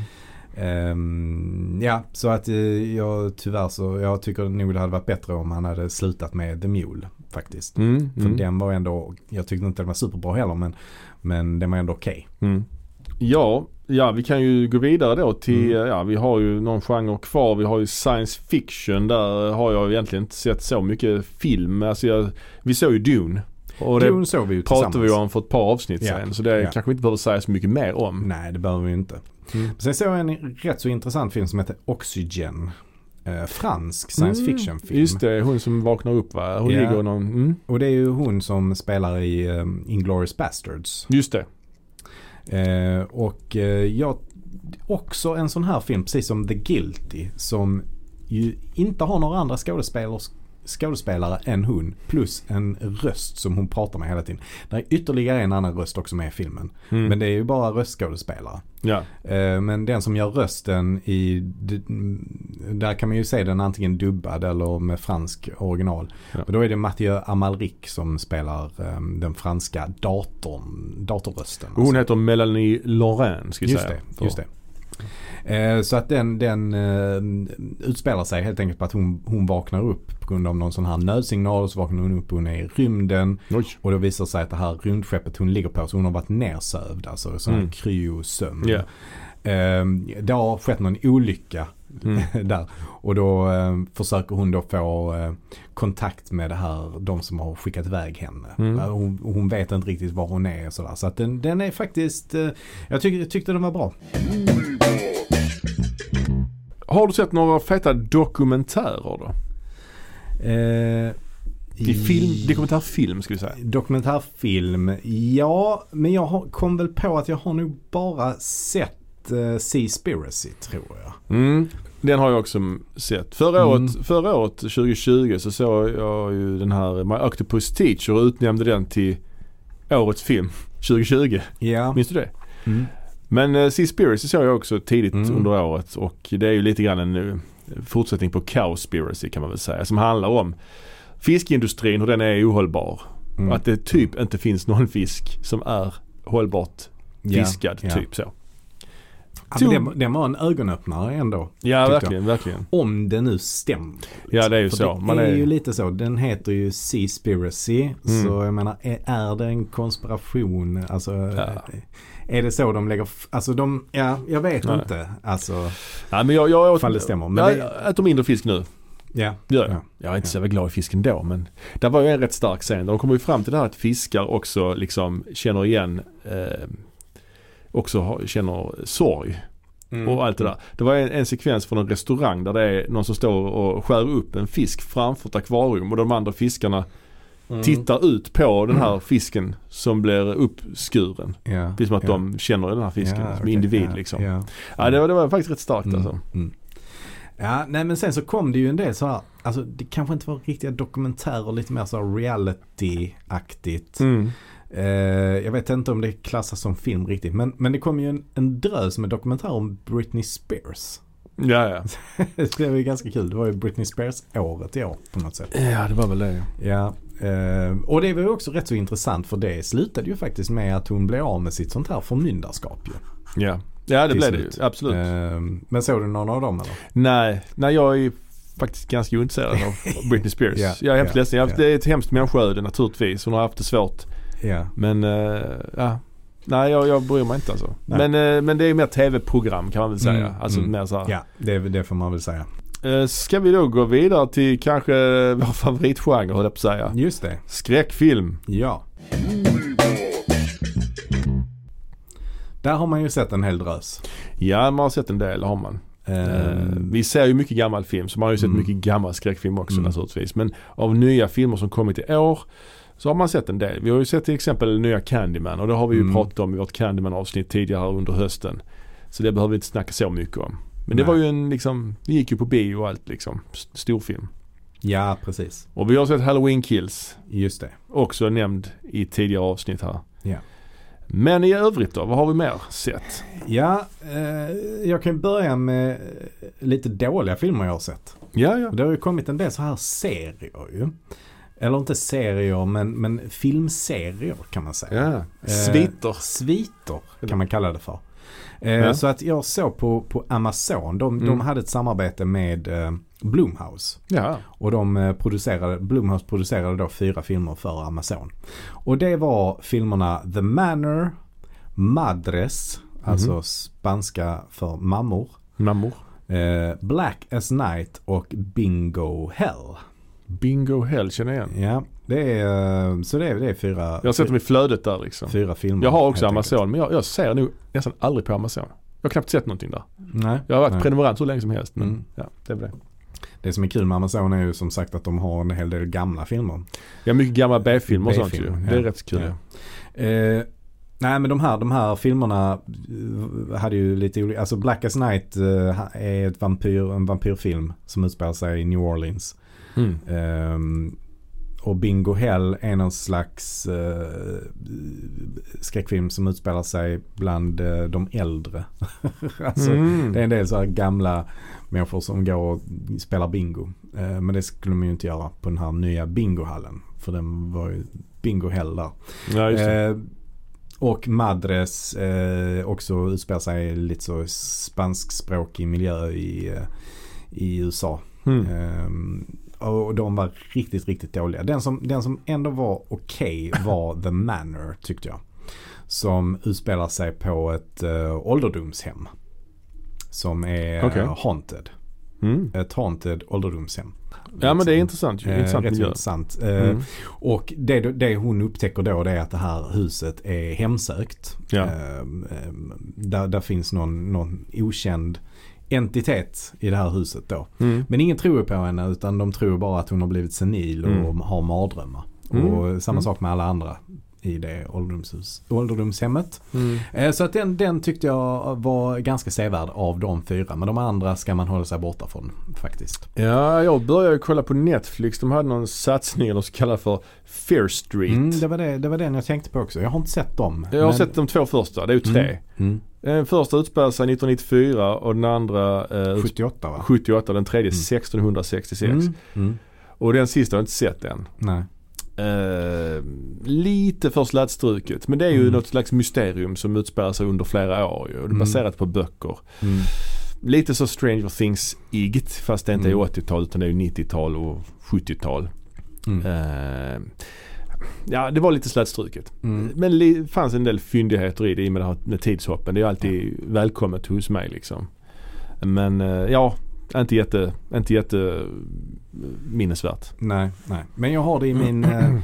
S2: Ehm, ja, så att eh, jag tyvärr så, jag tycker nog det hade varit bättre om han hade slutat med The Mule faktiskt.
S1: Mm,
S2: För
S1: mm,
S2: den var ändå, jag tyckte inte den var superbra heller men, men den var ändå okej.
S1: mm. Ja, ja, vi kan ju gå vidare då till,
S2: Mm.
S1: ja vi har ju någon genre kvar. Vi har ju science fiction. Där har jag egentligen inte sett så mycket film. Alltså jag, vi såg ju Dune. Och det
S2: Dune såg vi ju
S1: pratade vi
S2: tillsammans.
S1: om för ett par avsnitt
S2: Ja.
S1: sen. Så det
S2: Ja.
S1: kanske vi inte behöver säga så mycket mer om.
S2: Nej, det behöver vi inte.
S1: Mm.
S2: Sen såg jag en rätt så intressant film som heter Oxygen. Eh, fransk science
S1: Mm,
S2: fiction film.
S1: Just det, hon som vaknar upp va? Hon
S2: Ja.
S1: ligger i någon... Mm,
S2: Och det är ju hon som spelar i um, Inglourious Bastards.
S1: just det.
S2: Eh, och eh, jag, också en sån här film, precis som The Guilty, som ju inte har några andra skådespelers, skådespelare än hon plus en röst som hon pratar med hela tiden. Det är ytterligare en annan röst också med i filmen.
S1: Mm.
S2: Men det är ju bara röstskådespelare.
S1: ja.
S2: Eh, Men den som gör rösten i, d- där kan man ju se den antingen dubbad eller med fransk original.
S1: Ja.
S2: Och då är det Mathieu Amalric som spelar eh, den franska datorn, datorrösten.
S1: Och Hon heter Melanie Laurent ska vi
S2: Just
S1: säga.
S2: det, just det. Eh, Så att den, den eh, utspelar sig helt enkelt på att hon, hon vaknar upp på grund av någon sån här nödsignal. Så vaknar hon upp och hon är i rymden.
S1: Oj.
S2: Och då visar det sig att det här rymdskeppet hon ligger på, så hon har varit nersövd. Alltså sån här
S1: Mm.
S2: kryosömn.
S1: Ja.
S2: Ehm, det har skett någon olycka
S1: Mm.
S2: där. Och då ehm, försöker hon då få eh, kontakt med det här, de som har skickat iväg henne.
S1: Mm.
S2: Eh, Hon, hon vet inte riktigt var hon är och sådär. Så att den, den är faktiskt, eh, jag, tyck, jag tyckte den var bra.
S1: Har du sett några feta dokumentärer då?
S2: Eh,
S1: I film, dokumentärfilm ska vi säga.
S2: Dokumentärfilm, ja. Men jag har, kom väl på att jag har nog bara sett eh, Seaspiracy tror jag.
S1: Mm. Den har jag också sett. Förra,
S2: Mm.
S1: året, förra året, 2020, så såg jag ju den här My Octopus Teacher och utnämnde den till årets film 2020.
S2: Ja.
S1: Minns du det?
S2: Mm.
S1: Men uh, Seaspiracy såg jag också tidigt
S2: Mm.
S1: under året och det är ju lite grann en eh, fortsättning på Cowspiracy kan man väl säga. Som handlar om fiskindustrin, hur den är ohållbar.
S2: Mm.
S1: Att det typ inte finns någon fisk som är hållbart
S2: Ja,
S1: fiskad.
S2: ja.
S1: Typ så.
S2: Ja, men den, den var en ögonöppnare ändå.
S1: Ja
S2: Tyckte
S1: verkligen, verkligen.
S2: Om det nu stämmer.
S1: Ja det är ju
S2: För
S1: så.
S2: Det
S1: Man
S2: är, ju
S1: är,
S2: lite så. Den heter ju Seaspiracy.
S1: Mm.
S2: Så jag menar, är, är det en konspiration? Alltså,
S1: Ja.
S2: är det så de lägger... f- Alltså de... Ja, jag vet
S1: Nej.
S2: inte. Alltså,
S1: nej, men jag, jag åt,
S2: Ifall det stämmer, men
S1: jag
S2: det-
S1: äter mindre fisk nu.
S2: ja.
S1: Det Gör jag.
S2: Ja.
S1: jag är inte så jävla glad i fisk ändå men där var ju en rätt stark scen. De kommer ju fram till det här att fiskar också liksom känner igen eh, också har, känner sorg och allt det där. Det var en, en sekvens från en restaurang där det är någon som står och skär upp en fisk framför ett akvarium och de andra fiskarna
S2: Mm.
S1: tittar ut på den här fisken som blir uppskuren.
S2: Ja.
S1: Det är som att
S2: ja.
S1: de känner den här fisken
S2: Ja,
S1: som
S2: okej.
S1: individ
S2: ja.
S1: liksom.
S2: Ja.
S1: Ja, det var, det var faktiskt rätt starkt
S2: Mm.
S1: alltså.
S2: Mm. Ja, nej men sen så kom det ju en del så här, alltså det kanske inte var riktiga dokumentärer, lite mer så här reality-aktigt.
S1: Mm.
S2: Eh, jag vet inte om det klassas som film riktigt. Men, men det kom ju en, en drös med dokumentär om Britney Spears.
S1: Ja, ja.
S2: det var ju ganska kul. Det var ju Britney Spears-året i år på något sätt.
S1: ja, det var väl det.
S2: Ja, eh, och det var ju också rätt så intressant för det slutade ju faktiskt med att hon blev av med sitt sånt här förmyndarskap ju.
S1: Ja, ja det
S2: Till
S1: blev det ju.
S2: slut.
S1: Absolut.
S2: Eh, men såg du någon av dem eller?
S1: Nej, nej, jag är faktiskt ganska ointresserad av Britney Spears.
S2: Ja,
S1: jag är hemskt
S2: ja,
S1: ledsen. Jag har haft,
S2: ja.
S1: Det är ett hemskt människoöde naturligtvis. Hon har haft det svårt.
S2: Ja.
S1: Men, eh, ja. Nej, jag, jag bryr mig inte alltså.
S2: Nej.
S1: Men, eh, men det är mer tv-program kan man väl säga.
S2: Mm,
S1: alltså
S2: mm.
S1: mer så här.
S2: Ja, det, det får man väl säga.
S1: Eh, Ska vi då gå vidare till kanske vår favoritgenre höll jag på att säga.
S2: Just det.
S1: Skräckfilm.
S2: Ja. Där har man ju sett en hel drös.
S1: Ja, man har sett en del har man. Eh,
S2: Eh,
S1: vi ser ju mycket gammal film så man har ju sett
S2: Mm.
S1: mycket gammal skräckfilm också
S2: Mm.
S1: naturligtvis. Men av nya filmer som kommit i år så har man sett en del. Vi har ju sett till exempel nya Candyman och det har vi ju
S2: Mm.
S1: pratat om i vårt Candyman avsnitt tidigare under hösten. Så det behöver vi inte snacka så mycket om. Men det
S2: Nej.
S1: var ju en liksom, det gick ju på bio och allt liksom. S- Storfilm.
S2: ja, precis.
S1: Och vi har sett Halloween Kills.
S2: Just det.
S1: Också nämnd i tidigare avsnitt här.
S2: Ja.
S1: Men i övrigt då, vad har vi mer sett?
S2: Ja, eh, jag kan börja med eh, lite dåliga filmer jag har sett.
S1: Ja, ja.
S2: Och Det har ju kommit en del så här serier ju. Eller inte serier, men, men filmserier kan man säga.
S1: ja.
S2: Eh,
S1: Sviter.
S2: Sviter kan man kalla det för. Eh,
S1: Ja.
S2: Så att jag såg på, på Amazon, de, de
S1: Mm.
S2: hade ett samarbete med eh, Blumhouse.
S1: Ja.
S2: Och de eh, producerade, Blumhouse producerade då fyra filmer för Amazon. Och det var filmerna The Manor, Madres,
S1: Mhm.
S2: alltså spanska för mammor,
S1: Mammor.
S2: eh, Black as Night och Bingo Hell.
S1: Bingo Hell känner jag igen.
S2: Ja, det är, eh, så det är, det är fyra,
S1: Jag har sett dem i flödet där liksom.
S2: fyra filmer.
S1: Jag har också
S2: helt
S1: Amazon men jag, jag ser nog nästan aldrig på Amazon. Jag har knappt sett någonting där.
S2: enkelt. Nej.
S1: Jag har varit
S2: Nej.
S1: prenumerant hur länge som helst. Men
S2: Mm.
S1: ja, det är väl det.
S2: Det som är kul med Amazon är ju som sagt att de har en hel del gamla filmer.
S1: Jag har mycket gamla B-filmer och sånt ju.
S2: B-filmer,
S1: Det är
S2: ja.
S1: rätt kul.
S2: Ja. Eh, nej men de här, de här filmerna eh, hade ju lite olika, alltså Black as Night eh, är ett vampyr, en vampyrfilm som utspelar sig i New Orleans.
S1: Mm.
S2: Ehm, och Bingo Hell är någon slags eh, skräckfilm som utspelar sig bland eh, de äldre. alltså,
S1: Mm.
S2: Det är en del så här gamla människor som går och spelar bingo. Eh, men det skulle man ju inte göra på den här nya bingohallen. För den var ju bingo Hell där.
S1: Ja, just det.
S2: Eh, och Madres eh, också utspelar sig lite så i spanskspråkig miljö i, eh, i USA.
S1: Mm.
S2: Ehm, och de var riktigt, riktigt dåliga. Den som, den som ändå var okej var The Manor tyckte jag. Som utspelar sig på ett eh, ålderdomshem. Som är
S1: Okej.
S2: eh, haunted.
S1: Mm.
S2: Ett haunted ålderdomshem.
S1: Ja men det är intressant ju.
S2: Eh,
S1: Intressant
S2: rätt så
S1: miljö.
S2: intressant. Eh,
S1: Mm.
S2: Och det, det hon upptäcker då det är att det här huset är hemsökt.
S1: Ja.
S2: Eh, eh, där, där finns någon, någon okänd entitet i det här huset då.
S1: Mm.
S2: Men ingen tror ju på henne utan de tror bara att hon har blivit senil och
S1: Mm.
S2: har mardrömmar.
S1: Mm.
S2: Och samma
S1: Mm.
S2: sak med alla andra i det ålderdomshus, ålderdomshemmet.
S1: Mm.
S2: Eh, Så att den, den tyckte jag var ganska sevärd av de fyra. Men de andra ska man hålla sig borta från faktiskt.
S1: Ja, jag började kolla på Netflix. De hade någon satsning eller så kallad för Fear Street.
S2: Mm, det, var det, det var den jag tänkte på också. Jag har inte sett dem.
S1: Jag har sett de två första, det är ju tre.
S2: Mm. Mm.
S1: Den första utspelar sig 1994 och den andra eh, utspelar
S2: 78 va?
S1: 78 den tredje
S2: Mm.
S1: 1666.
S2: Mm. Mm.
S1: Och den sista har jag inte sett än.
S2: Nej.
S1: Eh, lite för slätstruket men det är ju
S2: Mm.
S1: något slags mysterium som utspelar sig under flera år ju. Och det är
S2: Mm.
S1: baserat på böcker.
S2: Mm.
S1: Lite så Stranger Things-igt fast det inte
S2: Mm.
S1: är 80-tal utan det är ju 90-tal och 70-tal.
S2: Mm.
S1: Eh, ja, det var lite slätstruket.
S2: Mm.
S1: Men det fanns en del fyndigheter i det i och med, det här med tidshoppen. Det är alltid välkommet hos mig liksom. Men eh, ja, inte jätte, inte jätte eh, minnesvärt.
S2: Nej, nej. Men jag har det i
S1: Mm.
S2: min eh,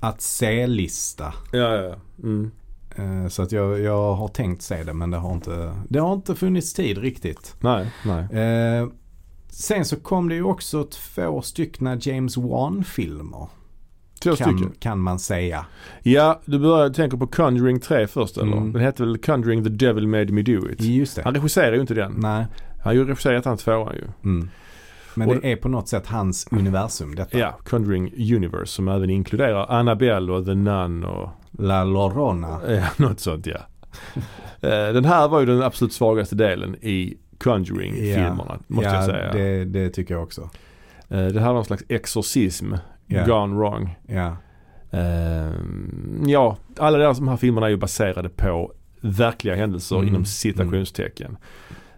S2: att se-lista.
S1: Ja, ja, Mm.
S2: Eh, Så att jag, jag har tänkt se det men det har inte, det har inte funnits tid riktigt.
S1: Nej, nej.
S2: Eh, Sen så kom det ju också två styckna James Wan-filmer.
S1: Två
S2: Kan,
S1: stycken.
S2: kan man säga.
S1: Ja, du börjar tänka på Conjuring 3 först eller?
S2: Mm.
S1: Den hette väl Conjuring the Devil Made Me Do It?
S2: Just det.
S1: Han regisserar ju inte den.
S2: Nej.
S1: Han har ju regisserat han tvåan ju.
S2: Mm. Men
S1: Och-
S2: det är på något sätt hans universum detta.
S1: Ja, Conjuring Universe som även inkluderar Annabelle och The Nun och
S2: La Llorona.
S1: Ja, något sånt ja. Eh, den här var ju den absolut svagaste delen i Conjuring-filmerna, måste
S2: ja,
S1: jag säga. Det...
S2: Det, det tycker jag också.
S1: det här var någon slags exorcism,
S2: Ja.
S1: gone wrong.
S2: Ja.
S1: Eh, ja, alla de här- de här filmerna är ju baserade på verkliga händelser
S2: Mm.
S1: inom citationstecken.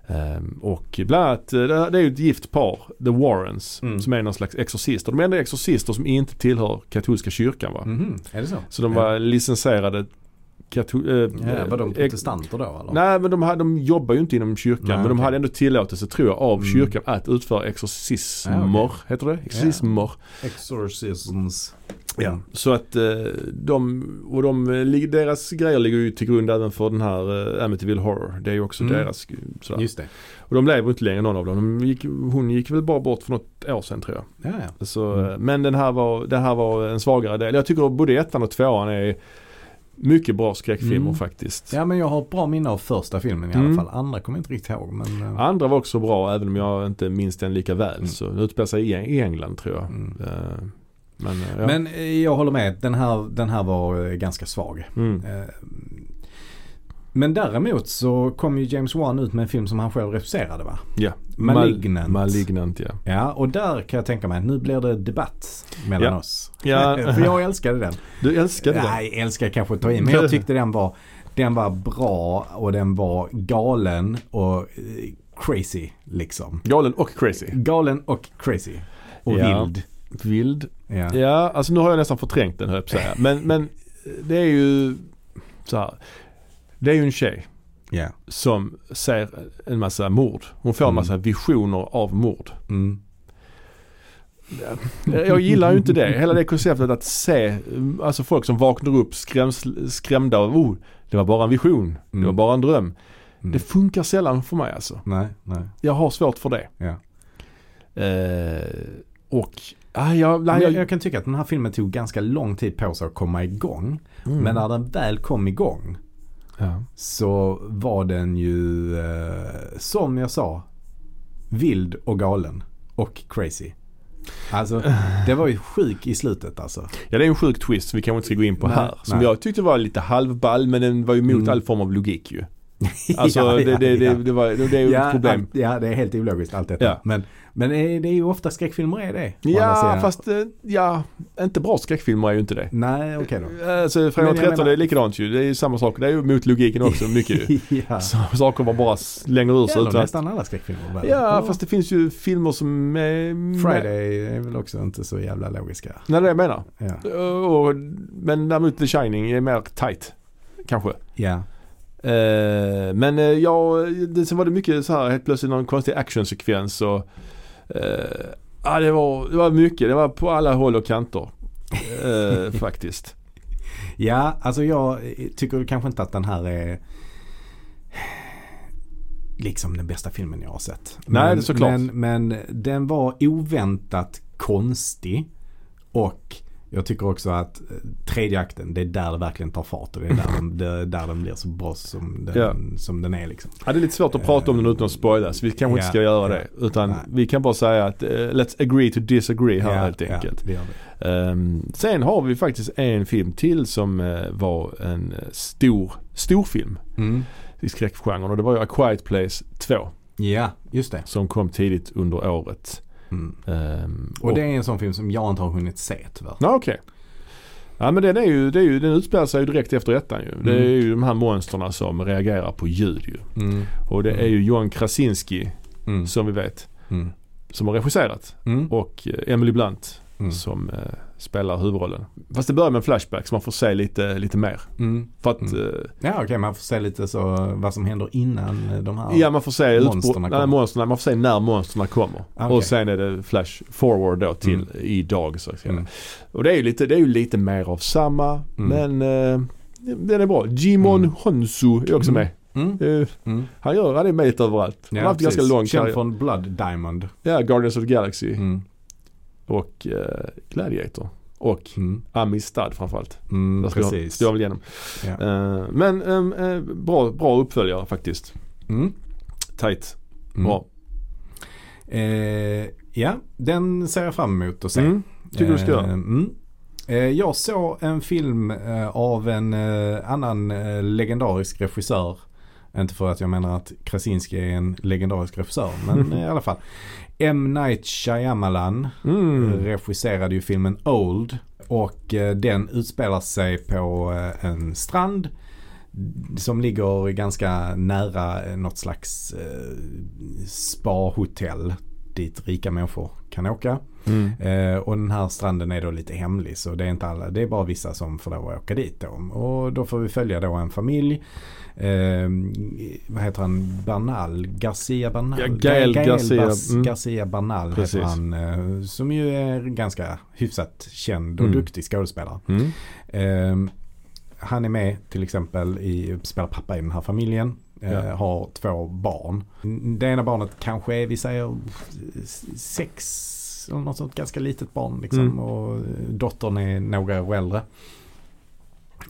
S1: Eh, och bland annat, eh, det det är ju ett gift par, The Warrens,
S2: Mm.
S1: som är någon slags exorcister. De enda exorcister som inte tillhör katolska kyrkan va.
S2: Mhm, Är det så?
S1: Så de var
S2: Ja.
S1: licensierade katol- eh,
S2: Ja, var de
S1: eh,
S2: protestanter då eller?
S1: Nej men de, hade, de jobbar ju inte inom kyrkan
S2: Nej,
S1: men de
S2: okej.
S1: hade ändå tillåtelse tror jag av
S2: Mm.
S1: kyrkan att utföra exorcismer.
S2: Ah,
S1: Heter det? Exorcismer.
S2: Exorcisms. Mm,
S1: Ja. Så att eh, de, och de, eh, lig- deras grejer ligger ju till grund även för den här eh, Amityville Horror. Det är ju också
S2: Mm.
S1: deras. eh, Sådär.
S2: Just det.
S1: Och de lever inte längre någon av dem. De gick, hon gick väl bara bort för något år sedan tror jag.
S2: Ja, ja.
S1: Så,
S2: Mm.
S1: eh, Men den här var, det här var en svagare del. Jag tycker både ettan och tvåan är mycket bra skräckfilmer
S2: Mm.
S1: faktiskt.
S2: Ja men jag har ett bra minne av första filmen i
S1: Mm.
S2: alla fall. Andra kommer jag inte riktigt ihåg. Men, eh,
S1: Andra var också bra även om jag inte minns den lika väl.
S2: Mm.
S1: Så den utspelar sig i Eng- i England tror jag.
S2: mm.
S1: Eh, Men, eh, ja.
S2: men eh, jag håller med. Den här, den här var eh, ganska svag.
S1: mm.
S2: Eh, Men däremot så kom ju James Wan ut med en film som han själv regisserade va?
S1: ja.
S2: Malignant.
S1: Mal- malignant ja.
S2: Ja och där kan jag tänka mig att nu blir det debatt mellan
S1: Ja.
S2: oss. Eh,
S1: Ja.
S2: För jag älskade den.
S1: Du älskade den?
S2: Nej, älskar kanske att ta i. Men jag tyckte den var, den var bra och den var galen och eh, crazy liksom.
S1: Galen och crazy.
S2: Galen och crazy. Och
S1: Ja.
S2: vild.
S1: Vild.
S2: Ja.
S1: Ja, alltså nu har jag nästan förträngt den höll jag på att säga. Men, men det är ju så här. Det är ju en tjej
S2: Ja.
S1: som ser en massa mord. Hon får en
S2: Mm.
S1: massa visioner av mord.
S2: Mm.
S1: Eh, Jag gillar ju inte det. Hela det konceptet att se alltså folk som vaknar upp skräms- skrämda av oh, det var bara en vision. Det
S2: Mm.
S1: var bara en dröm.
S2: Mm.
S1: Det funkar sällan för mig alltså.
S2: Nej, nej.
S1: Jag har svårt för det.
S2: Ja.
S1: Eh, och ah, jag, nej,
S2: Men jag,
S1: jag,
S2: jag kan tycka att den här filmen tog ganska lång tid på sig att komma igång.
S1: mm.
S2: Men när den väl kom igång
S1: ja.
S2: så var den ju, eh, som jag sa, vild och galen. Och crazy. Alltså, det var ju sjuk i slutet alltså.
S1: Ja det är en sjuk twist som vi kanske inte ska gå in på
S2: Nej,
S1: här. Som
S2: nej.
S1: jag tyckte var lite halvball men den var ju emot
S2: Mm.
S1: all form av logik ju. Alltså
S2: Ja,
S1: det,
S2: ja,
S1: det, det,
S2: ja.
S1: det, var, det, det är ju ett problem.
S2: allt- ja, det är helt ologiskt allt detta.
S1: Ja.
S2: Men, men eh, det är ju ofta skräckfilmer är det. å andra
S1: Ja
S2: sidan.
S1: fast eh, ja, inte bra skräckfilmer är ju inte det.
S2: Nej, okej då.
S1: Alltså
S2: Men
S1: Fredag
S2: jag
S1: 13
S2: menar-
S1: det är likadant ju. Det är ju samma sak. Det är ju mot logiken också mycket ju.
S2: ja.
S1: Så, saker man bara slänger ur sig.
S2: Ja,
S1: utan att-
S2: nästan alla skräckfilmer. väl?
S1: Ja, fast det finns ju filmer som... Eh,
S2: Friday är väl också inte så jävla logiska.
S1: Nej, det är det jag menar. Eh,
S2: Ja.
S1: Och, men däremot The Shining är mer tight. Kanske.
S2: ja.
S1: Eh, men eh, ja, det, sen var det mycket så här helt plötsligt någon konstig actionsekvens och... Eh, ja, det var, det var mycket. Det var på alla håll och kanter. Eh, faktiskt.
S2: Ja, alltså jag eh, tycker kanske inte att den här är liksom den bästa filmen jag har sett.
S1: Nej, det är såklart.
S2: Men, men den var oväntat konstig och jag tycker också att eh, tredje akten, det är där det verkligen tar fart och det är där, de, det, där den blir så bra som den,
S1: Ja.
S2: som den är liksom.
S1: Ja, det är lite svårt att prata om den utan att spoila så vi kanske inte
S2: Ja,
S1: ska göra
S2: ja.
S1: det. Utan
S2: Nej.
S1: vi kan bara säga att eh, let's agree to disagree här helt enkelt.
S2: Ja, det gör det.
S1: Ehm, sen har vi faktiskt en film till som eh, var en eh, stor, stor film
S2: Mm.
S1: i skräckgenren och det var ju A Quiet Place 2
S2: Ja, just det.
S1: som kom tidigt under året.
S2: Mm.
S1: Ehm,
S2: Och det är en sån film som jag inte har hunnit se tyvärr.
S1: Ja okej. Ja men den, är ju, det är ju, den utspelar sig ju direkt efter ettan ju. Det är
S2: Mm.
S1: ju de här monsterna som reagerar på ljud ju.
S2: Mm.
S1: Och det är ju John Krasinski
S2: Mm.
S1: som vi vet
S2: Mm.
S1: som har regisserat
S2: Mm.
S1: och eh, Emily Blunt
S2: Mm.
S1: som eh, spelar huvudrollen. Fast det börjar med en flashback så man får se lite, lite mer.
S2: Mm.
S1: För att
S2: Mm.
S1: eh,
S2: Ja okej, man får se lite så vad som händer innan eh, de här.
S1: Ja man får se
S2: Monsterna
S1: utbro- nej,
S2: kommer.
S1: monsterna, man får se när monsterna kommer.
S2: Ah, okej.
S1: Och sen är det flash forward då till
S2: Mm.
S1: idag så att säga.
S2: Mm.
S1: Och det är ju lite, det är ju lite mer av samma
S2: Mm.
S1: men eh, den är bra. Jimon
S2: Mm.
S1: Honsu är också
S2: Mm. Mm.
S1: med. Eh,
S2: Mm.
S1: han gör, han är med lite överallt. Han
S2: Ja,
S1: har haft
S2: precis.
S1: ganska lång
S2: Känd
S1: karriär.
S2: från Blood Diamond.
S1: Ja, Guardians of the Galaxy
S2: Mm.
S1: och eh, Gladiator. Och
S2: Mm.
S1: Amistad framförallt.
S2: Mm,
S1: Där ska jag-
S2: precis.
S1: ska jag väl igenom.
S2: Ja.
S1: Eh, men ehm, eh, bra, bra uppföljare faktiskt.
S2: Mm.
S1: Tight,
S2: Mm.
S1: bra.
S2: Eh, ja, den ser jag fram emot att se.
S1: Mm. Tycker du ska göra?
S2: Eh, mm. Eh, jag såg en film eh, av en eh, annan eh, legendarisk regissör. Inte för att jag menar att Krasinski är en legendarisk regissör, men eh, i alla fall. M. Night Shyamalan.
S1: Mm.
S2: regisserade ju filmen Old och eh, den utspelar sig på eh, en strand som ligger ganska nära eh, något slags eh, spa-hotell dit rika människor kan åka.
S1: Mm.
S2: Eh, och den här stranden är då lite hemlig så det är inte alla, det är bara vissa som får lov att åka dit då. Och då får vi följa då en familj. Eh, vad heter han? Bernal? Garcia Bernal?
S1: Ja, Gael Garcia,
S2: Bas-
S1: mm.
S2: Garcia Bernal
S1: Precis.
S2: heter han. Eh, som ju är ganska hyfsat känd och
S1: Mm.
S2: duktig skådespelare.
S1: Mm.
S2: Ehm, han är med till exempel i, spelar pappa i den här familjen. eh,
S1: Ja.
S2: Har två barn. Det ena barnet kanske är, vi säger s- sex eller något sånt ganska litet barn liksom.
S1: Mm.
S2: Och eh, dottern är några år äldre.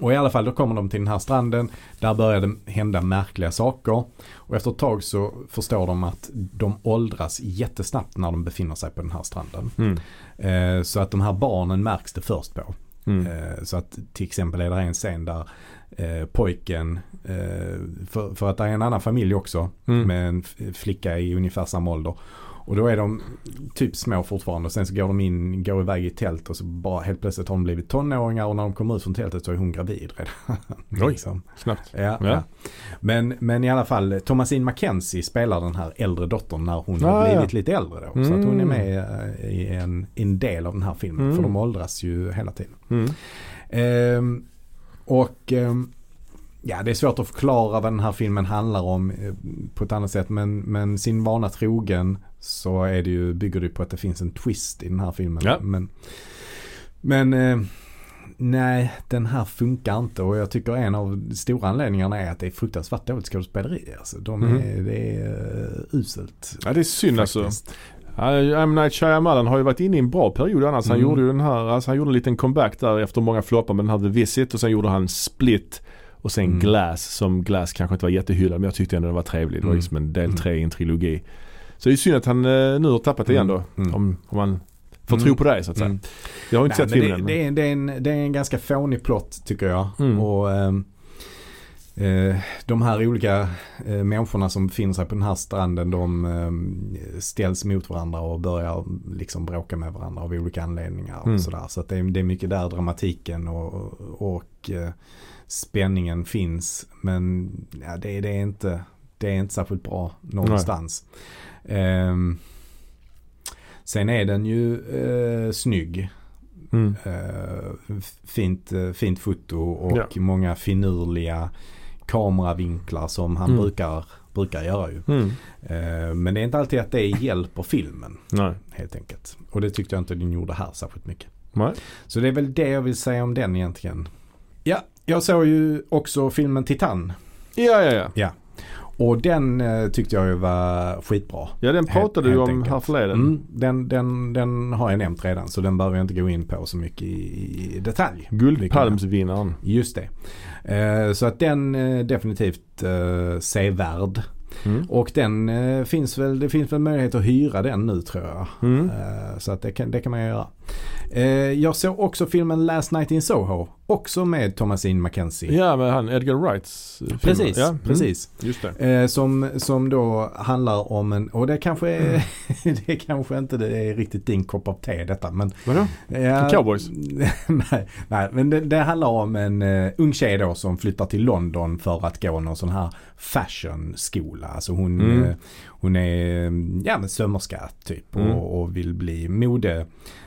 S2: Och i alla fall då kommer de till den här stranden. Där börjar det hända märkliga saker. Och efter ett tag så förstår de att de åldras jättesnabbt när de befinner sig på den här stranden.
S1: Mm.
S2: Eh, Så att de här barnen märks det först på.
S1: Mm.
S2: Eh, Så att till exempel är det en scen där eh, pojken, eh, för, för att det är en annan familj också
S1: Mm.
S2: med en f- flicka i ungefär samma ålder. Och då är de typ små fortfarande och sen så går de in, går iväg i tält och så bara helt plötsligt har de blivit tonåringar och när de kommer ut från tältet så är hon gravid redan.
S1: Oj.
S2: Liksom.
S1: Snabbt.
S2: Ja, ja.
S1: Ja.
S2: Men, men i alla fall, Thomasine Mackenzie spelar den här äldre dottern när hon
S1: Ah,
S2: har
S1: ja.
S2: blivit lite äldre då. Så att hon är
S1: Mm.
S2: med eh, i en, i en del av den här filmen
S1: Mm.
S2: för de åldras ju hela tiden.
S1: Mm.
S2: Ehm, och ehm, ja, det är svårt att förklara vad den här filmen handlar om eh, på ett annat sätt. Men, men sin vana trogen så är det ju, bygger det ju på att det finns en twist i den här filmen.
S1: Ja.
S2: Men, men eh, nej, den här funkar inte. Och jag tycker en av de stora anledningarna är att det är fruktansvärt dåligt skådespeleri. Alltså, de
S1: Mm.
S2: är, det är eh, uselt.
S1: Ja det är synd alltså.
S2: faktiskt.
S1: Ja, M. Night Shyamalan har ju varit inne i en bra period annars. Han
S2: Mm.
S1: gjorde ju den här, alltså han gjorde en liten comeback där efter många floppar med den här The Visit och sen gjorde han Split och sen
S2: Mm.
S1: Glass som Glass kanske inte var jättehyllad men jag tyckte ändå den var trevlig. Det var
S2: Mm.
S1: liksom en del
S2: Mm.
S1: tre i en trilogi. Så det är synd att han eh, nu har tappat det igen då.
S2: Mm.
S1: Om, om man För att
S2: Mm.
S1: tro på dig så att säga.
S2: Mm.
S1: Jag har inte
S2: Nej,
S1: sett
S2: men
S1: filmen än,
S2: det, det, är, det, är en, det är en ganska fånig plott tycker jag.
S1: Mm.
S2: Och, ehm, eh, de här olika eh, människorna som befinner sig på den här stranden de ehm, ställs mot varandra och börjar liksom bråka med varandra av olika anledningar.
S1: Mm.
S2: Och sådär. Så att det, är, det är mycket där dramatiken och, och eh, spänningen finns. Men ja, det, det, är inte, det är inte särskilt bra någonstans. Ehm, sen är den ju eh, snygg.
S1: men- mm.
S2: Eh, f- fint, eh, fint foto och
S1: Ja.
S2: många finurliga kameravinklar som han
S1: Mm.
S2: brukar, brukar göra ju.
S1: Mm.
S2: Eh, Men det är inte alltid att det hjälper filmen
S1: Nej.
S2: helt enkelt. Och det tyckte jag inte den gjorde här särskilt mycket.
S1: Nej.
S2: Så det är väl det jag vill säga om den egentligen. Ja, jag såg ju också filmen Titan.
S1: Ja, ja, ja.
S2: Och den eh, tyckte jag ju var skitbra.
S1: Ja, den
S2: Helt-
S1: pratade du
S2: helt
S1: om
S2: enkelt.
S1: här förleden.
S2: Mm, den, den, den har jag nämnt redan så den behöver jag inte gå in på så mycket i, i detalj.
S1: Guldpalmsvinnaren.
S2: Just det. Eh, Så att den eh, definitivt eh, sevärd.
S1: Mm.
S2: Och den eh, finns väl, det finns väl möjlighet att hyra den nu tror jag.
S1: Mm.
S2: Eh, Så att det kan, det kan man göra. Eh, Jag såg också filmen Last Night in Soho. Också med Thomasine McKenzie.
S1: Ja, men han Edgar Wrights eh, filmer.
S2: Precis,
S1: ja. mm.
S2: precis.
S1: Just det.
S2: Eh, som, som då handlar om en, och det kanske är,
S1: Mm.
S2: det kanske inte det är riktigt din kopp av te detta men.
S1: Vadå?
S2: Ja,
S1: Cowboys?
S2: nej, nej, men det, det handlar om en eh, ung tjej då som flyttar till London för att gå någon sån här fashionskola. Alltså hon,
S1: Mm.
S2: eh, hon är eh, ja, men sömmerska typ
S1: Mm.
S2: och, och vill bli mode,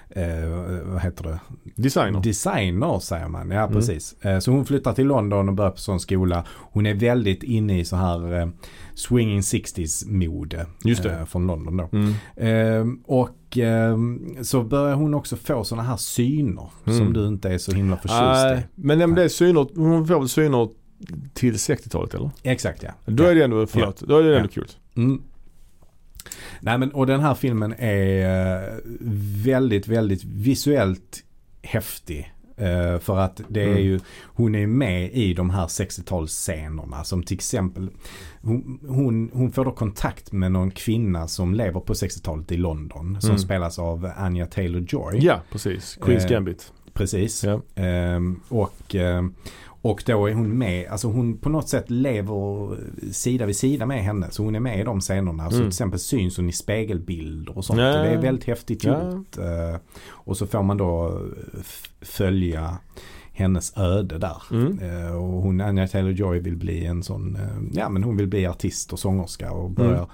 S2: eh, vad heter det,
S1: Designer.
S2: Designer säger man, ja
S1: Mm.
S2: precis. Eh, Så hon flyttar till London och börjar på sån skola. Hon är väldigt inne i så här eh, swinging 60s mode.
S1: Just det.
S2: eh, Från London då.
S1: Mm.
S2: Ehm, Och ehm, så börjar hon också få såna här syner
S1: Mm.
S2: som du inte är så himla
S1: Nej,
S2: förtjust i.
S1: Eh, men nej, men det är synor, hon får väl synor till 60-talet eller?
S2: Exakt ja.
S1: Då är det ändå, förlåt, då är det ändå kul.
S2: Mm. Nej men och den här filmen är eh, väldigt, väldigt visuellt häftig. Eh, För att det är
S1: Mm.
S2: ju, hon är med i de här 60-talsscenerna som till exempel hon, hon, hon får då kontakt med någon kvinna som lever på 60-talet i London som
S1: Mm.
S2: spelas av Anya Taylor-Joy.
S1: Ja, precis. Queens
S2: Eh,
S1: Gambit.
S2: Precis.
S1: Ja.
S2: Ehm, och, ehm, och då är hon med, alltså hon på något sätt lever sida vid sida med henne. Så hon är med i de scenerna. Så
S1: Mm.
S2: till exempel syns hon i spegelbilder och sånt.
S1: Ja.
S2: Och det är väldigt häftigt
S1: Ja.
S2: gjort. Eh, och så får man då eh, f- följa hennes öde där.
S1: Mm.
S2: Eh, och hon, Anya Taylor-Joy vill bli en sån, eh, ja men hon vill bli artist och sångerska och
S1: Mm.
S2: börjar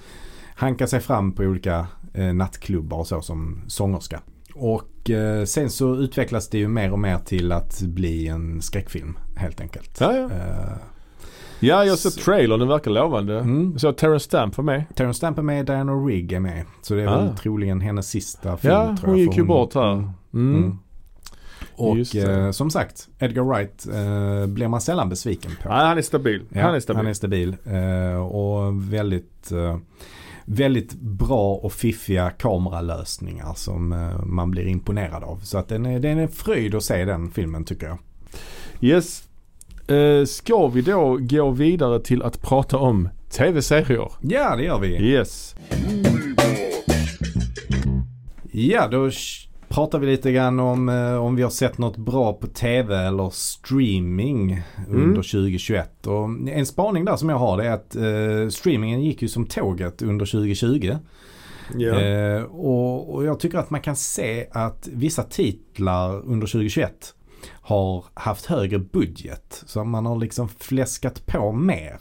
S2: hanka sig fram på olika eh, nattklubbar och så som sångerska. Och eh, sen så utvecklas det ju mer och mer till att bli en skräckfilm helt enkelt.
S1: Ja, ja.
S2: Eh,
S1: ja, jag såg trailern, den verkar lovande.
S2: Mm.
S1: Jag såg att Terrence Stamp var med.
S2: Terrence Stamp är med, Diana Rigg är med. Så det är
S1: Ah.
S2: väl troligen hennes sista film
S1: Ja,
S2: tror jag.
S1: hon
S2: för
S1: gick ju bort här.
S2: Mm.
S1: Mm.
S2: Mm. Och
S1: Just det.
S2: eh, som sagt, Edgar Wright eh, blir man sällan besviken på.
S1: Nej, han är stabil.
S2: Ja,
S1: han är stabil.
S2: Han är stabil. Eh, och väldigt, eh, väldigt bra och fiffiga kameralösningar som eh, man blir imponerad av. Så att den är, den är en fröjd att se den filmen tycker jag.
S1: Yes. Eh, ska vi då gå vidare till att prata om tv-serier?
S2: Ja, det gör vi.
S1: Yes.
S2: Ja, då sh- pratar vi lite grann om eh, om vi har sett något bra på tv eller streaming
S1: Mm.
S2: under 2021. Och en spaning där som jag har det är att eh, streamingen gick ju som tåget under 2020. Eh, och, och jag tycker att man kan se att vissa titlar under 2021 har haft högre budget. Så man har liksom fläskat på mer.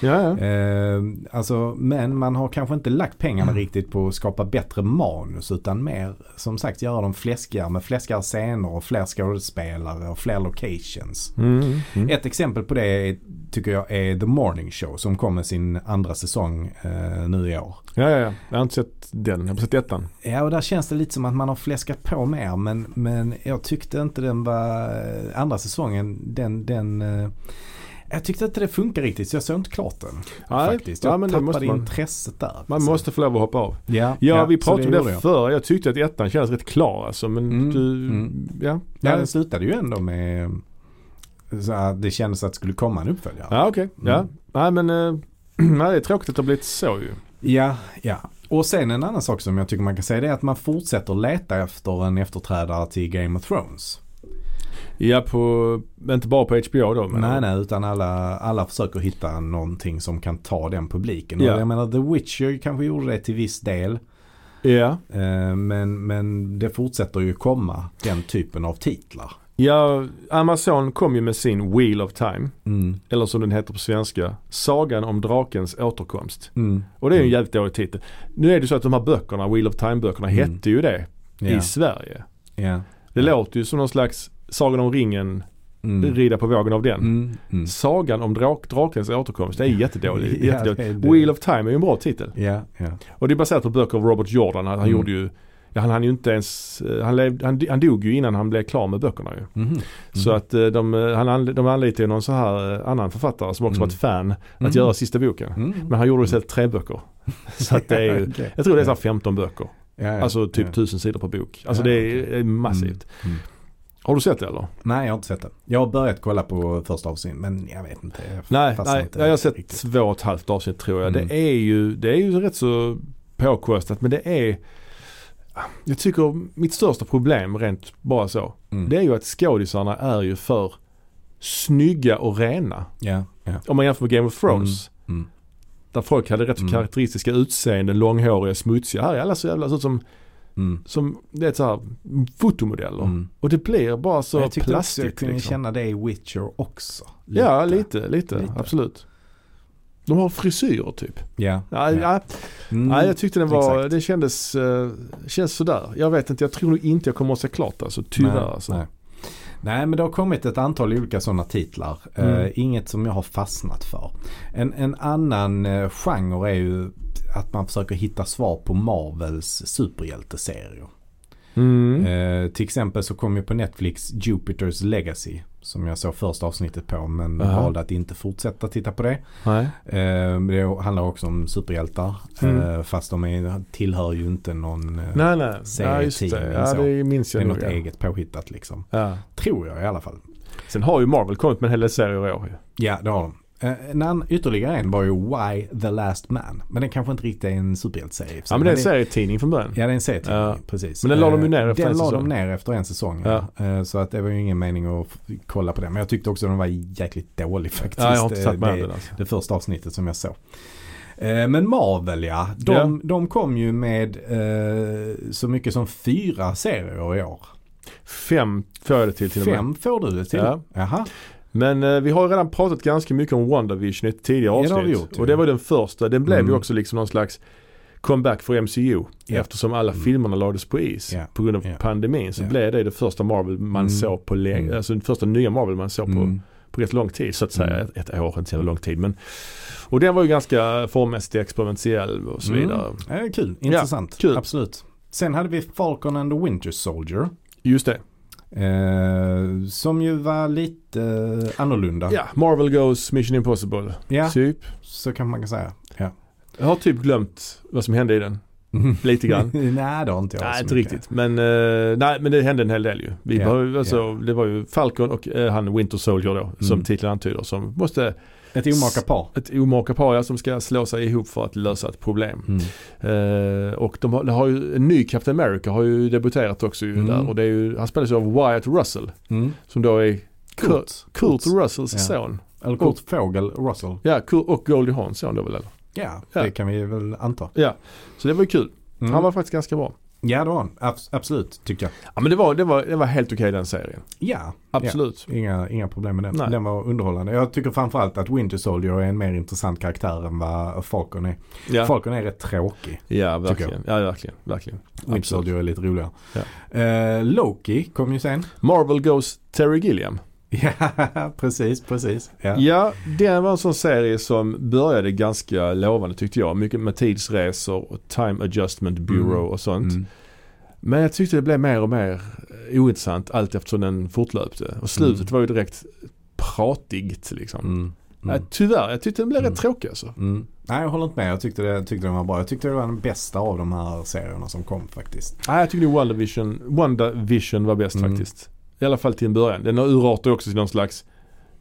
S1: Ja, ja.
S2: Eh, alltså, men man har kanske inte lagt pengarna riktigt på att skapa bättre manus utan mer som sagt göra dem fläskigare med fläskigare scener och fler skådespelare och fler locations.
S1: Mm. Mm.
S2: Ett exempel på det är, tycker jag är The Morning Show som kommer sin andra säsong eh, nu i år.
S1: ja, ja, ja. Jag har inte sett den. Jag har bara sett ettan.
S2: Ja, och där känns det lite som att man har fläskat på mer. Men, men jag tyckte inte den var, eh, andra säsongen, den, den eh, jag tyckte inte det funkar riktigt så jag såg inte klart den.
S1: Nej,
S2: faktiskt.
S1: ja,
S2: Jag
S1: men det
S2: tappade
S1: måste man.
S2: intresset där.
S1: Man måste få lov att hoppa av.
S2: ja,
S1: Ja, vi
S2: så
S1: pratade om
S2: gjorde
S1: det
S2: jag.
S1: förr. Jag tyckte att ettan kändes rätt klar alltså. Men
S2: Mm,
S1: du,
S2: mm.
S1: ja.
S2: Ja,
S1: Nej.
S2: den slutade ju ändå med eh, så att det kändes att det skulle komma en uppföljare.
S1: Ja, okej. Ja.
S2: Mm.
S1: Nej, men eh, nej, det är tråkigt att det har blivit så ju.
S2: Ja, ja. Och sen en annan sak som jag tycker man kan säga det är att man fortsätter leta efter en efterträdare till Game of Thrones.
S1: Ja, på, inte bara på HBO då. men-
S2: Nej, nej, utan alla, alla försöker hitta någonting som kan ta den publiken.
S1: Ja.
S2: Och jag menar The Witcher kanske gjorde det till viss del.
S1: Ja.
S2: Eh, men, men det fortsätter ju komma den typen av titlar.
S1: ja, Amazon kom ju med sin Wheel of Time.
S2: Mm.
S1: Eller som den heter på svenska, Sagan om drakens återkomst.
S2: Mm.
S1: Och det är ju en
S2: Mm.
S1: jävligt dålig titel. Nu är det så att de här böckerna, Wheel of Time-böckerna,
S2: Mm.
S1: hette ju det i
S2: Ja.
S1: Sverige.
S2: Ja.
S1: Det låter ju som någon slags Sagan om ringen,
S2: Mm.
S1: rida på vågen av den.
S2: Mm. Mm.
S1: Sagan om drak, drakens återkomst, det är jättedåligt.
S2: Ja,
S1: jättedåligt.
S2: det är det.
S1: Wheel of Time är ju en bra titel.
S2: Ja, ja.
S1: Och det är baserat på böcker av Robert Jordan. Han, han
S2: Mm.
S1: gjorde ju, ja, han hann ju inte ens, eh, han, levde, han, han dog ju innan han blev klar med böckerna ju.
S2: Mhm.
S1: Så
S2: Mm.
S1: att eh, de, eh, han, anli- de anlitade ju någon så här eh, annan författare som också
S2: Mm.
S1: var ett fan att
S2: Mm.
S1: göra sista boken.
S2: Mm.
S1: Men han gjorde ju istället tre böcker. Så att det är ju,
S2: Okej.
S1: jag tror det är så här 15 böcker.
S2: Ja, ja,
S1: Alltså typ
S2: ja.
S1: 1000 sidor per bok. Alltså
S2: Ja,
S1: det är, är massivt.
S2: Mm.
S1: Har du sett det eller?
S2: Nej, jag har inte sett det. Jag har börjat kolla på första avsnittet men jag vet inte. Jag
S1: Nej,
S2: fastnar
S1: nej
S2: inte
S1: jag har sett
S2: riktigt.
S1: två och ett halvt avsnitt tror jag.
S2: Mm.
S1: Det, är ju, det är ju rätt så påkostat men det är jag tycker mitt största problem rent bara så.
S2: Mm.
S1: Det är ju att skådisarna är ju för snygga och rena.
S2: Ja, ja.
S1: Om man jämför med Game of Thrones.
S2: Mm.
S1: Där folk hade rätt så
S2: Mm.
S1: karaktäristiska utseenden, långhåriga, smutsiga. Här är alla så jävla så ut som,
S2: Mm.
S1: som det är så här, fotomodeller.
S2: Mm.
S1: Och det blir bara så
S2: jag tyckte också jag
S1: plastigt.
S2: kunde
S1: liksom.
S2: känna det i Witcher också.
S1: Ja, lite, lite,
S2: Lite.
S1: Absolut. De har frisyrer typ.
S2: Ja.
S1: Ja, ja.
S2: Mm.
S1: Nej, jag tyckte den var,
S2: Exakt.
S1: det kändes, eh, känns sådär. Jag vet inte, jag tror nog inte jag kommer att se klart alltså. Tyvärr
S2: nej,
S1: alltså.
S2: Nej. nej, men det har kommit ett antal olika sådana titlar. Eh,
S1: Mm.
S2: inget som jag har fastnat för. En, en annan uh, genre är ju att man försöker hitta svar på Marvels superhjälteserier.
S1: Mm.
S2: Eh, till exempel så kom ju på Netflix Jupiters Legacy. Som jag såg första avsnittet på men
S1: Aha.
S2: valde att inte fortsätta titta på det.
S1: Nej.
S2: Eh, det handlar också om superhjältar.
S1: Mm.
S2: Eh, fast de är, tillhör ju inte någon... Eh,
S1: Nej, nej.
S2: Serietidning
S1: Ja, just det. Ja,
S2: så.
S1: det minns
S2: det är
S1: jag
S2: något
S1: nog. ja.
S2: eget påhittat liksom.
S1: Ja.
S2: Tror jag i alla fall.
S1: Sen har ju Marvel kommit med en hel del serier i år ju.
S2: Ja, det har de. Eh, En annan, ytterligare en var ju Why the Last Man. Men den kanske inte riktigt är en superhjälteserie. i och för sig.
S1: Ja, men det är en
S2: Men
S1: serietidning från början.
S2: Ja, det är en serietidning.
S1: Ja.
S2: Precis.
S1: Men den la de ju
S2: Eh,
S1: ner efter
S2: den
S1: en
S2: la
S1: säsong.
S2: de ner efter en säsong. Ja. Eh, Så att det var ju ingen mening att f- kolla på den. Men jag tyckte också att den var jäkligt dålig faktiskt.
S1: Ja, jag har inte
S2: Eh,
S1: satt med
S2: det,
S1: den alltså.
S2: det första avsnittet som jag såg. Eh, Men Marvel ja, de,
S1: Ja.
S2: de kom ju med eh, så mycket som fyra serier i år.
S1: Fem får jag det till till och med.
S2: Fem får du det till.
S1: Ja.
S2: Jaha.
S1: Men eh, vi har ju redan pratat ganska mycket om WandaVision i ett tidigare
S2: Ja, det
S1: avsnitt.
S2: har vi gjort,
S1: och
S2: ja.
S1: det var den första. Den blev
S2: Mm.
S1: ju också liksom någon slags comeback för MCU.
S2: Ja.
S1: Eftersom alla
S2: Mm.
S1: filmerna lades på is
S2: Ja.
S1: på grund av
S2: Ja.
S1: pandemin så
S2: Ja.
S1: blev det det första Marvel man
S2: Mm.
S1: såg på länge.
S2: Mm.
S1: Alltså den första nya Marvel man såg på,
S2: Mm.
S1: på rätt lång tid så att säga.
S2: Mm.
S1: Ett, ett år, inte så jävla lång tid. Men, och den var ju ganska formmässigt experimentell och så
S2: Mm.
S1: vidare.
S2: Eh, kul, intressant.
S1: kul.
S2: Absolut. Sen hade vi Falcon and the Winter Soldier.
S1: Just det.
S2: Eh, som ju var lite eh, annorlunda.
S1: Ja, Marvel Goes Mission Impossible.
S2: Ja,
S1: Typ.
S2: så kan man kan säga. Ja.
S1: Jag har typ glömt vad som hände i den. Lite grann.
S2: nej, det har inte jag.
S1: nej,
S2: så
S1: inte
S2: mycket.
S1: riktigt. Men, eh, nej, men det hände en hel del ju. Vi
S2: Ja,
S1: behöver, alltså,
S2: ja.
S1: Det var ju Falcon och eh, han Winter Soldier då, som
S2: Mm.
S1: titeln antyder, som måste,
S2: Ett omaka par.
S1: ett omaka par ja, som ska slå sig ihop för att lösa ett problem.
S2: Mm.
S1: Eh, och de har, de har ju, en ny Captain America har ju debuterat också ju
S2: Mm.
S1: där och det är ju, han spelas ju av Wyatt Russell,
S2: Mm.
S1: som då är Kurt,
S2: Kurt.
S1: Kurt Russells
S2: Ja.
S1: son.
S2: Eller Kurt Fågel Russell.
S1: Ja, Kurt och Goldie Hawns son då väl eller?
S2: Ja,
S1: Ja.
S2: det kan vi väl anta.
S1: Så det var ju kul.
S2: Mm.
S1: Han var faktiskt ganska bra.
S2: Ja, det var han. Abs- absolut, tycker jag.
S1: Ja men det var, det var, det var helt okej den serien.
S2: Ja,
S1: Absolut.
S2: inga, inga problem med den.
S1: Nej.
S2: Den var underhållande. Jag tycker framförallt att Winter Soldier är en mer intressant karaktär än vad Falcon är.
S1: Ja.
S2: Falcon är rätt tråkig.
S1: Ja,
S2: Tycker
S1: verkligen. Ja, verkligen. verkligen.
S2: Winter Soldier är lite roligare.
S1: Ja.
S2: Eh, Loki kom ju sen.
S1: Marvel Goes Terry Gilliam.
S2: Ja, precis, precis. Ja.
S1: Ja, den var en sån serie som började ganska lovande tyckte jag. Mycket med tidsresor och time adjustment bureau
S2: Mm.
S1: och sånt.
S2: Mm.
S1: Men jag tyckte det blev mer och mer eh, ointressant allt eftersom den fortlöpte. Och slutet
S2: Mm.
S1: var ju direkt pratigt liksom.
S2: Mm.
S1: Ja,
S2: Mm.
S1: tyvärr, jag tyckte den blev
S2: Mm.
S1: rätt tråkig alltså.
S2: Mm. Nej, jag håller inte med. Jag tyckte, det, jag tyckte den var bra. Jag tyckte det var den bästa av de här serierna som kom faktiskt.
S1: Nej, jag tycker nog WandaVision, WandaVision var bäst
S2: Mm.
S1: faktiskt. I alla fall till en början. Den urartar ju också till någon slags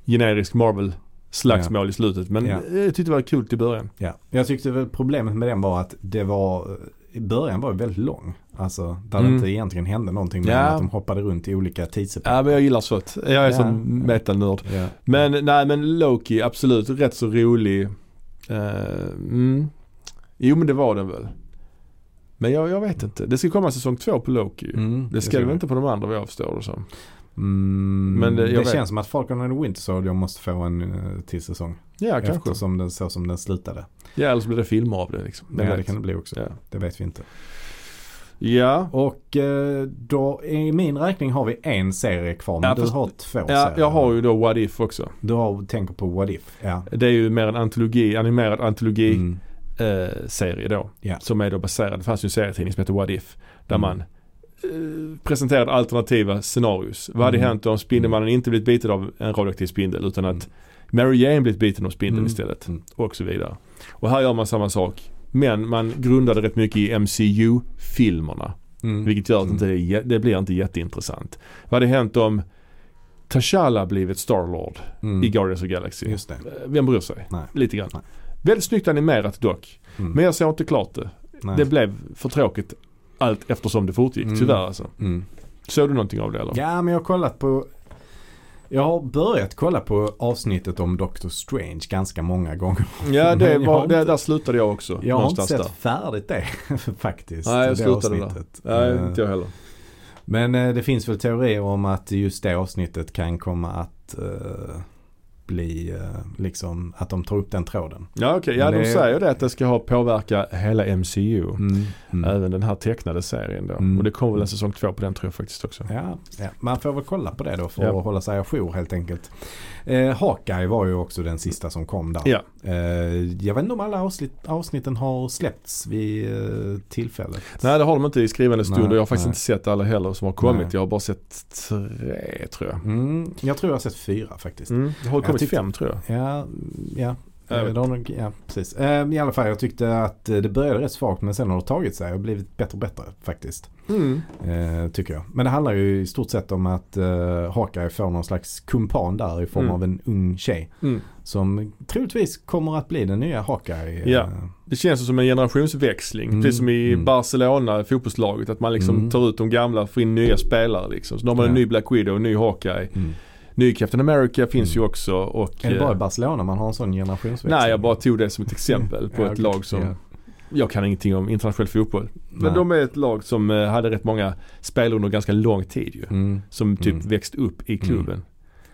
S1: generisk Marvel slagsmål i slutet. Men
S2: Ja.
S1: eh, jag tyckte det var kul till början.
S2: Ja. Jag tyckte väl problemet med den var att det var i början var det väldigt lång. Alltså där
S1: Mm.
S2: det inte egentligen hände någonting men
S1: Ja.
S2: att de hoppade runt i olika tidsepoker.
S1: Ja men jag gillar sånt. Jag är
S2: Ja.
S1: sån metanörd.
S2: Ja.
S1: Men nej men Loki absolut rätt så rolig. Eh, mm. Jo men det var den väl. Men jag, jag vet inte. Det ska komma säsong två på Loki ju.
S2: Mm,
S1: Det ska det väl inte på de andra vad jag förstår det som.
S2: Mm,
S1: Men
S2: men
S1: det-
S2: det,
S1: jag vet-
S2: känns som att Falcon and the Winter Soldier måste få en eh, till säsong.
S1: Ja kanske.
S2: Eftersom den så som den slutade.
S1: Ja eller så blir det filmer av det liksom.
S2: Men
S1: Vem
S2: ja, det
S1: vet.
S2: kan det bli också.
S1: Ja.
S2: Det vet vi inte.
S1: Ja.
S2: Och eh, då i min räkning har vi en serie kvar. Men
S1: Ja,
S2: du
S1: fast-
S2: har två
S1: ja,
S2: serier.
S1: jag har ju då What If också.
S2: Du har, tänker på What If. Ja.
S1: Det är ju mer en antologi, animerad antologi.
S2: Mm.
S1: eh, serie då.
S2: Ja.
S1: Som är då baserad, det fanns ju en serietidning som hette What If. Där
S2: Mm.
S1: man eh, presenterade alternativa scenarios. Vad hade
S2: Mm.
S1: hänt om Spindelmannen inte blivit biten av en radioaktiv spindel utan att
S2: Mm.
S1: Mary Jane blivit biten av spindeln
S2: Mm.
S1: istället.
S2: Mm.
S1: Och så vidare. Och här gör man samma sak. Men man grundade rätt mycket i MCU-filmerna.
S2: Mm.
S1: Vilket gör att
S2: Mm.
S1: inte det, är jä- det blir inte jätteintressant. Vad hade hänt om T'Challa blivit Starlord
S2: Mm.
S1: i Guardians of the Galaxy?
S2: Just det.
S1: Eh, Vem bryr sig?
S2: Nej.
S1: Lite grann.
S2: Nej.
S1: Väldigt snyggt animerat dock.
S2: Mm.
S1: Men jag såg inte klart det.
S2: Nej.
S1: Det blev för tråkigt allt eftersom det fortgick.
S2: Mm.
S1: Tyvärr alltså.
S2: Mm.
S1: Såg du någonting av det eller?
S2: Ja, men jag har kollat på... Jag har börjat kolla på avsnittet om Doctor Strange ganska många gånger.
S1: Ja, det
S2: Men jag har
S1: var, det,
S2: inte-
S1: där slutade jag också.
S2: Jag har inte
S1: någonstans
S2: sett färdigt det faktiskt.
S1: Nej, jag
S2: det
S1: slutade där.
S2: avsnittet.
S1: där.
S2: Eh,
S1: Nej, inte jag heller.
S2: Men eh, det finns väl teorier om att just det avsnittet kan komma att eh, bli eh, liksom att de tar upp den tråden.
S1: Ja, okej. Ja, de
S2: men det-
S1: säger det att det ska ha påverka hela MCU.
S2: Eh,
S1: Även den här tecknade serien då.
S2: Mm.
S1: Och det kommer väl en säsong två på den tror jag faktiskt också.
S2: Ja, ja, man får väl kolla på det då för
S1: Ja.
S2: att hålla sig ajour helt enkelt. Eh, Hawkeye var ju också den sista som kom där.
S1: Ja.
S2: Eh, jag vet inte om alla avsnitt, avsnitten har släppts vid eh, tillfället.
S1: Nej, det har de inte i skrivande stund
S2: Nej,
S1: och jag har faktiskt
S2: nej.
S1: inte sett alla heller som har kommit.
S2: Nej.
S1: Jag har bara sett tre tror jag.
S2: Mm, jag tror jag har sett fyra faktiskt.
S1: Mm. Det har kommit
S2: tyckte-
S1: fem tror jag.
S2: Ja, ja.
S1: Jag vet.
S2: Eh, det har nog- ja, precis. Eh, I alla fall, jag tyckte att eh, det började rätt svagt men sen har det tagit sig och blivit bättre och bättre faktiskt.
S1: Mm.
S2: Eh, tycker jag. Men det handlar ju i stort sett om att eh, Hawkeye får någon slags kumpan där i form
S1: Mm.
S2: av en ung tjej.
S1: Mm.
S2: Som troligtvis kommer att bli den nya Hawkeye. eh,
S1: Ja. Det känns ju som en generationsväxling.
S2: Mm,
S1: Precis som i
S2: mm.
S1: Barcelona, fotbollslaget. Att man liksom
S2: Mm.
S1: tar ut de gamla och får in nya spelare liksom. Så de har man en
S2: Ja.
S1: ny Black Widow, en ny Hawkeye.
S2: Mm.
S1: Ny Captain America finns
S2: Mm.
S1: ju också. Och,
S2: Är det bara i
S1: eh,
S2: Barcelona man har en sån generationsväxling?
S1: Nej, jag bara tog det som ett exempel på
S2: Ja,
S1: ett
S2: okej.
S1: lag som...
S2: Ja.
S1: Jag kan ingenting om internationell fotboll. Men
S2: Nej.
S1: de är ett lag som eh, hade rätt många spelare under ganska lång tid ju.
S2: Mm.
S1: Som typ
S2: Mm.
S1: växt upp i klubben.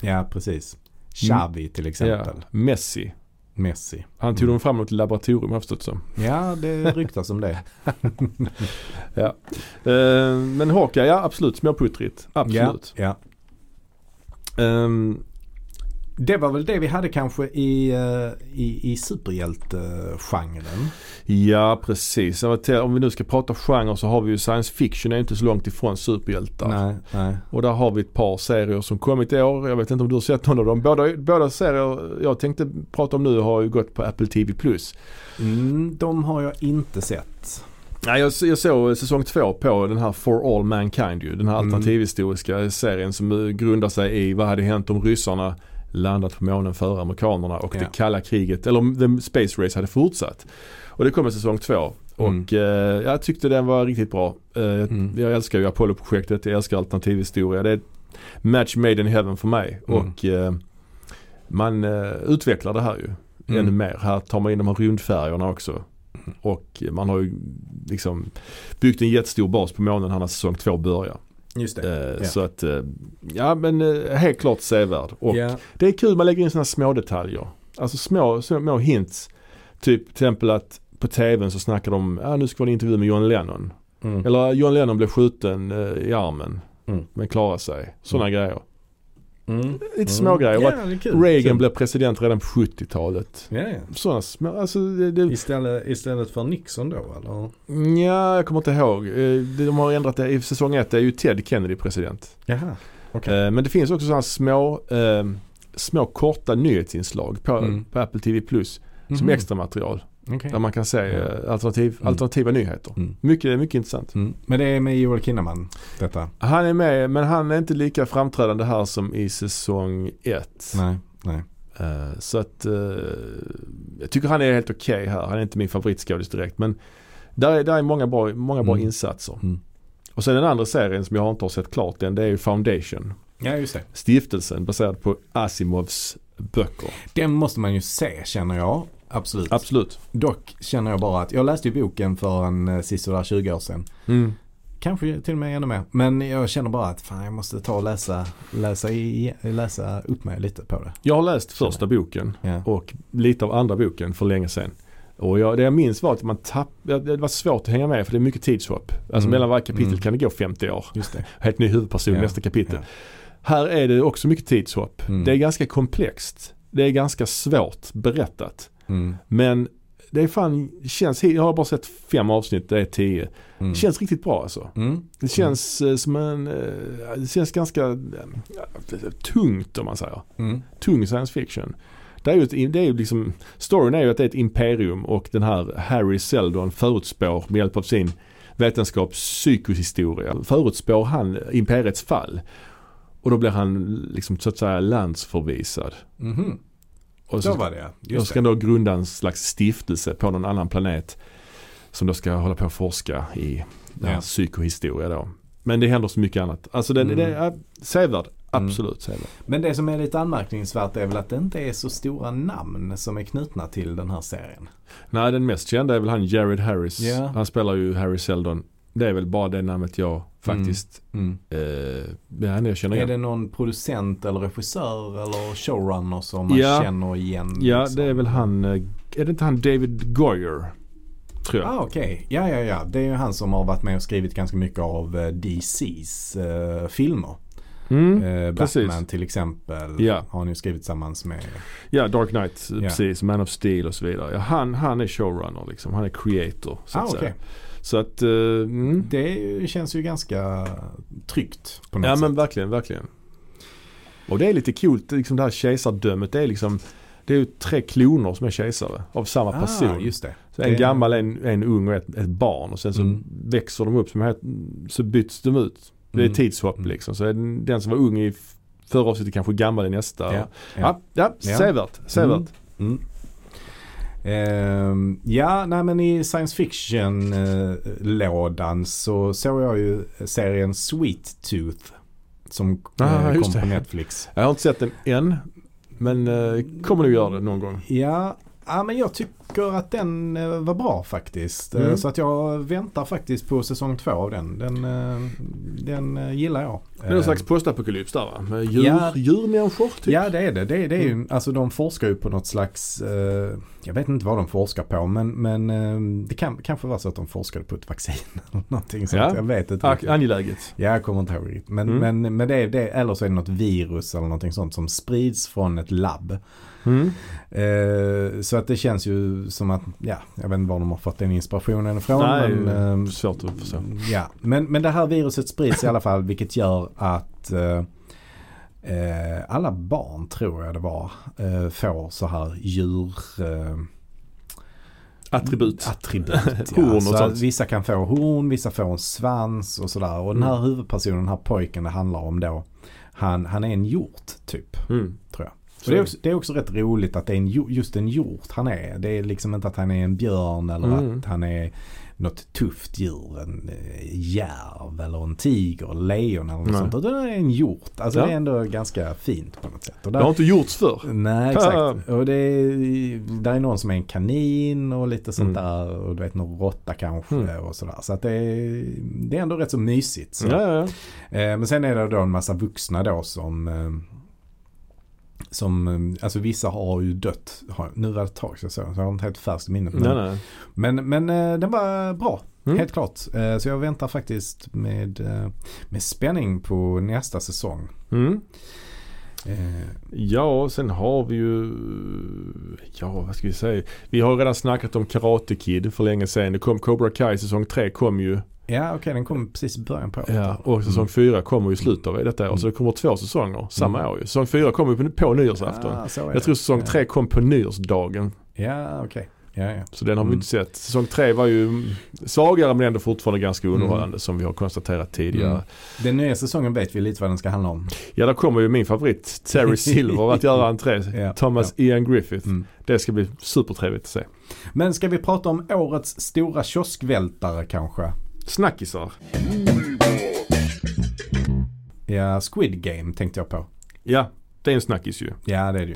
S2: Ja, precis. Xavi
S1: Mm.
S2: till
S1: Ja.
S2: exempel. Mm.
S1: Messi.
S2: Messi.
S1: Han tog dem framåt i laboratorium har jag förstått som.
S2: Ja, det ryktas om det.
S1: Eh, men Hawkeye, ja absolut. Småputtrigt. Absolut.
S2: Ja, ja.
S1: Ehm,
S2: Det var väl det vi hade kanske i, eh, i, i superhjältegenren.
S1: Ja precis. Jag var till- Om vi nu ska prata genre så har vi ju science fiction är ju inte så långt ifrån superhjältar.
S2: Nej, nej.
S1: Och där har vi ett par serier som kommit i år. Jag vet inte om du har sett någon av dem. Båda, båda serier jag tänkte prata om nu har ju gått på Apple TV+.
S2: Mm, de har jag inte sett.
S1: Nej, jag, jag såg säsong två på den här For All Mankind ju. Den här
S2: Mm.
S1: alternativhistoriska serien som eh, grundar sig i vad hade hänt om ryssarna landat på månen före amerikanerna och
S2: Ja.
S1: det kalla kriget, eller om the space race hade fortsatt. Och det kom en säsong två.
S2: Mm.
S1: Och eh, jag tyckte den var riktigt bra. Eh, jag-
S2: Mm.
S1: Jag älskar ju Apollo-projektet, jag älskar alternativhistoria. Det är match made in heaven för mig.
S2: Mm.
S1: Och eh, man eh, utvecklar det här ju
S2: Mm.
S1: ännu mer. Här tar man in de här rymdfärjorna också. Och man har ju liksom byggt en jättestor bas på månen här när säsong två börjar.
S2: Just det.
S1: Eh, Så att, eh, ja men eh, helt klart sevärd. Och
S2: ja.
S1: det är kul, man lägger in sådana små detaljer. Alltså små, små hints. Typ till exempel att på tvn så snackar de om, ah, nu ska vara en intervju med John Lennon.
S2: Mm.
S1: Eller John Lennon blev skjuten eh, i armen.
S2: Mm.
S1: Men klarade sig. Sådana grejer.
S2: Mm.
S1: Lite små grejer. Och att
S2: Ja, det är kul.
S1: Reagan
S2: Kul.
S1: blev president redan på 70-talet.
S2: Ja, ja.
S1: Sådana små, alltså det, det,
S2: Istället, istället för Nixon då eller?
S1: Ja, jag kommer inte ihåg. Eh, De har ändrat det. I säsong ett är ju Ted Kennedy president.
S2: Jaha. Okej.
S1: Eh, Men det finns också sådana små, eh, små korta nyhetsinslag på,
S2: Mm.
S1: på Apple TV Plus som
S2: Mhm.
S1: extra material
S2: Okej.
S1: Där man kan se eh, alternativ,
S2: Mm.
S1: alternativa nyheter.
S2: Mm.
S1: Mycket, mycket intressant.
S2: Mm. Men det är med Joel Kinnaman detta?
S1: Han är med, men han är inte lika framträdande här som i säsong ett.
S2: Nej, nej.
S1: Eh, så att eh, jag tycker han är helt okej här. Han är inte min favoritskådis direkt. Men där är, där är många bra, många bra
S2: Mm.
S1: insatser.
S2: Mm.
S1: Och sen den andra serien som jag inte har sett klart än det är ju Foundation.
S2: Ja, just det.
S1: Stiftelsen baserad på Asimovs böcker.
S2: Den måste man ju se känner jag. Absolut.
S1: Absolut.
S2: Dock känner jag bara att jag läste ju boken för en eh, sisådär 20 år sedan.
S1: Mm.
S2: Kanske till och med ännu mer. Men jag känner bara att fan, jag måste ta och läsa, läsa, i, läsa upp mig lite på det.
S1: Jag har läst första boken
S2: Ja.
S1: och lite av andra boken för länge sedan. Och jag, det jag minns var att man tapp, ja, det var svårt att hänga med för det är mycket tidshopp. Alltså
S2: Mm.
S1: mellan varje kapitel
S2: Mm.
S1: kan det gå 50 år.
S2: Just det.
S1: Helt ny huvudperson
S2: Ja.
S1: nästa kapitel.
S2: Ja.
S1: Här är det också mycket tidshopp.
S2: Mm.
S1: Det är ganska komplext. Det är ganska svårt berättat.
S2: Mm.
S1: Men det är fan, känns, jag har bara sett fem avsnitt, det är tio.
S2: Mm.
S1: Det känns riktigt bra alltså.
S2: Mm.
S1: Det känns eh, som en, eh, det känns ganska eh, tungt om man säger.
S2: Mm.
S1: Tung science fiction. Det är ju, ett, det är ju liksom, storyn är ju att det är ett imperium och den här Harry Seldon förutspår med hjälp av sin vetenskap psykohistoria. Förutspår han imperiets fall. Och då blir han liksom så att säga landsförvisad.
S2: Mhm.
S1: Och
S2: Då
S1: så,
S2: var det ja.
S1: och
S2: Just
S1: ska
S2: det.
S1: han då grunda en slags stiftelse på någon annan planet. Som då ska hålla på och forska i den här
S2: Ja.
S1: psykohistoria då. Men det händer så mycket annat. Alltså det,
S2: Mm.
S1: det är sevärd. Absolut sevärd.
S2: Men det som är lite anmärkningsvärt är väl att det inte är så stora namn som är knutna till den här serien.
S1: Nej den mest kända är väl han Jared Harris.
S2: Ja.
S1: Han spelar ju Harry Seldon. Det är väl bara det namnet jag faktiskt eh, men jag känner
S2: Är
S1: igen.
S2: det någon producent eller regissör eller showrunner som man
S1: man Ja.
S2: känner igen? liksom?
S1: Ja det är väl han, eh, är det inte han David Goyer? Tror jag.
S2: Ah, Okej, ja ja ja. Det är ju han som har varit med och skrivit ganska mycket av eh, DCs eh, filmer.
S1: Mm.
S2: Eh,
S1: precis.
S2: Batman till exempel
S1: Ja.
S2: har han ju skrivit tillsammans med.
S1: Ja, Dark Knight, eh,
S2: Ja.
S1: precis. Man of Steel och så vidare. Ja, han, han är showrunner liksom. Han är creator så
S2: Ah,
S1: att
S2: okej.
S1: säga. Så att, eh, mm.
S2: Det är ju- känns ju ganska tryggt på något
S1: Ja
S2: sätt.
S1: men verkligen, verkligen. Och det är lite coolt, liksom det här kejsardömet. Det är liksom det är ju tre kloner som är kejsare av samma
S2: Ah,
S1: person.
S2: just det.
S1: så en
S2: det-
S1: gammal, en, en ung och ett, ett barn. Och sen så
S2: Mm.
S1: växer de upp som het, så byts de ut. Det är
S2: Mm.
S1: tidshopp
S2: Mm.
S1: liksom. Så är den, den som var ung i f- förra avsnittet kanske gammal i nästa.
S2: Ja, ja.
S1: ja, ja,
S2: Ja.
S1: sevärt. sevärt.
S2: Mm. Mm. Ehm, ja, nej men i science fiction-lådan så såg jag ju serien Sweet Tooth. Som
S1: Ah,
S2: eh, kom
S1: just
S2: på
S1: det.
S2: Netflix.
S1: Jag har inte sett den än. Men eh, kommer nog göra det någon gång.
S2: Ja, ja, men jag tycker att den eh, var bra faktiskt. Eh,
S1: Mm.
S2: Så att jag väntar faktiskt på säsong två av den. Den, eh, den eh, gillar jag.
S1: Det är någon
S2: Ehm,
S1: slags postapokalyps där va? Med djur,
S2: Ja.
S1: djurmänniskor typ. Mm.
S2: Ja det är det. det, är, det är ju, alltså de forskar ju på något slags, eh, jag vet inte vad de forskar på men, men eh, det kan, kanske var så att de forskade på ett vaccin eller någonting sånt.
S1: Ja.
S2: Jag vet inte.
S1: Ah,
S2: riktigt.
S1: Angeläget.
S2: Ja, jag kommer inte ihåg riktigt. Men,
S1: Mm.
S2: men, men det är det, eller så är det något virus eller någonting sånt som sprids från ett labb.
S1: Mm.
S2: Eh, så att det känns ju som att, ja, jag vet inte var de har fått den inspirationen ifrån.
S1: Nej,
S2: men, eh,
S1: Svårt att förstå.
S2: Ja, men, men det här viruset sprids i alla fall vilket gör att eh, eh, alla barn tror jag det var eh, får så här djur... Eh,
S1: Attribut.
S2: Attribut.
S1: Horn
S2: ja.
S1: och
S2: så
S1: sånt.
S2: Vissa kan få horn, vissa får en svans och sådär. Och den här
S1: Mm.
S2: huvudpersonen, den här pojken det handlar om då, han, han är en hjort typ.
S1: Mm.
S2: Tror jag.
S1: Så
S2: Och det, är också, det är också rätt roligt att det är en, jo- just en hjort han är. Det är liksom inte att han är en björn eller
S1: Mm.
S2: att han är något tufft djur. En eh, järv eller en tiger, lejon eller något
S1: Nej.
S2: sånt. Utan han är en hjort. Alltså
S1: Ja.
S2: det är ändå ganska fint på något sätt. Och
S1: Det
S2: där,
S1: har inte gjorts förr.
S2: Nej
S1: Ah.
S2: exakt. Och det är, där är någon som är en kanin och lite sånt
S1: Mm.
S2: där. Och du vet någon råtta kanske
S1: Mm.
S2: och sådär. Så att det är, det är ändå rätt så mysigt. Så.
S1: Ja, ja, ja.
S2: Eh, Men sen är det då en massa vuxna då som eh, som, eh, alltså vissa har ju dött. Har- Nu var det ett tag sedan jag såg den, så jag har inte helt färskt minne. Men,
S1: Nej, nej.
S2: men, men eh, den var bra,
S1: Mm.
S2: helt klart. Eh, Så jag väntar faktiskt med, eh, med spänning på nästa säsong.
S1: Mm.
S2: Eh,
S1: Ja, sen har vi ju... Ja, vad ska vi säga? Vi har ju redan snackat om Karate Kid för länge sedan. Det kom Cobra Kai säsong 3 kom ju.
S2: Ja, okej, den kom precis i början på året.
S1: Ja,
S2: Mm.
S1: och säsong 4 kommer ju i slutet av detta år. Så det kommer två säsonger samma år ju. Säsong 4 kommer ju på, på nyårsafton.
S2: Mm. Ah, så är
S1: Jag
S2: det.
S1: tror säsong
S2: Ja.
S1: 3 kom på nyårsdagen.
S2: Ja, okej. Ja, ja.
S1: Så den har vi
S2: Mm.
S1: inte sett. Säsong tre var ju svagare men ändå fortfarande ganska underhållande som vi har konstaterat tidigare.
S2: Mm. Den nya säsongen vet vi lite vad den ska handla om.
S1: Ja, där kommer ju min favorit Terry Silver att göra entré.
S2: Ja,
S1: Thomas Ian Griffith.
S2: Mm.
S1: Det ska bli supertrevligt att se.
S2: Men ska vi prata om årets stora kioskvältare kanske?
S1: Snackisar.
S2: Ja, Squid Game tänkte jag på.
S1: Ja, det är en snackis ju.
S2: Ja, det är det ju.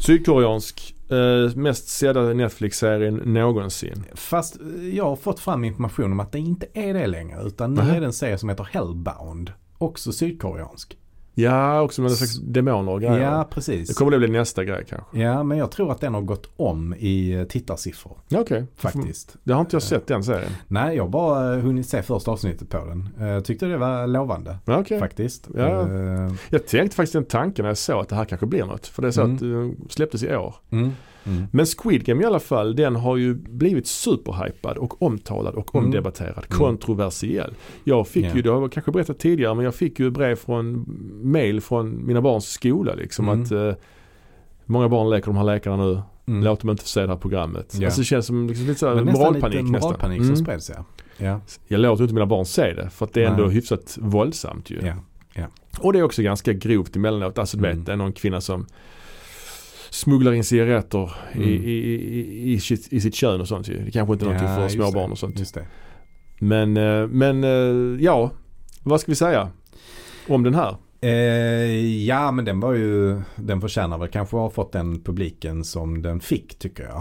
S1: Sydkoreansk. Eh, mest sedda Netflix-serien någonsin.
S2: Fast eh, jag har fått fram information om att det inte är det längre. Utan nu
S1: Nähä.
S2: är det en serie som heter Hellbound. Också sydkoreansk.
S1: Ja, också med en slags demoner och grejer.
S2: Ja, precis.
S1: Det kommer det bli nästa grej kanske.
S2: Ja, men jag tror att den har gått om i eh, tittarsiffror.
S1: Ja, okej.
S2: Faktiskt.
S1: Det har inte jag sett den serien.
S2: Nej, jag har bara eh, hunnit se första avsnittet på den. Jag tyckte det var lovande.
S1: Ja, okej.
S2: Faktiskt.
S1: Ja.
S2: Eh,
S1: Jag tänkte faktiskt den tanken när jag såg att det här kanske blir något. För det är så
S2: Mm.
S1: att det släpptes i år.
S2: Mm. Mm.
S1: Men Squid Game i alla fall, den har ju blivit superhypad och omtalad och
S2: Mm.
S1: omdebatterad.
S2: Mm.
S1: Kontroversiell. Jag fick
S2: Ja.
S1: ju, det har jag kanske berättat tidigare, men jag fick ju brev från, mail från mina barns skola liksom
S2: Mm.
S1: att eh, många barn leker de här lekarna nu.
S2: Mm.
S1: Låt dem inte få se det här programmet.
S2: Ja.
S1: Alltså det känns som liksom lite så här
S2: Men nästan
S1: moralpanik
S2: lite
S1: nästan.
S2: moralpanik
S1: Mm.
S2: som spreds ja. Ja,
S1: Jag låter inte mina barn se det för att det är ändå
S2: Nej.
S1: hyfsat våldsamt ju.
S2: ja.
S1: Och det är också ganska grovt emellanåt. Alltså du
S2: Mm.
S1: vet, det är någon kvinna som smugglar in cigaretter i,
S2: Mm.
S1: i, i, i, sitt, i sitt kön och sånt ju. Det kanske inte är någonting
S2: Ja,
S1: för
S2: just
S1: små
S2: det.
S1: barn och sånt.
S2: Just det.
S1: Men, eh, men eh, ja, vad ska vi säga om den här?
S2: Eh, ja, men den var ju, den förtjänar väl kanske att ha fått den publiken som den fick tycker jag.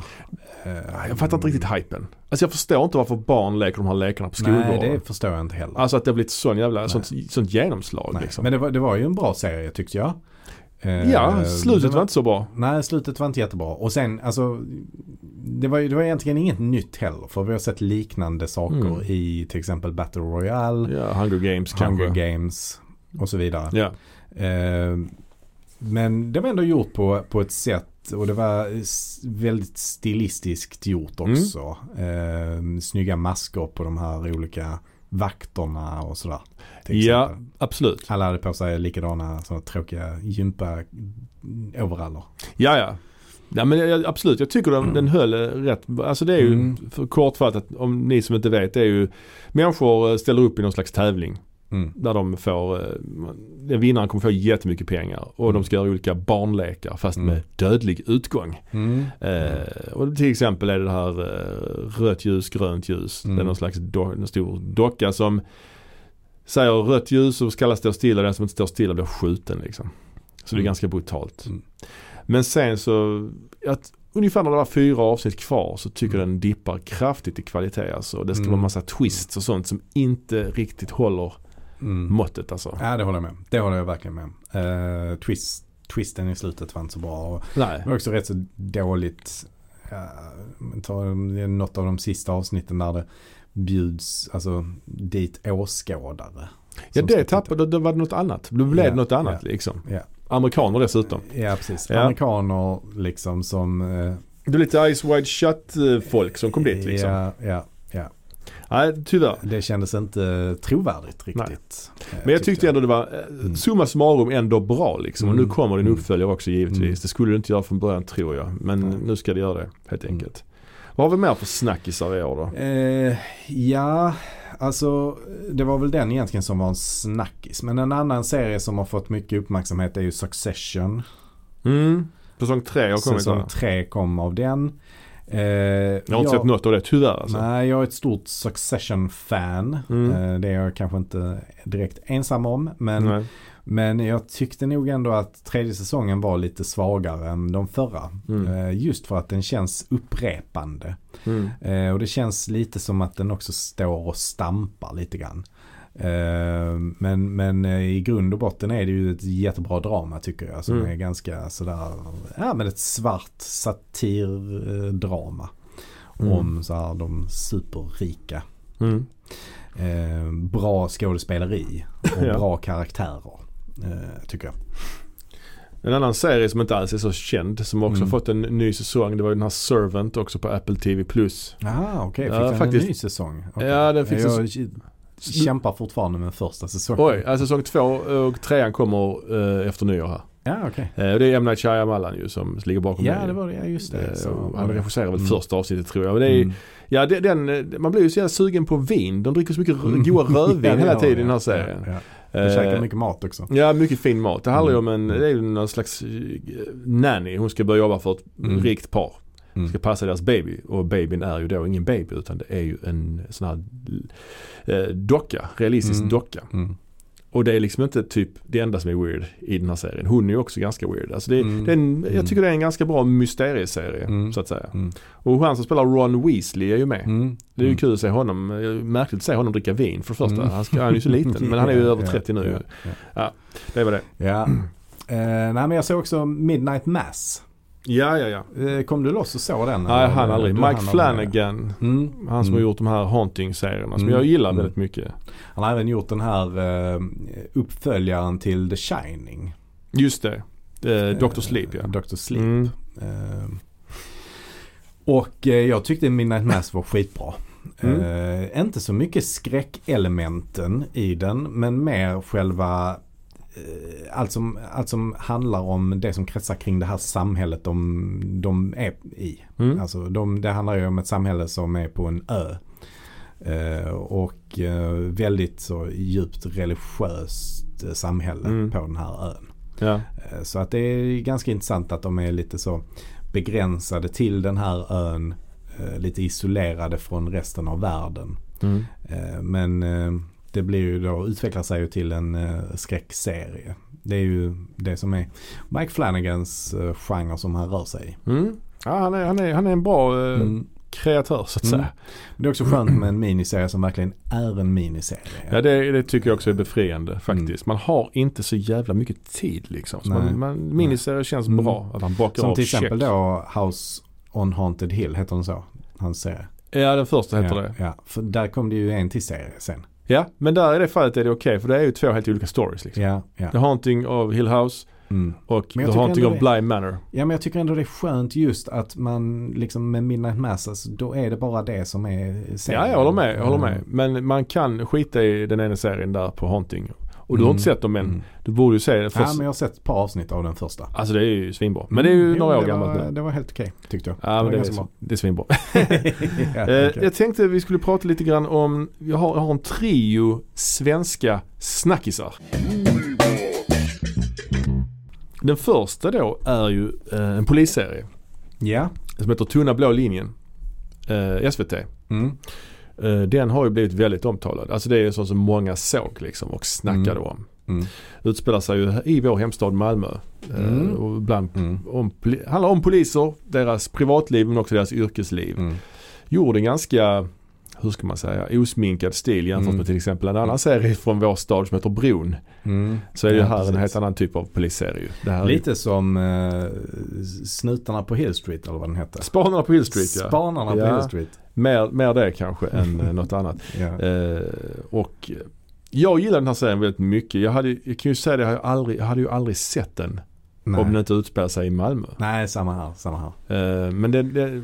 S2: Eh,
S1: Jag fattar inte riktigt hypen. Alltså jag förstår inte varför barn leker de här lekarna på
S2: Nej,
S1: skolgården.
S2: det förstår jag inte heller.
S1: Alltså att det har blivit sån jävla, sånt, sånt genomslag
S2: Nej.
S1: liksom.
S2: Men det var, det var ju en bra serie tyckte jag. Eh,
S1: ja,
S2: det
S1: slutet var inte så bra.
S2: Nej, slutet var inte jättebra. Och sen, alltså, det var, ju- det var egentligen inget nytt heller. För vi har sett liknande saker
S1: Mm.
S2: i till exempel Battle Royale,
S1: Ja, Hunger Games
S2: Hunger
S1: kanske.
S2: Games och så vidare.
S1: Ja.
S2: Eh, men det var ändå gjort på, på ett sätt och det var s- väldigt stilistiskt gjort också. Eh, snygga masker på de här olika vakterna och sådär. till
S1: ja,
S2: exempel.
S1: absolut.
S2: Alla hade på sig likadana sådana tråkiga mm, gympa-overaller.
S1: Ja, ja. Ja men jag, absolut, jag tycker den, den höll eh, rätt. Alltså det är ju
S2: Mm.
S1: för kortfattat, om ni som inte vet, det är ju människor eh, ställer upp i någon slags tävling
S2: Mm.
S1: där de får, eh, den vinnaren kommer få jättemycket pengar och de ska göra olika barnlekar fast
S2: Mm.
S1: med dödlig utgång.
S2: Mm.
S1: Eh, och till exempel är det det här eh, rött ljus, grönt ljus.
S2: Mm.
S1: Det är någon slags do- en stor docka som säger rött ljus så ska alla stå stilla. Den som inte står stilla blir skjuten liksom. Så det är
S2: Mm.
S1: ganska brutalt.
S2: Mm.
S1: Men sen så, att ungefär när det var fyra avsnitt kvar så tycker jag den dippar kraftigt i kvalitet alltså. Det ska
S2: Mm.
S1: vara massa twists och sånt som inte riktigt håller
S2: Mm.
S1: måttet alltså.
S2: Ja, det håller jag med om. Det håller jag verkligen med om. Eh, twist, twisten i slutet var inte så bra. Och
S1: Nej.
S2: det var också rätt så dåligt. Ja, men ta något av de sista avsnitten där det bjuds alltså, dit åskådare.
S1: Ja
S2: som
S1: det
S2: ska titta.
S1: tappade, det var något annat. Det blev
S2: Ja,
S1: något annat
S2: ja,
S1: liksom.
S2: ja.
S1: Amerikaner dessutom.
S2: Ja, precis.
S1: Ja.
S2: Amerikaner liksom som... eh,
S1: Det var lite Ice Wide Shut eh, folk som kom dit liksom.
S2: Ja, ja.
S1: Nej, tyvärr.
S2: Det kändes inte trovärdigt riktigt. eh,
S1: Men jag tyckte ändå det var, eh,
S2: Mm.
S1: summa summarum, ändå bra liksom. Och
S2: Mm.
S1: nu kommer den
S2: Mm.
S1: uppföljare också givetvis.
S2: Mm.
S1: Det skulle det inte göra från början tror jag. Men
S2: Nej.
S1: nu ska det göra det helt
S2: Mm.
S1: enkelt. Vad har vi mer för snackisar i år då?
S2: Eh, ja, alltså det var väl den egentligen som var en snackis. Men en annan serie som har fått mycket uppmärksamhet är ju Succession.
S1: Mm. Säsong tre har kommit
S2: Säsong
S1: här.
S2: 3 kom av den. Eh,
S1: Jag har inte sett något av det tyvärr alltså.
S2: Nej, jag är ett stort Succession-fan.
S1: Mm.
S2: Eh, det är jag kanske inte direkt ensam om. Men,
S1: Nej.
S2: men jag tyckte nog ändå att tredje säsongen var lite svagare än de förra.
S1: Mm.
S2: Eh, just för att den känns upprepande.
S1: Mm.
S2: Eh, och det känns lite som att den också står och stampar lite grann. Eh, men, men eh, i grund och botten är det ju ett jättebra drama tycker jag. Som
S1: Mm.
S2: är ganska sådär, ja men ett svart satirdrama.
S1: Mm.
S2: Om så här, de superrika.
S1: Mm.
S2: Eh, bra skådespeleri och
S1: Ja.
S2: bra karaktärer. Eh, tycker jag.
S1: En annan serie som inte alls är så känd som också
S2: Mm.
S1: fått en ny säsong. Det var ju den här Servant också på Apple TV+. Plus.
S2: Ah, okej.
S1: Ja,
S2: Fick den
S1: faktiskt.
S2: en ny säsong? Okej.
S1: Ja, den fick
S2: jag kämpar fortfarande med första säsongen.
S1: alltså Oj, ja, säsong två och trean kommer eh, efter nyår här.
S2: Ja, okej.
S1: Eh, och det är M. Night Shyamalan ju som ligger bakom
S2: Ja,
S1: det.
S2: det var det. Ja, just
S1: Eh,
S2: det. Så,
S1: och han regisserade väl
S2: Mm.
S1: första avsnittet tror jag. Men det är,
S2: Mm.
S1: ja, det, den, eh, man blir ju så jävla sugen på vin. De dricker så mycket r-
S2: Mm.
S1: goda rödvin
S2: Ja, det
S1: hela
S2: var
S1: tiden i
S2: det.
S1: den här
S2: Ja,
S1: serien.
S2: Ja,
S1: Ja,
S2: De käkar mycket mat också.
S1: Ja, mycket fin mat. Det handlar ju om en,
S2: Mm.
S1: det är ju någon slags eh, nanny. Hon ska börja jobba för ett
S2: Mm.
S1: rikt par.
S2: Mm.
S1: Ska passa deras baby. Och babyn är ju då ingen baby utan det är ju en sån här eh, docka. Realistisk
S2: Mm.
S1: docka.
S2: Mm.
S1: Och det är liksom inte typ det enda som är weird i den här serien. Hon är ju också ganska weird. Alltså det,
S2: Mm.
S1: det är en,
S2: Mm.
S1: jag tycker det är en ganska bra mysterieserie
S2: Mm.
S1: så att säga.
S2: Mm.
S1: Och han som spelar Ron Weasley är ju med.
S2: Mm.
S1: Det är ju kul att se honom, eh, märkligt att se honom dricka vin för det första.
S2: Mm.
S1: Han, ska, han är ju så liten men han är ju
S2: Ja,
S1: över
S2: ja,
S1: 30 nu.
S2: Ja. ja.
S1: Det var det.
S2: ja. Eh, nej, men jag såg också Midnight Mass.
S1: Ja, ja, ja.
S2: Eh, kom du loss och såg den?
S1: Nej, han aldrig.
S2: Du
S1: Mike
S2: hann
S1: Flanagan.
S2: Mm.
S1: Han som
S2: Mm.
S1: har gjort de här Haunting-serierna som
S2: Mm.
S1: jag gillar
S2: Mm.
S1: väldigt mycket.
S2: Han har även gjort den här eh, uppföljaren till The Shining.
S1: Just det. Eh, Dr. Sleep ja.
S2: Dr. Sleep.
S1: Mm.
S2: Eh, och eh, jag tyckte Midnight Mass var skitbra.
S1: Mm.
S2: Eh, inte så mycket skräckelementen i den men mer själva eh, allt som, allt som handlar om det som kretsar kring det här samhället de, de är i.
S1: Mm.
S2: Alltså de, det handlar ju om ett samhälle som är på en ö. Eh, och eh, väldigt så djupt religiöst eh, samhälle
S1: Mm.
S2: på den här ön.
S1: Ja.
S2: Eh, så att det är ganska intressant att de är lite så begränsade till den här ön. Eh, lite isolerade från resten av världen.
S1: Mm.
S2: Eh, men eh, det blir ju då, utvecklar sig ju till en eh, skräckserie. Det är ju det som är Mike Flanagans eh, genre som han rör sig i.
S1: Mm. Ja, han, är, han, är, han är en bra eh,
S2: Mm.
S1: kreatör så att
S2: Mm.
S1: säga.
S2: Men Det är också skönt med en miniserie som verkligen är en miniserie.
S1: Ja, det, det tycker jag också är
S2: Mm.
S1: befriande faktiskt. Man har inte så jävla mycket tid liksom. Så
S2: Nej.
S1: man, man, miniserier känns
S2: Mm.
S1: bra. Att han bakar
S2: som
S1: av
S2: till exempel
S1: check.
S2: då House on Haunted Hill, heter den så? Hans serie.
S1: Ja, den första heter
S2: ja,
S1: det.
S2: Ja, för där kom det ju en till serie sen.
S1: Ja, men där i det fallet är det okej för det är ju två helt olika stories liksom.
S2: Ja, ja.
S1: The Haunting of Hill House
S2: Mm.
S1: och The
S2: Men jag tycker
S1: Haunting of
S2: ändå
S1: Bly Manor.
S2: ja, men jag tycker ändå det är skönt just att man liksom med Midnight Mass, alltså, då är det bara det som är serien.
S1: Ja, jag håller med. Jag håller med.
S2: Mm.
S1: Men man kan skita i den ena serien där på Haunting. Och du har
S2: Mm.
S1: inte sett dem än.
S2: Mm.
S1: Du borde ju se det
S2: Ja,
S1: först.
S2: men jag har sett ett par avsnitt av den första.
S1: Alltså det är ju svinbra. Men det är ju
S2: Mm, jo,
S1: några år
S2: det
S1: gammalt
S2: var,
S1: nu.
S2: Det var helt okej, tyckte jag.
S1: Ja, men det,
S2: var
S1: är,
S2: ganska
S1: så-
S2: bra.
S1: det är svinbra.
S2: ja,
S1: Eh,
S2: okej.
S1: Jag tänkte vi skulle prata lite grann om, jag har, jag har en trio svenska snackisar. Den första då är ju eh, en polisserie
S2: ja.
S1: som heter Tunna blå linjen. Eh, SVT.
S2: Mm.
S1: Eh, den har ju blivit väldigt omtalad. Alltså det är ju sånt som många såg liksom och snackade
S2: Mm.
S1: om.
S2: Mm.
S1: Utspelar sig ju i vår hemstad Malmö. Eh,
S2: Mm.
S1: och bland,
S2: Mm.
S1: om, poli- handlar om poliser, deras privatliv men också deras yrkesliv.
S2: Mm.
S1: gjorde en ganska, hur ska man säga, osminkad stil jämfört
S2: Mm.
S1: med till exempel en annan serie från vår stad som heter Bron.
S2: Mm.
S1: Så är det ju
S2: Ja,
S1: här en
S2: precis.
S1: helt annan typ av polisserie. ju. Det här är ju-
S2: Lite som eh, snutarna på Hill Street eller vad den hette.
S1: Spanarna på Hill Street ja.
S2: Spanarna på
S1: Ja.
S2: Hill Street.
S1: Mer, mer det kanske än eh, något annat.
S2: Ja.
S1: Eh, och eh, jag gillar den här serien väldigt mycket. Jag, hade, jag kan ju säga det, jag, har ju aldrig, jag hade ju aldrig sett den Eh, om den
S2: Nej.
S1: inte utspelar sig i Malmö.
S2: Nej, samma här. Samma här.
S1: Eh, men det, det,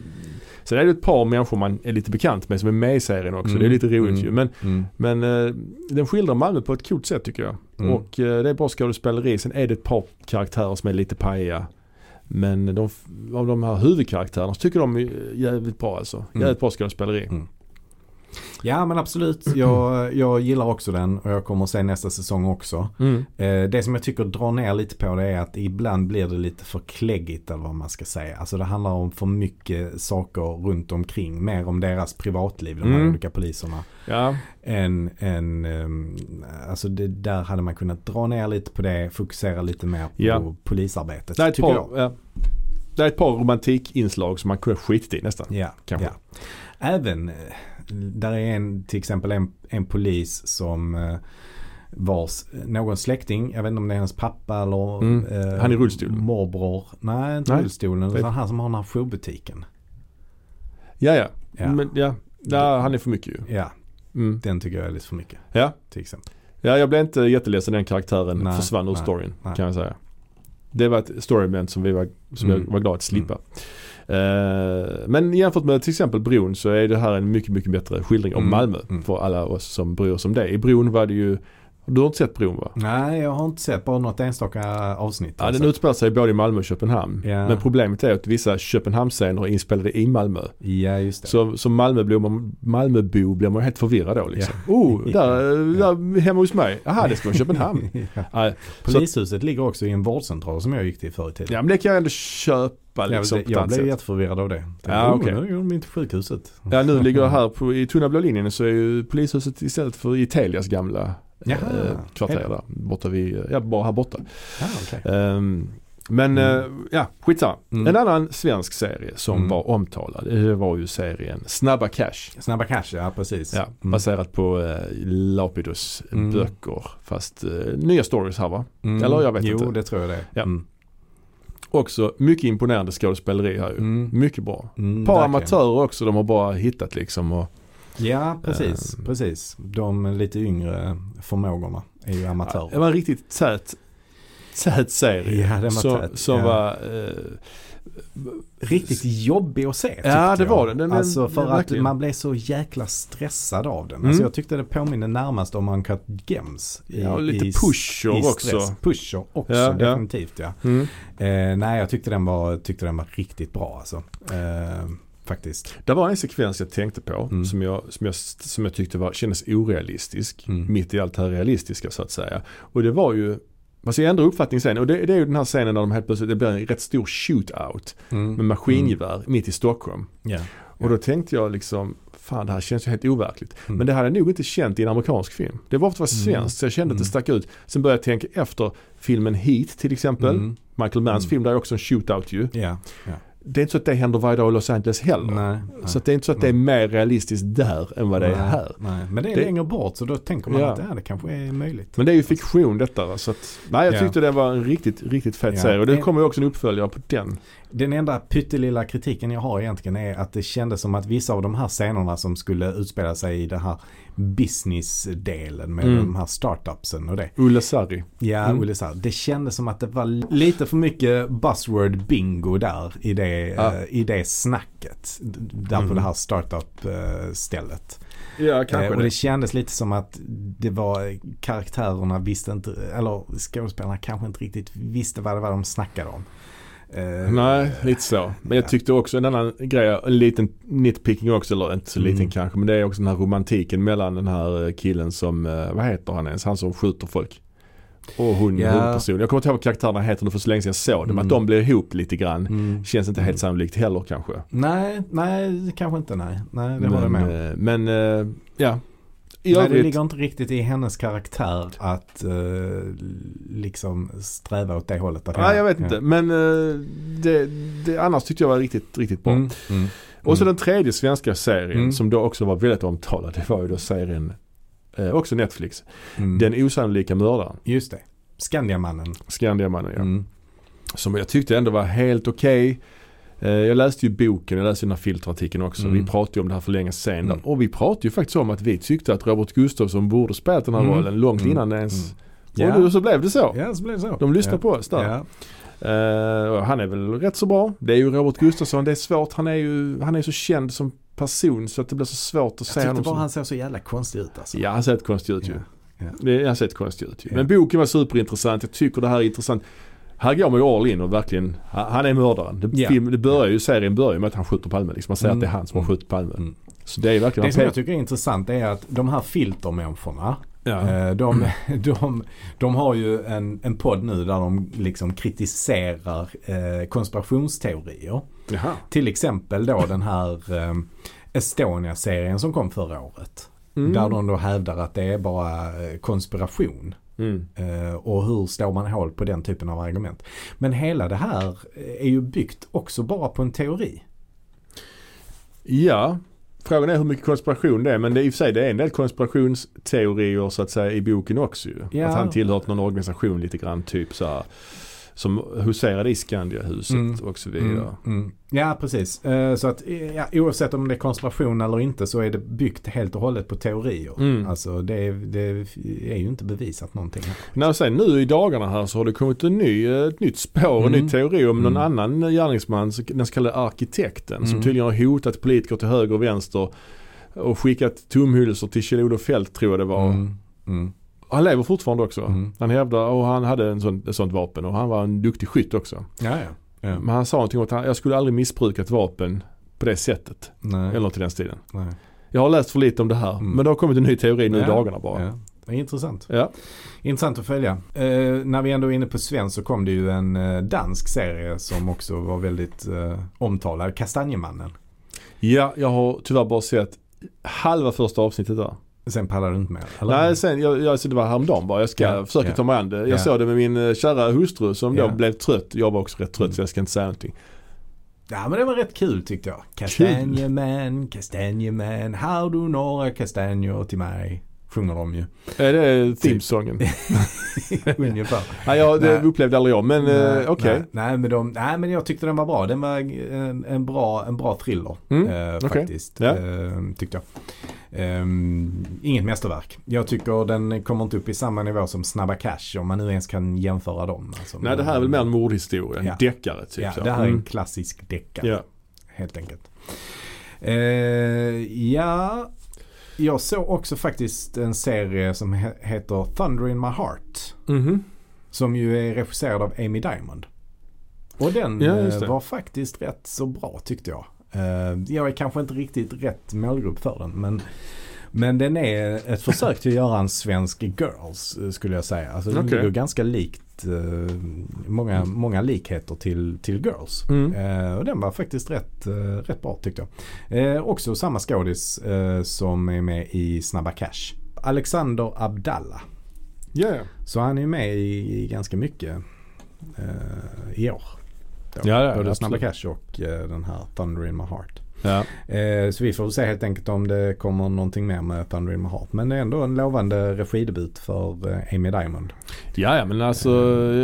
S1: sen är det ett par människor man är lite bekant med som är med i serien också.
S2: Mm.
S1: Det är lite roligt
S2: Mm.
S1: ju. Men
S2: Mm.
S1: Men eh, den skildrar Malmö på ett coolt sätt tycker jag.
S2: Mm.
S1: Och eh, det är bra skådespeleri. Sen är det ett par karaktärer som är lite pajiga. Men de, av de här huvudkaraktärerna så tycker de är jävligt bra alltså.
S2: Mm.
S1: Jävligt bra skådespeleri.
S2: Mm. Ja men absolut, jag, jag gillar också den och jag kommer att se nästa säsong också.
S1: Mm.
S2: Eh, det som jag tycker drar ner lite på det är att ibland blir det lite för kläggigt eller vad man ska säga. Alltså det handlar om för mycket saker runt omkring. Mer om deras privatliv, de här
S1: Mm.
S2: olika poliserna.
S1: Ja.
S2: än, än ehm, alltså det, där hade man kunnat dra ner lite på det, fokusera lite mer på
S1: Ja.
S2: polisarbetet.
S1: Det, är ett
S2: tycker jag.
S1: par, ja. det är ett par romantikinslag som man kunde ha skitit i nästan.
S2: Ja,
S1: Kanske.
S2: ja. Även, eh, där är en, till exempel en, en polis som eh, vars eh, någon släkting, jag vet inte om det är hans pappa eller
S1: Mm.
S2: eh,
S1: Han i rullstol.
S2: morbror. Nej, inte
S1: Nej. Typ.
S2: rullstolen.
S1: Vet-
S2: Utan han som har den här jourbutiken.
S1: Ja, ja.
S2: Ja.
S1: Men, ja. ja han är för mycket ju.
S2: ja,
S1: Mm.
S2: den tycker jag är lite för mycket.
S1: Ja.
S2: Till exempel.
S1: ja, jag blev inte jätteledsen när den karaktären
S2: Nej,
S1: försvann ur
S2: nej,
S1: storyn
S2: nej.
S1: kan jag säga. Det var ett storyment som, vi var, som
S2: Mm.
S1: jag var glad att slippa. Eh, men jämfört med till exempel Bron så är det här en mycket, mycket bättre skildring om
S2: Mm.
S1: Malmö
S2: Mm.
S1: för alla oss som bryr oss om det. I Bron var det ju Du har inte sett bron va?
S2: Nej, Mm. jag har inte sett bara något enstaka avsnitt.
S1: Ja,
S2: alltså.
S1: den utspelar sig både i Malmö och Köpenhamn.
S2: Ja.
S1: Men problemet är att vissa Köpenhamnsscener är inspelade i Malmö.
S2: ja just det.
S1: Så som Malmöbo, Malmöbo blir man helt förvirrad då liksom. Oh, där, där hemma hos mig. Jaha, det ska vara Köpenhamn.
S2: Ja.
S1: Nej, så att-
S2: Polishuset ligger också i en vårdcentral som jag gick till förr i tiden.
S1: Ja men det kan jag ändå köpa
S2: jag,
S1: liksom på ett
S2: jag
S1: annat
S2: blev
S1: sätt.
S2: jätteförvirrad av det. Tänkte,
S1: Ja,
S2: "Oh,
S1: okej.
S2: Nu går de inte till sjukhuset.
S1: Ja nu ligger jag här på, i tunna blå linjen så är ju polishuset istället för i Telias gamla
S2: Jaha.
S1: eh, kvarter där. Borta vid, eh, ja bara här borta.
S2: Ja, okej.
S1: Ehm, men
S2: Mm.
S1: eh, ja, skitsamma.
S2: Mm.
S1: En annan svensk serie som
S2: Mm.
S1: var omtalad eh, det var ju serien Snabba Cash.
S2: Snabba cash, ja precis.
S1: Ja,
S2: Mm.
S1: Baserat på eh, Lapidus
S2: Mm.
S1: böcker. Fast eh, nya stories här va.
S2: Mm.
S1: eller jag vet
S2: jo,
S1: inte.
S2: det tror jag det.
S1: Ja.
S2: Mm.
S1: Också mycket imponerande skådespeleri här ju.
S2: Mm.
S1: Mycket bra.
S2: Mm,
S1: Ett par
S2: verkligen.
S1: amatörer också de har bara hittat liksom. Och,
S2: Ja, precis.
S1: Ehm.
S2: precis. De lite yngre förmågorna är ju amatörer.
S1: Det var en riktigt tät, tät serie.
S2: Ja, den var
S1: som
S2: tät.
S1: som
S2: Ja.
S1: var, eh,
S2: Riktigt jobbig att se. tyckte
S1: det
S2: jag.
S1: var den. Den-
S2: Alltså för
S1: den-
S2: att
S1: verkligen.
S2: man blev så jäkla stressad av den.
S1: Mm.
S2: Alltså jag tyckte det påminner närmast om Uncut Gems. i-
S1: ja, och lite
S2: i-
S1: pusher
S2: i stress.
S1: också.
S2: Pusher också,
S1: Ja, ja.
S2: definitivt ja.
S1: Mm.
S2: Eh, nej, jag tyckte den, var, tyckte den var riktigt bra alltså. Eh, faktiskt.
S1: Det var en sekvens jag tänkte på
S2: Mm.
S1: som, jag, som, jag, som jag tyckte var, kändes orealistisk.
S2: Mm.
S1: Mitt i allt det här realistiska så att säga. Och det var ju Alltså jag ändrar uppfattning sen och det, det är ju den här scenen där de helt plötsligt, det blir en rätt stor shootout
S2: Mm.
S1: med maskingevär Mm. mitt i Stockholm.
S2: Ja.
S1: Och då tänkte jag liksom, fan det här känns ju helt overkligt.
S2: Mm.
S1: Men det hade jag nog inte känt i en amerikansk film. Det var för att det var svenskt så jag kände att det
S2: Mm.
S1: stack ut. Sen började jag tänka efter filmen Heat till exempel.
S2: Mm.
S1: Michael Manns
S2: Mm.
S1: film där är också en shootout ju.
S2: Ja.
S1: Det är inte så att det händer varje dag i Los Angeles heller.
S2: Nej.
S1: Så att det är inte så att det är mer realistiskt där än vad det är
S2: Nej,
S1: här.
S2: Nej. Men det är
S1: Det-
S2: längre bort så då tänker man
S1: Ja.
S2: att det här det kanske är möjligt.
S1: Men det är ju fiktion detta va? Så att, nej jag
S2: Ja.
S1: tyckte det var en riktigt, riktigt fet
S2: Ja.
S1: serie. Och det
S2: Det-
S1: kommer ju också en uppföljare på den.
S2: Den enda pyttelilla kritiken jag har egentligen är att det kändes som att vissa av de här scenerna som skulle utspela sig i den här business-delen med
S1: Mm.
S2: de här startupsen och det.
S1: Ulla Sarri.
S2: Ja,
S1: Mm.
S2: Olle Sarr. Det kändes som att det var lite för mycket buzzword bingo där i det,
S1: Ja.
S2: eh, i det snacket. D- Där på
S1: Mm.
S2: det här eh, startup-stället.
S1: Ja
S2: Eh, och det kändes lite som att det var karaktärerna visste inte, eller skådespelarna kanske inte riktigt visste vad det var de snackade om. Eh,
S1: Nej, lite så. Men jag tyckte också en annan grej, en liten nitpicking också, eller inte så liten
S2: Mm.
S1: kanske, men det är också den här romantiken mellan den här eh, killen som, eh, vad heter han ens, han som skjuter folk. Och hon,
S2: Ja.
S1: huvudpersonen. Jag kommer inte ihåg vad karaktärerna heter nu för så länge sedan jag såg dem.
S2: Mm.
S1: Att de blir ihop lite grann.
S2: Mm.
S1: Känns inte helt sannolikt heller kanske.
S2: Nej, nej, kanske inte nej. Nej, det håller jag med om.
S1: men, eh, men eh, ja. I
S2: Nej, det
S1: övrigt,
S2: ligger inte riktigt i hennes karaktär att eh, liksom sträva åt det hållet. Att
S1: nej jag vet
S2: ja.
S1: inte. Men eh, det, det, annars tyckte jag var riktigt, riktigt bra.
S2: Mm. Mm.
S1: Och så den tredje svenska serien
S2: Mm.
S1: som då också var väldigt omtalad. Det var ju då serien, eh, också Netflix.
S2: Mm.
S1: Den osannolika mördaren,
S2: Just det. Skandiamannen.
S1: Skandiamannen ja.
S2: Mm.
S1: Som jag tyckte ändå var helt okej. Eh, Jag läste ju boken, jag läste den här filterartikeln också.
S2: Mm.
S1: Vi pratade ju om det här för länge sedan.
S2: Mm.
S1: Och vi pratade ju faktiskt om att vi tyckte att Robert Gustafsson borde spelat den här
S2: Mm.
S1: rollen långt
S2: Mm.
S1: innan det ens.
S2: Ja.
S1: Och då så blev det så.
S2: Ja, så blev det så.
S1: De lyssnar
S2: ja.
S1: på oss där.
S2: Ja.
S1: Eh, och han är väl rätt så bra. Det är ju Robert Gustafsson, det är svårt. Han är ju han är så känd som person så att det blir så svårt att se
S2: Jag tyckte
S1: honom
S2: bara
S1: som...
S2: han såg så jävla konstig ut alltså.
S1: Ja, han ser ett konstigt ut ju.
S2: Ja. Ja.
S1: Det, han ser ett konstigt ut ju.
S2: Ja.
S1: Men boken var superintressant. Jag tycker det här är intressant. Här går man ju all in och verkligen, ha- han är mördaren. Det,
S2: Ja.
S1: film, det börjar ju, serien börjar ju med att han skjuter Palme. Liksom. Man säger
S2: Mm.
S1: att det är han som har
S2: Mm.
S1: skjutit Palme.
S2: Mm.
S1: Så det är verkligen...
S2: Det som jag tycker är intressant är att de här filtermänniskorna,
S1: ja. Mm.
S2: eh, de, de, de har ju en, en podd nu där de liksom kritiserar eh, konspirationsteorier.
S1: Jaha.
S2: Till exempel då den här eh, Estonia-serien som kom förra året.
S1: Mm.
S2: Där de då hävdar att det är bara eh, konspiration.
S1: Mm.
S2: Eh, Och hur står man hål på den typen av argument? Men hela det här eh, är ju byggt också bara på en teori.
S1: Ja. Frågan är hur mycket konspiration det är men det, är i och för sig det är en del konspirationsteorier så att säga i boken också ju.
S2: Ja.
S1: Att han tillhört någon organisation lite grann typ så här, som huserade i Skandiahuset
S2: Mm.
S1: och så vidare.
S2: Mm. Ja, precis. Eh, Så att eh, ja, oavsett om det är konspiration eller inte så är det byggt helt och hållet på teorier.
S1: Mm.
S2: Alltså det, är- det är ju inte bevisat någonting. här.
S1: När jag säger nu i dagarna här så har det kommit en ny, eh, ett nytt spår, en
S2: Mm.
S1: ny teori om någon
S2: Mm.
S1: annan gärningsman, så- den så kallade arkitekten, som
S2: Mm.
S1: tydligen har hotat politiker till höger och vänster och skickat tomhylsor till Kjell-Olof Feldt tror jag det var.
S2: Mm. Mm.
S1: Han lever fortfarande också.
S2: Mm.
S1: Han hävdar, och han hade en sån, ett sånt vapen och han var en duktig skytt också.
S2: Ja, ja. ja.
S1: Men han sa någonting om att han, jag skulle aldrig missbruka ett vapen på det sättet.
S2: Nej.
S1: Eller något i den stilen.
S2: Nej.
S1: Jag har läst för lite om det här,
S2: Mm.
S1: men det har kommit en ny teori nu i
S2: Ja.
S1: dagarna bara.
S2: Ja. Det är intressant.
S1: Ja.
S2: Intressant att följa. Eh, när vi ändå är inne på svensk så kom det ju en eh, dansk serie som också var väldigt eh, omtalad. Kastanjemannen.
S1: ja, jag har tyvärr bara sett halva första avsnittet där.
S2: Sen pallade du inte med?
S1: Nej, sen, jag, jag, alltså det var häromdagen bara. Jag ska
S2: Ja,
S1: försöka
S2: ja.
S1: ta mig an det. Jag
S2: Ja.
S1: såg det med min eh, kära hustru som
S2: Ja.
S1: då blev trött. Jag var också rätt trött
S2: Mm.
S1: så jag ska inte säga någonting.
S2: Ja men det var rätt kul tyckte jag. Kastanjeman, kastanjeman, har du några kastanjer till mig? Sjunger de ju.
S1: Är
S2: typ-
S1: det Eh, themesången?
S2: Ungefär.
S1: Nej, jag, det
S2: Nej.
S1: upplevde aldrig jag. Men eh, okej.
S2: nej, nej, men de, nej men jag tyckte den var bra. Den var en, en, bra, en bra thriller.
S1: Mm,
S2: eh,
S1: okej.
S2: Faktiskt.
S1: Ja.
S2: Eh, tyckte jag. Ehm, inget mästerverk. Jag tycker den kommer inte upp i samma nivå som Snabba Cash om man nu ens kan jämföra dem. Alltså,
S1: Nej, det här är väl mer en mordhistoria. En
S2: Ja.
S1: deckare typ.
S2: Ja,
S1: så.
S2: det här är en
S1: Mm.
S2: klassisk deckare.
S1: Ja.
S2: helt enkelt. Eh, ja, jag såg också faktiskt en serie som he- heter Thunder in My Heart.
S1: Mhm.
S2: Som ju är regisserad av Amy Diamond. Och den
S1: Ja, just
S2: eh,
S1: det.
S2: var faktiskt rätt så bra tyckte jag. Eh, jag är kanske inte riktigt rätt målgrupp för den men men den är ett försök till att göra en svensk Girls eh, skulle jag säga. Alltså den
S1: Okej.
S2: ligger ganska likt, eh, många, många likheter till, till Girls.
S1: Mm.
S2: Eh, och den var faktiskt rätt, eh, rätt bra tyckte jag. Eh, också samma skådis eh, som är med i Snabba Cash. Alexander Abdallah.
S1: Ja, ja.
S2: Så han är med i, i ganska mycket eh, i år. Då.
S1: Ja, ja,
S2: Både
S1: absolut.
S2: Snabba Cash och eh, den här Thunder in my heart.
S1: ja.
S2: Eh, så vi får väl se helt enkelt om det kommer någonting mer med Thunder in my heart. Men det är ändå en lovande regidebut för eh, Amy Diamond.
S1: Ja, ja, men alltså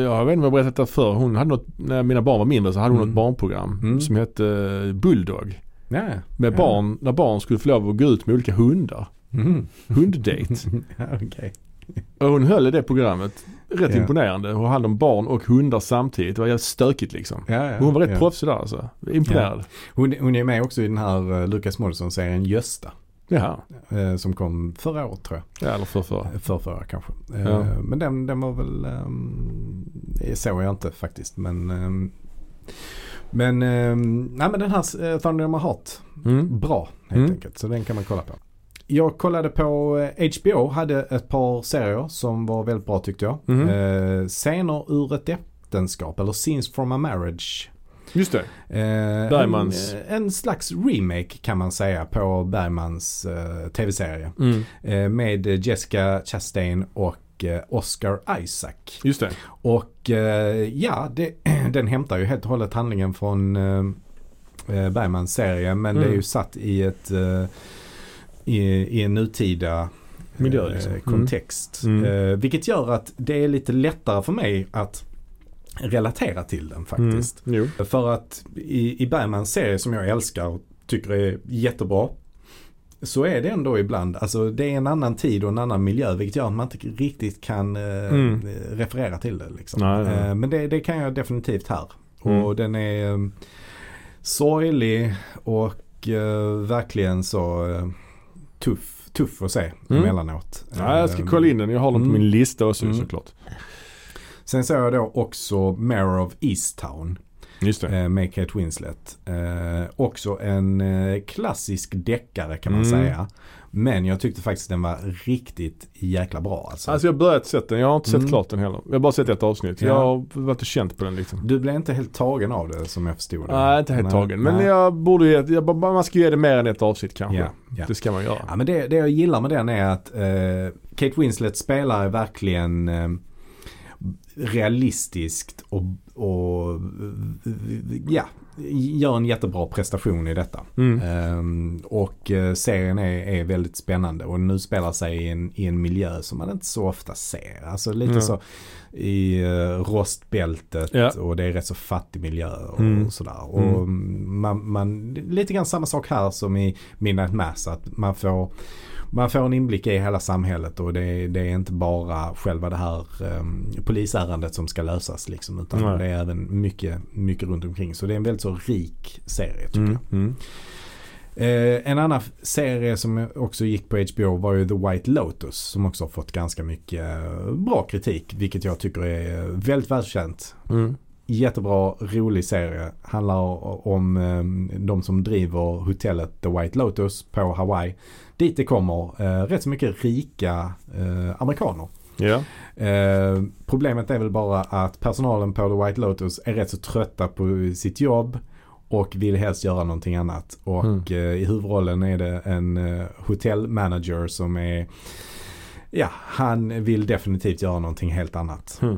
S1: jag vet inte om jag berättat det förr. Hon hade något, när mina barn var mindre så hade hon
S2: Mm.
S1: ett barnprogram
S2: Mm.
S1: som hette eh, Bulldog.
S2: Ja,
S1: Med
S2: Ja.
S1: barn, där barn skulle få lov att gå ut med olika hundar.
S2: Mm.
S1: Hunddate.
S2: ja okej.
S1: Och hon höll i det programmet. Rätt
S2: Ja.
S1: imponerande. Hon hade om barn och hundar samtidigt. Det var jävligt stökigt liksom.
S2: Ja, ja,
S1: Hon var rätt
S2: ja.
S1: proffsig där alltså. Imponerad.
S2: Hon, hon är med också i den här eh, Lukas Moodysson-serien Gösta.
S1: Ja,
S2: Eh, som kom förra året tror
S1: ja eller för, för.
S2: jag. För förra kanske. Eh,
S1: Ja.
S2: Men den, den var väl... ehm, Det såg jag inte faktiskt. Men, ehm, men, ehm, nej, men den här eh, Thunder in my heart.
S1: Mm.
S2: Bra helt
S1: Mm.
S2: enkelt. Så den kan man kolla på. Jag kollade på eh, HBO. Hade ett par serier som var väldigt bra tyckte jag.
S1: Mhm.
S2: Eh, Scener ur ett äktenskap. Eller Scenes from a marriage.
S1: Just det.
S2: Eh,
S1: Bergmans.
S2: En, en slags remake kan man säga på Bergmans eh, tv-serie.
S1: Mm.
S2: Eh, med Jessica Chastain och eh, Oscar Isaac.
S1: Just det.
S2: Och eh, ja, det, den hämtar ju helt och hållet handlingen från eh, eh, Bergmans serie. Men
S1: Mm.
S2: det är ju satt i ett eh, i, i en nutida eh,
S1: Miljö, liksom. Mm.
S2: kontext.
S1: Mm.
S2: Eh, vilket gör att det är lite lättare för mig att relatera till den faktiskt.
S1: Mm. Jo.
S2: För att i, i Bergmans serie som jag älskar och tycker är jättebra. Så är det ändå ibland, alltså det är en annan tid och en annan miljö vilket gör att man inte riktigt kan eh,
S1: Mm.
S2: referera till det. Liksom.
S1: Nej, nej.
S2: Eh, men det, det kan jag definitivt här.
S1: Mm.
S2: Och den är eh, sorglig och eh, verkligen så eh, tuff, tuff att se
S1: Mm.
S2: emellanåt.
S1: Ja, jag ska
S2: Eh,
S1: kolla in den. Jag har den på
S2: Mm.
S1: min lista också
S2: Mm.
S1: såklart.
S2: Sen såg jag då också Mayor of Easttown.
S1: Just det.
S2: Eh, med Kate Winslet. Eh, också en eh, klassisk deckare kan man
S1: Mm.
S2: säga. Men jag tyckte faktiskt den var riktigt jäkla bra alltså.
S1: Alltså jag har börjat sett den. Jag har inte sett
S2: Mm.
S1: klart den heller. Jag har bara sett ett avsnitt.
S2: Ja.
S1: Jag har varit och känt på den liksom.
S2: Du blev inte helt tagen av det som jag förstod det?
S1: Nej, inte helt
S2: Nej,
S1: tagen. Men
S2: nej.
S1: jag borde ge, jag, bara- man ska ge det mer än ett avsnitt kanske.
S2: Ja, ja.
S1: Det ska man göra.
S2: ja men det, det jag gillar med den är att eh, Kate Winslet spelar verkligen eh, realistiskt och, och ja, gör en jättebra prestation i detta.
S1: Mm.
S2: Ehm, och eh, serien är, är väldigt spännande och nu spelar sig i en, i en miljö som man inte så ofta ser. Alltså lite
S1: Ja.
S2: så i eh, rostbältet
S1: Ja.
S2: och det är rätt så fattig miljö och,
S1: Mm.
S2: och sådär. Och man, man, lite grann samma sak här som i Midnight Mass. Att man får, man får en inblick i hela samhället och det, det är inte bara själva det här um, polisärendet som ska lösas liksom. Utan
S1: Nej.
S2: det är även mycket, mycket runt omkring. Så det är en väldigt så rik serie tycker
S1: Mm.
S2: jag.
S1: Mm.
S2: Eh, en annan f- serie som också gick på HBO var ju The White Lotus som också har fått ganska mycket eh, bra kritik vilket jag tycker är eh, väldigt välkänt.
S1: Mm.
S2: Jättebra, rolig serie. Handlar o- om eh, de som driver hotellet The White Lotus på Hawaii. Dit det kommer eh, rätt så mycket rika eh, amerikaner.
S1: Ja.
S2: Eh, problemet är väl bara att personalen på The White Lotus är rätt så trötta på sitt jobb och vill helst göra någonting annat. Och
S1: Mm.
S2: eh, i huvudrollen är det en eh, hotellmanager som är Ja, han vill definitivt göra någonting helt annat.
S1: Mm.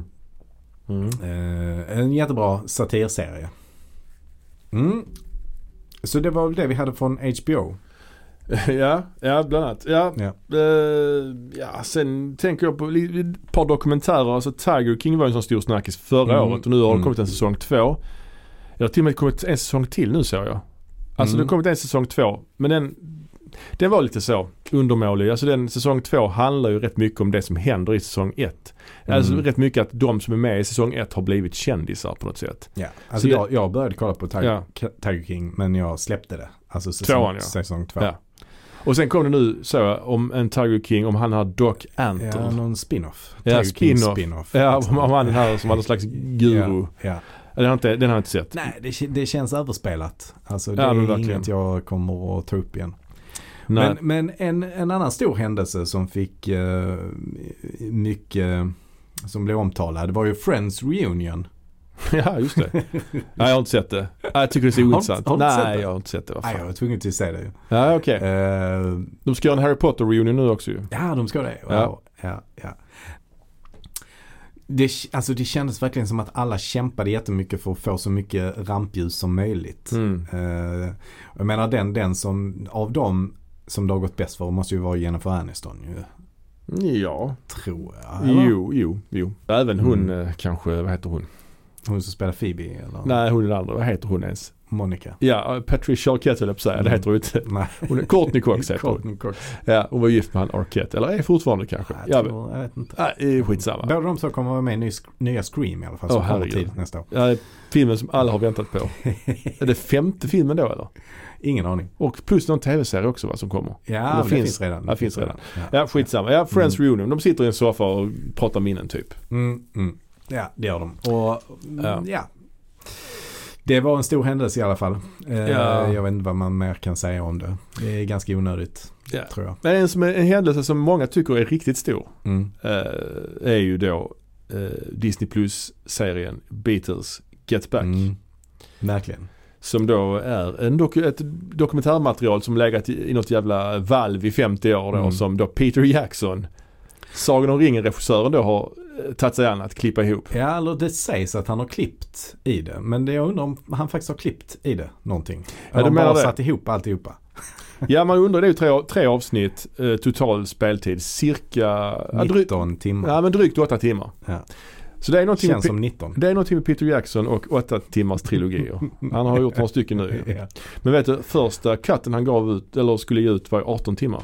S1: Mm.
S2: Eh, en jättebra satirserie. Mm. Så det var väl det vi hade från HBO.
S1: ja, ja bland annat. Ja.
S2: Ja.
S1: Eh, ja, sen tänker jag på li- ett par dokumentärer. Alltså Tiger King var ju en sån stor snackis förra
S2: Mm.
S1: året och nu har
S2: Mm.
S1: det kommit en säsong två. Det har till och med kommit en säsong till nu såg jag. Alltså
S2: Mm.
S1: det har kommit en säsong två. Men den, den var lite så undermålig. Alltså den säsong två handlar ju rätt mycket om det som händer i säsong ett. Alltså
S2: Mm.
S1: rätt mycket att de som är med i säsong ett har blivit kändisar på något sätt.
S2: Ja. Alltså
S1: det-
S2: jag, jag började kolla på Tiger,
S1: Ja.
S2: Tiger King men jag släppte det. Alltså säsong,
S1: Tvåan, ja.
S2: säsong två.
S1: Ja. Och sen kom det nu så jag, om en Tiger King, om han här Doc Anton.
S2: Ja, någon spin-off.
S1: Ja,
S2: Tiger King
S1: spin-off.
S2: spin-off. liksom.
S1: Ja, om om han den här som var någon slags guru.
S2: Ja, ja.
S1: Den, har inte, den har jag inte sett.
S2: Nej, det, k- det känns överspelat. Alltså det
S1: Ja, men
S2: är
S1: verkligen.
S2: inget jag kommer att ta upp igen.
S1: Nej.
S2: Men, men en, en annan stor händelse som fick eh, mycket, som blev omtalad var ju Friends Reunion.
S1: ja, just det. Nej, jag har inte sett det. Nej, jag tycker det är så
S2: Har du-
S1: ointressant.
S2: har du inte sett
S1: Nej,
S2: det?
S1: jag har inte sett det. Vad
S2: Nej,
S1: fan.
S2: jag var tvungen till att säga det. ju.
S1: Ja, okej.
S2: Eh,
S1: De ska göra en Harry Potter-reunion nu också ju.
S2: Ja, de ska det. Wow. Ja.
S1: Ja.
S2: Ja, Det, alltså det kändes verkligen som att alla kämpade jättemycket för att få så mycket rampljus som möjligt.
S1: Mm.
S2: Eh, jag menar den, den som av dem som det har gått bäst för måste ju vara Jennifer Aniston ju.
S1: Ja,
S2: Tror jag. eller?
S1: jo, jo, jo. Även hon eh, kanske, vad heter hon?
S2: Hon som spelar Phoebe eller
S1: Nej, hon är den andra. Vad heter hon ens?
S2: Monica.
S1: Ja, eh, Patricia Arquette höll jag på att säga. Det
S2: Mm.
S1: heter hon inte.
S2: Nej.
S1: Hon är Courtney Cox heter hon.
S2: Courtney Cox.
S1: Ja, hon var gift med han Arquette. Eller är fortfarande kanske.
S2: Nej,
S1: Ja,
S2: Jag,
S1: men-
S2: tror, jag vet inte.
S1: Nej, det är skitsamma.
S2: Båda de två kommer vara med i ny, nya Scream i alla fall som
S1: Åh,
S2: kommer
S1: herregud.
S2: tidigt nästa år.
S1: Ja, filmen som alla har väntat på. Är det femte filmen då eller?
S2: Ingen aning.
S1: Och plus någon tv-serie också va, som kommer.
S2: Ja,
S1: det
S2: men det
S1: finns-
S2: finns redan.
S1: det finns redan.
S2: Ja.
S1: Ja, skitsamma. Ja, Friends Reunion. De sitter i en soffa och pratar minnen typ.
S2: Mm, mm. Ja, det gör de. Och mm, ja.
S1: Ja.
S2: Det var en stor händelse i alla fall. Eh,
S1: Ja.
S2: Jag vet inte vad man mer kan säga om det. Det är ganska onödigt,
S1: Ja.
S2: tror jag.
S1: Men en, som är, en händelse som många tycker är riktigt stor
S2: Mm.
S1: eh, är ju då eh, Disney Plus-serien Beatles Get Back.
S2: Mm. Verkligen.
S1: Som då är en doku- ett dokumentärmaterial som legat i, i något jävla valv i 50 år då
S2: Mm.
S1: som då Peter Jackson, Sagan om ringen-regissören då har eh, tagit sig an att klippa ihop.
S2: Ja, eller det sägs att han har klippt i det. Men det, jag undrar om han faktiskt har klippt i det någonting.
S1: du
S2: Eller om han
S1: menar
S2: bara
S1: det?
S2: satt ihop alltihopa.
S1: Ja man undrar, det är ju tre, tre avsnitt, eh, total speltid cirka ja, dry-
S2: 19 timmar.
S1: Ja men drygt åtta timmar.
S2: Ja.
S1: Så det är någonting, med,
S2: Känns
S1: Pe-
S2: som 19.
S1: det är någonting med Peter Jackson och åtta timmars trilogier. Han har gjort några stycken nu.
S2: Ja.
S1: Men vet du, första cutten han gav ut, eller skulle ge ut var ju 18 timmar.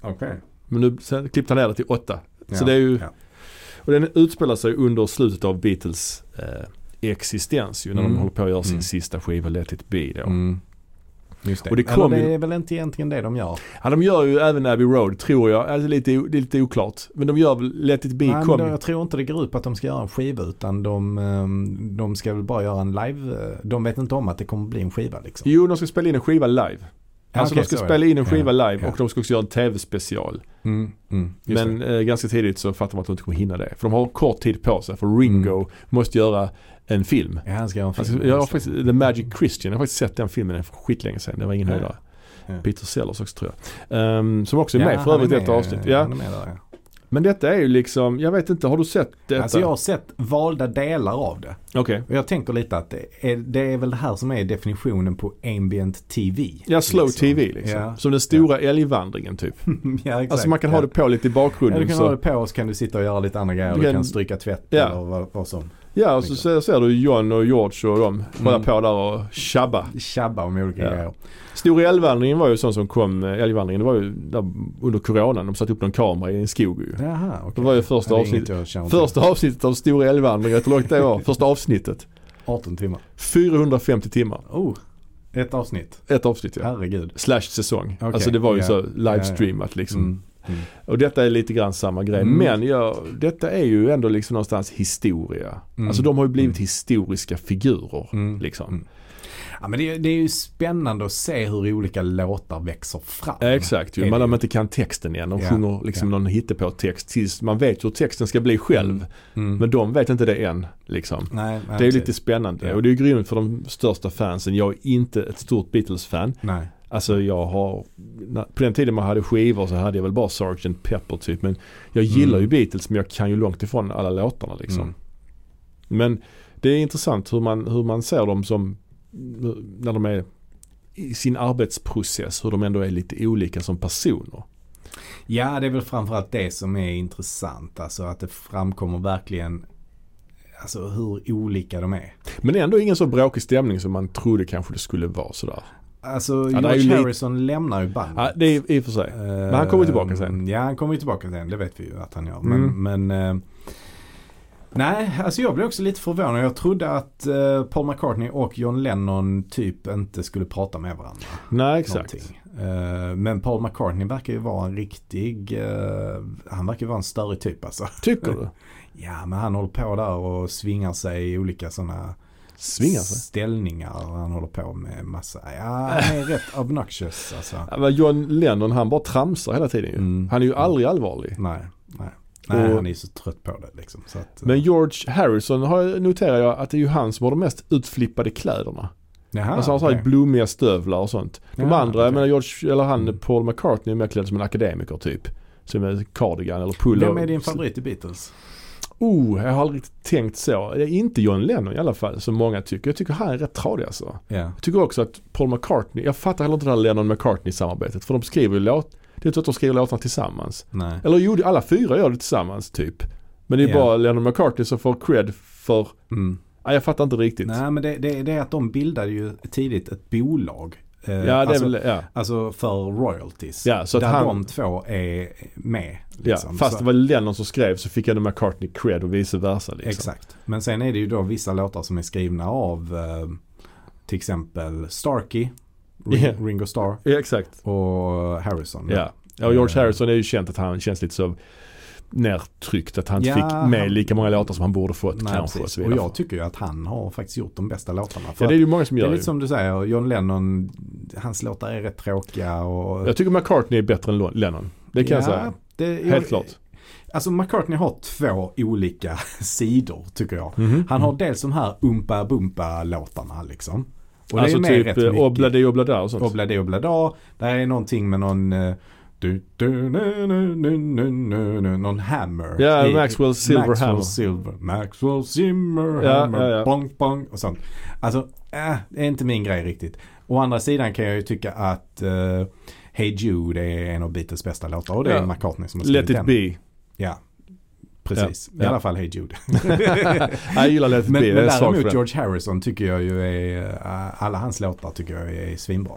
S2: Okej.
S1: Men nu sen klippte han ner det till åtta.
S2: Ja.
S1: Så det är ju,
S2: Ja.
S1: och den utspelar sig under slutet av Beatles eh, existens ju när
S2: Mm.
S1: de håller på att göra sin
S2: Mm.
S1: sista skiva Let it be då.
S2: Mm. Just det.
S1: Och det kom
S2: eller
S1: ju-
S2: det är väl inte egentligen det de gör.
S1: Ja, de gör ju även Abbey Road tror jag, alltså lite, o- det är lite oklart. Men de gör väl Let it be
S2: Nej, men
S1: kom
S2: då,
S1: ju.
S2: jag tror inte det går ut på att de ska göra en skiva utan de, ehm, de ska väl bara göra en live. eh, De vet inte om att det kommer bli en skiva liksom.
S1: Jo, de ska spela in en skiva live. Alltså
S2: Okej,
S1: de ska
S2: så är
S1: spela
S2: det.
S1: in en skiva
S2: Ja.
S1: live
S2: Ja.
S1: och de ska också göra en tv-special.
S2: Mm, mm, just
S1: Men eh, ganska tidigt så fattar man att de inte kommer hinna det. För de har kort tid på sig för Ringo
S2: Mm.
S1: måste göra en film.
S2: det. Ja, han ska göra en film.
S1: Alltså, jag har
S2: just det.
S1: faktiskt, The Magic Christian, jag har faktiskt sett den filmen för skitlänge sedan. Det var ingen
S2: Ja.
S1: höjdare.
S2: Ja.
S1: Peter Sellers också tror jag. Ehm, som också är
S2: Ja,
S1: med för
S2: han är
S1: övrigt i ett
S2: med,
S1: avsnitt.
S2: eh,
S1: Ja.
S2: han är med där, ja.
S1: Men detta är ju liksom, jag vet inte, har du sett detta?
S2: Alltså jag har sett valda delar av det.
S1: Okej.
S2: Och jag tänker lite att det är, det är väl det här som är definitionen på ambient TV.
S1: Ja, slow
S2: liksom.
S1: TV liksom.
S2: Ja,
S1: Som den stora älgvandringen typ.
S2: ja exakt.
S1: Alltså man kan
S2: ja.
S1: ha det på lite i
S2: Ja,
S1: bakgrunden.
S2: du kan
S1: så.
S2: ha det på och så kan du sitta och göra lite andra grejer.
S1: Du
S2: Du kan,
S1: kan-
S2: stryka tvätt
S1: Ja.
S2: eller vad, vad som.
S1: Ja, och så ser, ser du John och George och de
S2: Mm.
S1: hålla på där och tjabba.
S2: Tjabba om olika
S1: Ja.
S2: grejer.
S1: Stor älgvandringen var ju sån som kom, eh, älgvandringen det var ju där under coronan, de satte upp någon kamera i en skog ju.
S2: Jaha, okej.
S1: Det var ju första
S2: Ja, det är inget
S1: avsnittet.
S2: jag känner till.
S1: Första avsnittet av Stor älgvandring, vet du hur långt det var? Första avsnittet.
S2: 18 timmar.
S1: 450 timmar.
S2: Oh. Ett avsnitt.
S1: Ett avsnitt ja.
S2: Herregud.
S1: Slash säsong.
S2: Okej,
S1: Alltså det var ju
S2: ja.
S1: så livestreamat liksom.
S2: Mm. Mm.
S1: Och detta är lite grann samma grej.
S2: Mm.
S1: Men jag, detta är ju ändå liksom någonstans historia.
S2: Mm.
S1: Alltså de har ju blivit
S2: Mm.
S1: historiska figurer.
S2: Mm.
S1: Liksom.
S2: Mm. Ja, men det, det är ju spännande att se hur olika låtar växer fram.
S1: Ja, exakt
S2: Är
S1: ju.
S2: det
S1: Man,
S2: ju.
S1: man inte kan texten igen. De
S2: Ja,
S1: sjunger liksom någon hittepå-text tills man vet hur texten ska bli själv.
S2: Mm.
S1: Men de vet inte det än. Liksom.
S2: nej, nej,
S1: Det är ju lite
S2: precis.
S1: spännande
S2: Ja.
S1: och det är ju grymt för de största fansen. Jag är inte ett stort Beatles-fan.
S2: Nej.
S1: Alltså jag har, na- på den tiden man hade skivor så hade jag väl bara Sgt. Pepper typ. Men jag gillar
S2: Mm.
S1: ju Beatles men jag kan ju långt ifrån alla låtarna liksom.
S2: Mm.
S1: Men det är intressant hur man, hur man ser dem som, när de är i sin arbetsprocess, hur de ändå är lite olika som personer.
S2: Ja, det är väl framförallt det som är intressant. Alltså att det framkommer verkligen alltså, hur olika de är.
S1: Men ändå ingen så bråkig stämning som man trodde kanske det skulle vara sådär.
S2: Alltså
S1: det är
S2: George
S1: ju lite-
S2: Harrison lämnar ju bandet.
S1: Ja, det är i och för sig.
S2: Men
S1: han kommer tillbaka sen.
S2: Ja, han kommer ju tillbaka sen. Det vet vi ju att han gör.
S1: Mm.
S2: Men, men eh, nej, alltså jag blev också lite förvånad. Jag trodde att eh, Paul McCartney och John Lennon typ inte skulle prata med varandra.
S1: Nej exakt.
S2: Någonting. Eh, men Paul McCartney verkar ju vara en riktig, eh, han verkar ju vara en större typ alltså.
S1: Tycker du?
S2: Ja, men han håller på där och svingar sig i olika sådana
S1: Svingar sig.
S2: ställningar. Han håller på med massa, ja han är rätt obnoxious alltså.
S1: Ja, men John Lennon han bara tramsar hela tiden ju.
S2: Mm.
S1: Han är ju aldrig allvarlig.
S2: Nej, nej. nej
S1: Och-
S2: han är ju så trött på det liksom. Så att,
S1: Men George Harrison har jag- noterar jag att det är ju han som har de mest utflippade kläderna.
S2: Jaha,
S1: alltså han har
S2: Ah, okej.
S1: okay. blommiga stövlar och sånt. De
S2: Ja,
S1: andra, jag
S2: okej.
S1: menar George, eller han
S2: Mm.
S1: Paul McCartney är mer klädd som en akademiker typ. Som en cardigan eller pullover.
S2: Vem är din favorit i Beatles?
S1: Oh, jag har aldrig tänkt så. Det är inte John Lennon i alla fall som många tycker. Jag tycker han är rätt tradig alltså.
S2: Ja.
S1: Jag tycker också att Paul McCartney, jag fattar heller inte det här Lennon-McCartney-samarbetet. För de skriver ju låt, det är inte så att de skriver låtarna tillsammans.
S2: Nej.
S1: Eller jo, alla fyra gör det tillsammans typ. Men det är
S2: Ja.
S1: bara Lennon McCartney som får cred för,
S2: Mm.
S1: nej jag fattar inte riktigt.
S2: Nej men det, det, det är att de bildade ju tidigt ett bolag. Eh,
S1: Ja, det är
S2: alltså,
S1: väl, ja.
S2: alltså för royalties.
S1: Ja, så att
S2: där
S1: han-
S2: de två är med. liksom.
S1: ja, fast
S2: Så-
S1: det var Lennon som skrev så fick ändå McCartney cred och vice versa liksom.
S2: Exakt. Men sen är det ju då vissa låtar som är skrivna av eh, till exempel Starkey, Ring,
S1: Ja.
S2: Ringo Starr
S1: Ja, exakt.
S2: och Harrison.
S1: Ja. ja, och George
S2: Eh.
S1: Harrison är ju känt att han känns lite så nertryckt. Att han inte
S2: Ja,
S1: fick med
S2: han-
S1: lika många låtar som han borde fått
S2: Nej,
S1: kanske. Och,
S2: precis.
S1: så
S2: och
S1: vidare.
S2: jag tycker ju att han har faktiskt gjort de bästa låtarna. För
S1: ja, det är ju många som
S2: Det
S1: gör
S2: är
S1: det.
S2: lite som du säger, John Lennon, hans låtar är rätt tråkiga och...
S1: Jag tycker McCartney är bättre än Lennon. Det kan jag
S2: Ja,
S1: säga.
S2: det-
S1: Helt
S2: jag-
S1: klart.
S2: Alltså McCartney har två olika sidor tycker jag.
S1: Mhm,
S2: Han har dels de här Umpa Bumpa låtarna liksom. Och
S1: alltså
S2: det är med
S1: typ
S2: rätt
S1: eh,
S2: mycket.
S1: Obladi Oblada och sånt.
S2: Obladi Oblada. Där är någonting med någon... eh, Du, du, nu, nu, nu, nu, nu, nu, någon hammer.
S1: Ja,
S2: I-
S1: Maxwell Silver
S2: Maxwell
S1: Hammer.
S2: Silver, Maxwell Zimmer
S1: Ja,
S2: Hammer.
S1: ja, ja.
S2: Bong, bong och sånt. Alltså, äh, det är inte min grej riktigt. Å andra sidan kan jag ju tycka att eh, Hey Jude är en av Beatles bästa låtar och det är
S1: Ja.
S2: McCartney som har skrivit
S1: Let it
S2: den.
S1: be.
S2: Ja, precis.
S1: Ja.
S2: I alla fall Hey Jude.
S1: Jag gillar Let it
S2: Men,
S1: be.
S2: men
S1: Jag är svag för den.
S2: däremot George Harrison tycker jag ju är, eh, alla hans låtar tycker jag är svinbra.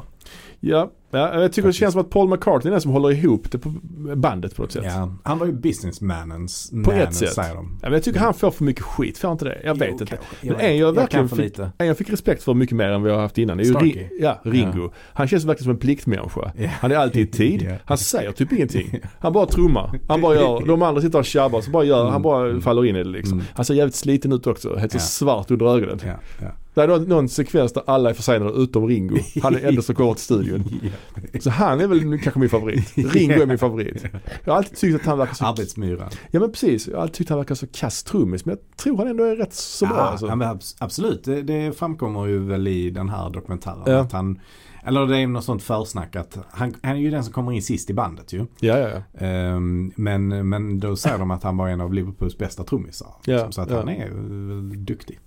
S1: Ja, ja jag tycker det
S2: Faktiskt.
S1: känns som att Paul McCartney är den som håller ihop det på bandet på något sätt. Ja.
S2: Ja, han var ju businessmannens
S1: På ett
S2: mannen,
S1: sätt.
S2: säger de.
S1: men jag tycker han får för mycket skit, får han inte det? Jag vet
S2: Mm. Jo,
S1: inte.
S2: kanske.
S1: Men en jag verkligen
S2: kan för
S1: fick-
S2: lite.
S1: Nej, Jag fick respekt för mycket mer än vad jag har haft innan. Det är ju
S2: Starkey.
S1: Ri- ja, Ringo. Han känns verkligen som en pliktmänniska.
S2: Ja.
S1: Han är alltid i tid.
S2: Ja.
S1: Han säger typ ingenting. Han bara trummar. Han bara gör, de andra sitter och tjabbar så bara gör, han bara faller in i det liksom.
S2: Mm.
S1: Han ser jävligt sliten ut också. Helt så
S2: Ja.
S1: svart under ögonen.
S2: Ja, ja.
S1: Det är någon, någon sekvens där alla är försenade utom Ringo. Han är ändå som kommer till studion. Så han är väl nu kanske min favorit. Ringo är min favorit. Jag har alltid tyckt att han verkar så...
S2: Arbetsmyran.
S1: Ja men precis, jag har alltid tyckt att han verkar så kass trummis. Men jag tror han ändå är rätt så bra
S2: ja,
S1: alltså.
S2: ja, men abs- absolut, det, det framkommer ju väl i den här dokumentären.
S1: Ja.
S2: Att han, eller det är något sånt försnack att han, han är ju den som kommer in sist i bandet ju.
S1: Ja, ja, ja.
S2: Ehm, men, men då säger de att han var en av Liverpools bästa trummisar.
S1: Ja,
S2: liksom, så att
S1: ja.
S2: han är eh, duktig.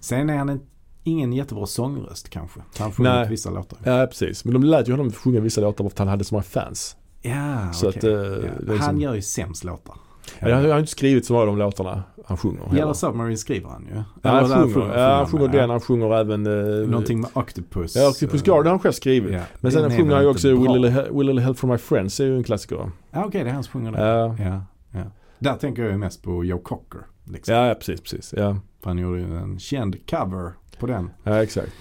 S2: Sen är han en, ingen jättebra sångröst kanske. Han sjunger
S1: Nej.
S2: ut vissa låtar.
S1: Ja precis, men de lät ju honom sjunga vissa låtar för att han hade så många fans.
S2: Ja,
S1: Så
S2: okej.
S1: att, eh,
S2: Ja.
S1: det är
S2: Han
S1: liksom-
S2: gör ju sämst låtar.
S1: Ja. Han han har ju inte skrivit så många av de låtarna han sjunger. heller.
S2: Yellow Submarine skriver han ju.
S1: Ja, han
S2: Eller,
S1: sjunger, ja, han sjunger
S2: men,
S1: den, han sjunger även...
S2: ja.
S1: eh,
S2: Någonting med Octopus.
S1: Ja, Octopus Garden har han själv skrivit.
S2: Ja,
S1: Men sen
S2: den är
S1: sjunger
S2: väl
S1: han ju
S2: inte
S1: också
S2: bra.
S1: Will Little Hel- Will Little Help From My Friends, det är ju en klassiker. va?
S2: Ja, okej, det är han som sjunger den.
S1: Ja,
S2: Ja, ja. Där tänker jag ju mest på Joe Cocker. Liksom.
S1: ja, ja precis, precis. Ja,
S2: För Han gjorde ju en känd cover på den.
S1: ja exakt.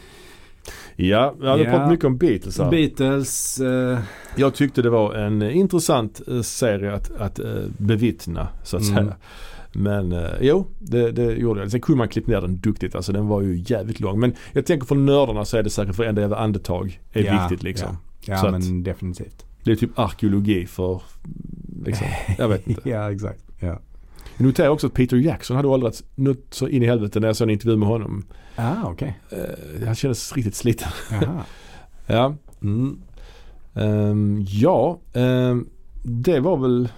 S1: Ja, vi har
S2: Ja.
S1: pratat mycket om Beatles här.
S2: Beatles, eh,
S1: Jag tyckte det var en eh, intressant eh, serie att, att eh, bevittna så att
S2: Mm.
S1: säga. Men eh, jo, det, det gjorde jag. Sen kunde man klippa ner den duktigt. Alltså den var ju jävligt lång. Men jag tänker för nördarna så är det säkert för enda jävla andetag är
S2: Ja,
S1: viktigt liksom. Så
S2: ja
S1: att-
S2: men definitivt.
S1: Det är typ arkeologi för, liksom,
S2: Eh.
S1: jag vet inte.
S2: Ja exakt. Ja.
S1: Jag noterar också att Peter Jackson hade åldrats något så in i helvete när jag såg en intervju med honom.
S2: Ah okej.
S1: Eh, han kändes riktigt sliten.
S2: Jaha.
S1: Ja,
S2: Mm.
S1: Ehm, ja ehm, det var väl,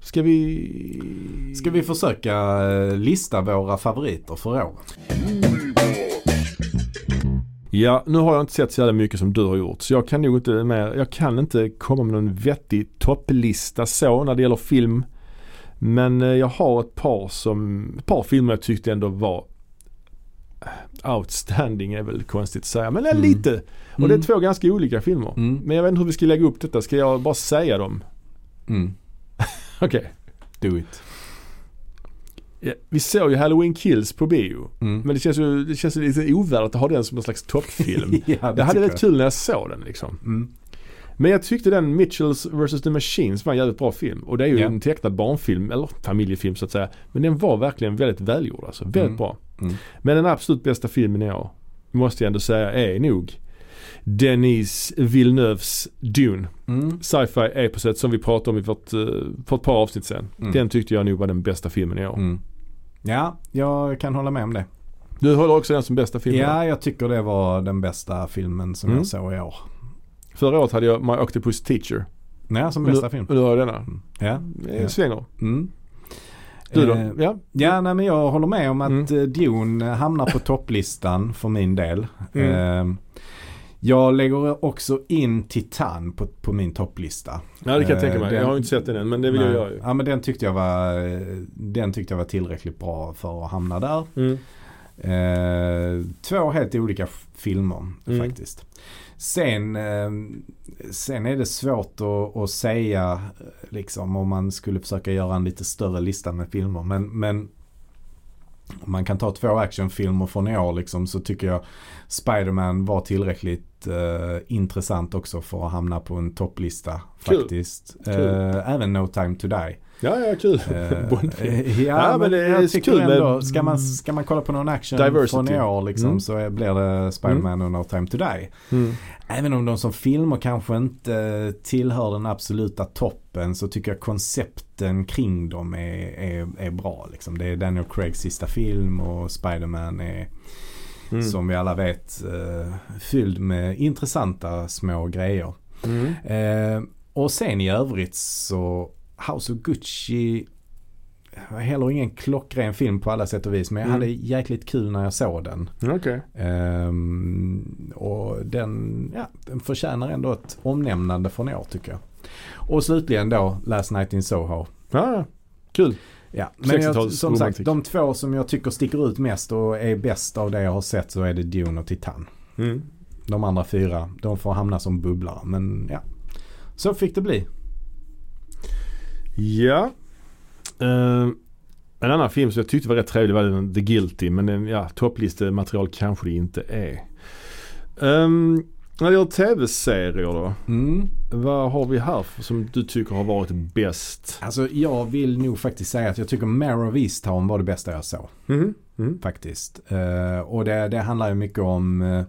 S1: ska vi...
S2: Ska vi försöka eh, lista våra favoriter för året?
S1: Ja, nu har jag inte sett så jävla mycket som du har gjort. Så jag kan nog inte mer, jag kan inte komma med någon vettig topplista så när det gäller film. Men eh, jag har ett par som, ett par filmer jag tyckte ändå var eh, outstanding är väl konstigt att säga, men eh,
S2: Mm.
S1: lite. Och det är
S2: Mm.
S1: två ganska olika filmer.
S2: Mm.
S1: Men jag vet inte hur vi ska lägga upp detta. Ska jag bara säga dem?
S2: Mm.
S1: Okej.
S2: Do it.
S1: Ja, vi såg ju Halloween Kills på bio.
S2: Mm.
S1: Men det känns ju det känns ju lite ovärdigt att ha den som någon slags toppfilm.
S2: ja,
S1: det hade
S2: tycker
S1: varit kul när jag såg den liksom.
S2: jag. Mm.
S1: Men jag tyckte den Mitchells vs. The Machines var en jävligt bra film. Och det är ju
S2: Ja.
S1: en tecknad barnfilm, eller familjefilm så att säga. Men den var verkligen väldigt välgjord alltså. Väldigt
S2: Mm.
S1: bra.
S2: Mm.
S1: Men den absolut bästa filmen i år, måste jag ändå säga, är nog Denis Villeneuves Dune.
S2: Mm.
S1: Sci-fi eposet som vi pratade om i vårt, eh, för ett par avsnitt sen.
S2: Mm.
S1: Den tyckte jag nog var den bästa filmen i år.
S2: Mm. Ja, jag kan hålla med om det.
S1: Du håller också den som bästa film?
S2: Ja, jag tycker det var den bästa filmen som
S1: Mm.
S2: jag såg i år.
S1: Förra året hade jag My Octopus Teacher.
S2: Mm. Nej, som bästa
S1: nu,
S2: film.
S1: Och nu har jag denna.
S2: Ja.
S1: Eh,
S2: Mm. Ja.
S1: Svänger.
S2: Mm.
S1: Du då?
S2: Eh,
S1: ja.
S2: Ja, nej, men jag håller med om att
S1: Mm.
S2: eh, Dune hamnar på topplistan för min del.
S1: Mm.
S2: Eh, Jag lägger också in Titan på, på min topplista.
S1: ja, det kan jag
S2: eh,
S1: tänka mig.
S2: den-
S1: Jag har ju inte sett den än men det vill
S2: Nej.
S1: jag göra ju.
S2: Ja, men den tyckte jag var, eh, den tyckte jag var tillräckligt bra för att hamna där.
S1: Mm.
S2: Eh, två helt olika f- filmer
S1: Mm.
S2: faktiskt. Sen, eh, sen är det svårt att, att säga eh, liksom om man skulle försöka göra en lite större lista med filmer. Men, men om man kan ta två actionfilmer från i år liksom, så tycker jag Spider-Man var tillräckligt eh, intressant också för att hamna på en topplista
S1: Kul.
S2: faktiskt.
S1: Kul.
S2: Eh, även No Time To Die.
S1: Ja, ja, kul.
S2: Eh,
S1: Bondfilm.
S2: eh, ja, men det är så kul ändå, ska, man, ska man kolla på någon action
S1: Diversity.
S2: från i år liksom,
S1: Mm.
S2: så är- blir det Spider-Man och No Time To Die.
S1: Mm.
S2: Även om de som filmer kanske inte eh, tillhör den absoluta toppen så tycker jag koncepten kring dem är, är, är bra. Liksom. Det är Daniel Craigs sista film och Spider-Man är
S1: Mm.
S2: som vi alla vet eh, fylld med intressanta små grejer.
S1: Mm.
S2: Eh, och sen i övrigt så House of Gucci var heller ingen klockren film på alla sätt och vis. Men jag
S1: Mm.
S2: hade jäkligt kul när jag såg den.
S1: Okej.
S2: Ehm, och den, ja, den förtjänar ändå ett omnämnande från år tycker jag. Och slutligen då Last Night in Soho.
S1: Ja, ja. kul.
S2: Ja, men jag,
S1: 60-tals
S2: som sagt,
S1: romantik.
S2: de två som jag tycker sticker ut mest och är bäst av det jag har sett så är det Dune och Titan.
S1: Mm.
S2: De andra fyra, de får hamna som bubblare. Men ja, så fick det bli.
S1: Ja. Eh, en annan film som jag tyckte var rätt trevlig var den The Guilty. Men den, ja, topplistematerial kanske det inte är. Um, när det gäller tv-serier då.
S2: Mm.
S1: Vad har vi här för- som du tycker har varit bäst?
S2: Alltså jag vill nog faktiskt säga att jag tycker Mare of Easttown var det bästa jag såg
S1: Mm. Mm.
S2: faktiskt. Eh, och det, det handlar ju mycket om eh,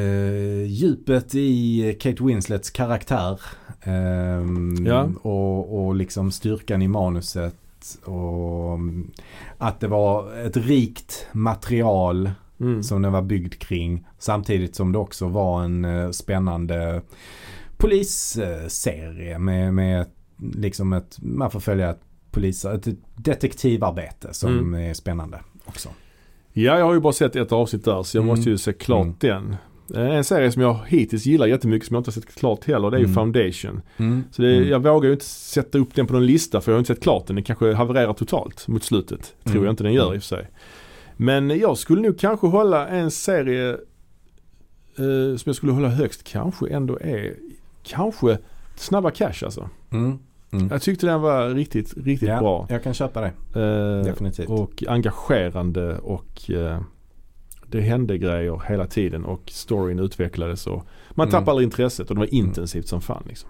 S2: eh, djupet i Kate Winslets karaktär. Ehm,
S1: Ja.
S2: och, och liksom styrkan i manuset. Och mm, att det var ett rikt material
S1: Mm.
S2: som den var byggd kring. Samtidigt som det också var en eh, spännande polisserie med, med ett- liksom ett, man får följa ett, polis, ett detektivarbete som
S1: Mm.
S2: är spännande också.
S1: Ja, jag har ju bara sett ett avsnitt där så jag
S2: Mm.
S1: måste ju se klart
S2: Mm.
S1: den. Eh, En serie som jag hittills gillar jättemycket som jag inte har sett klart heller det är ju
S2: Mm.
S1: Foundation. Så det, jag vågar ju inte sätta upp den på någon lista för jag har inte sett klart den. Den kanske havererar totalt mot slutet. Tror
S2: Mm.
S1: jag inte den gör i och för sig. Men jag skulle nog kanske hålla en serie eh, som jag skulle hålla högst kanske ändå är kanske Snabba Cash alltså.
S2: Mm. Mm.
S1: Jag tyckte den var riktigt, riktigt
S2: ja,
S1: bra.
S2: Jag kan köpa det,
S1: Eh,
S2: definitivt.
S1: och engagerande och eh, det hände grejer hela tiden och storyn utvecklades och man
S2: Mm.
S1: tappade aldrig intresset och det var intensivt som fan liksom.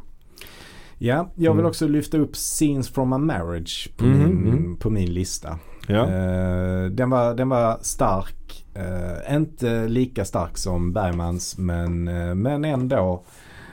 S2: Ja, jag vill
S1: Mm.
S2: också lyfta upp Scenes from a Marriage på,
S1: Mhm,
S2: min,
S1: mm.
S2: på min lista.
S1: Ja.
S2: Eh, den, var, den var stark. Eh, inte lika stark som Bergmans men, eh, men ändå.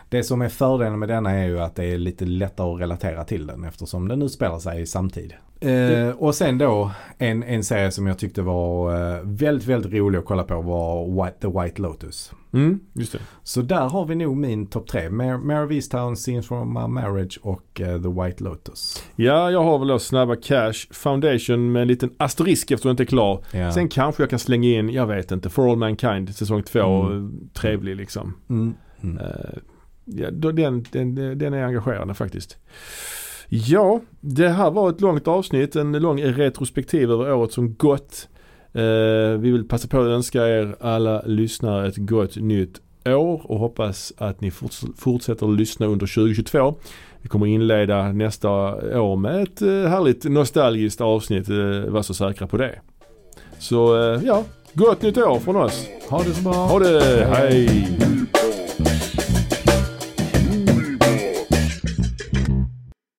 S2: Det som är fördelen med denna är ju att det är lite lättare att relatera till den eftersom den utspelar sig i samtid. Eh, och sen då en, en serie som jag tyckte var eh, väldigt, väldigt rolig att kolla på var White, The White Lotus.
S1: Mm, just det.
S2: Så där har vi nog min topp tre. Mare Mare of Easttown, Scenes from a Marriage och eh, The White Lotus.
S1: Ja, jag har väl då Snabba Cash, Foundation med en liten asterisk eftersom den inte är klar.
S2: Ja.
S1: Sen kanske jag kan slänga in, jag vet inte, For All Mankind säsong två.
S2: Mm.
S1: eh, Trevlig liksom.
S2: Mm. Mm.
S1: Eh, ja, då- den, den, den är engagerande faktiskt. Ja, det här var ett långt avsnitt, en lång retrospektiv över året som gått. Eh, vi vill passa på att önska er alla lyssnare ett gott nytt år och hoppas att ni forts- fortsätter att lyssna under 2022. Vi kommer inleda nästa år med ett eh, härligt nostalgiskt avsnitt, eh, var så säkra på det. Så eh, ja, gott nytt år från oss.
S2: Ha det så bra.
S1: Ha det, hej!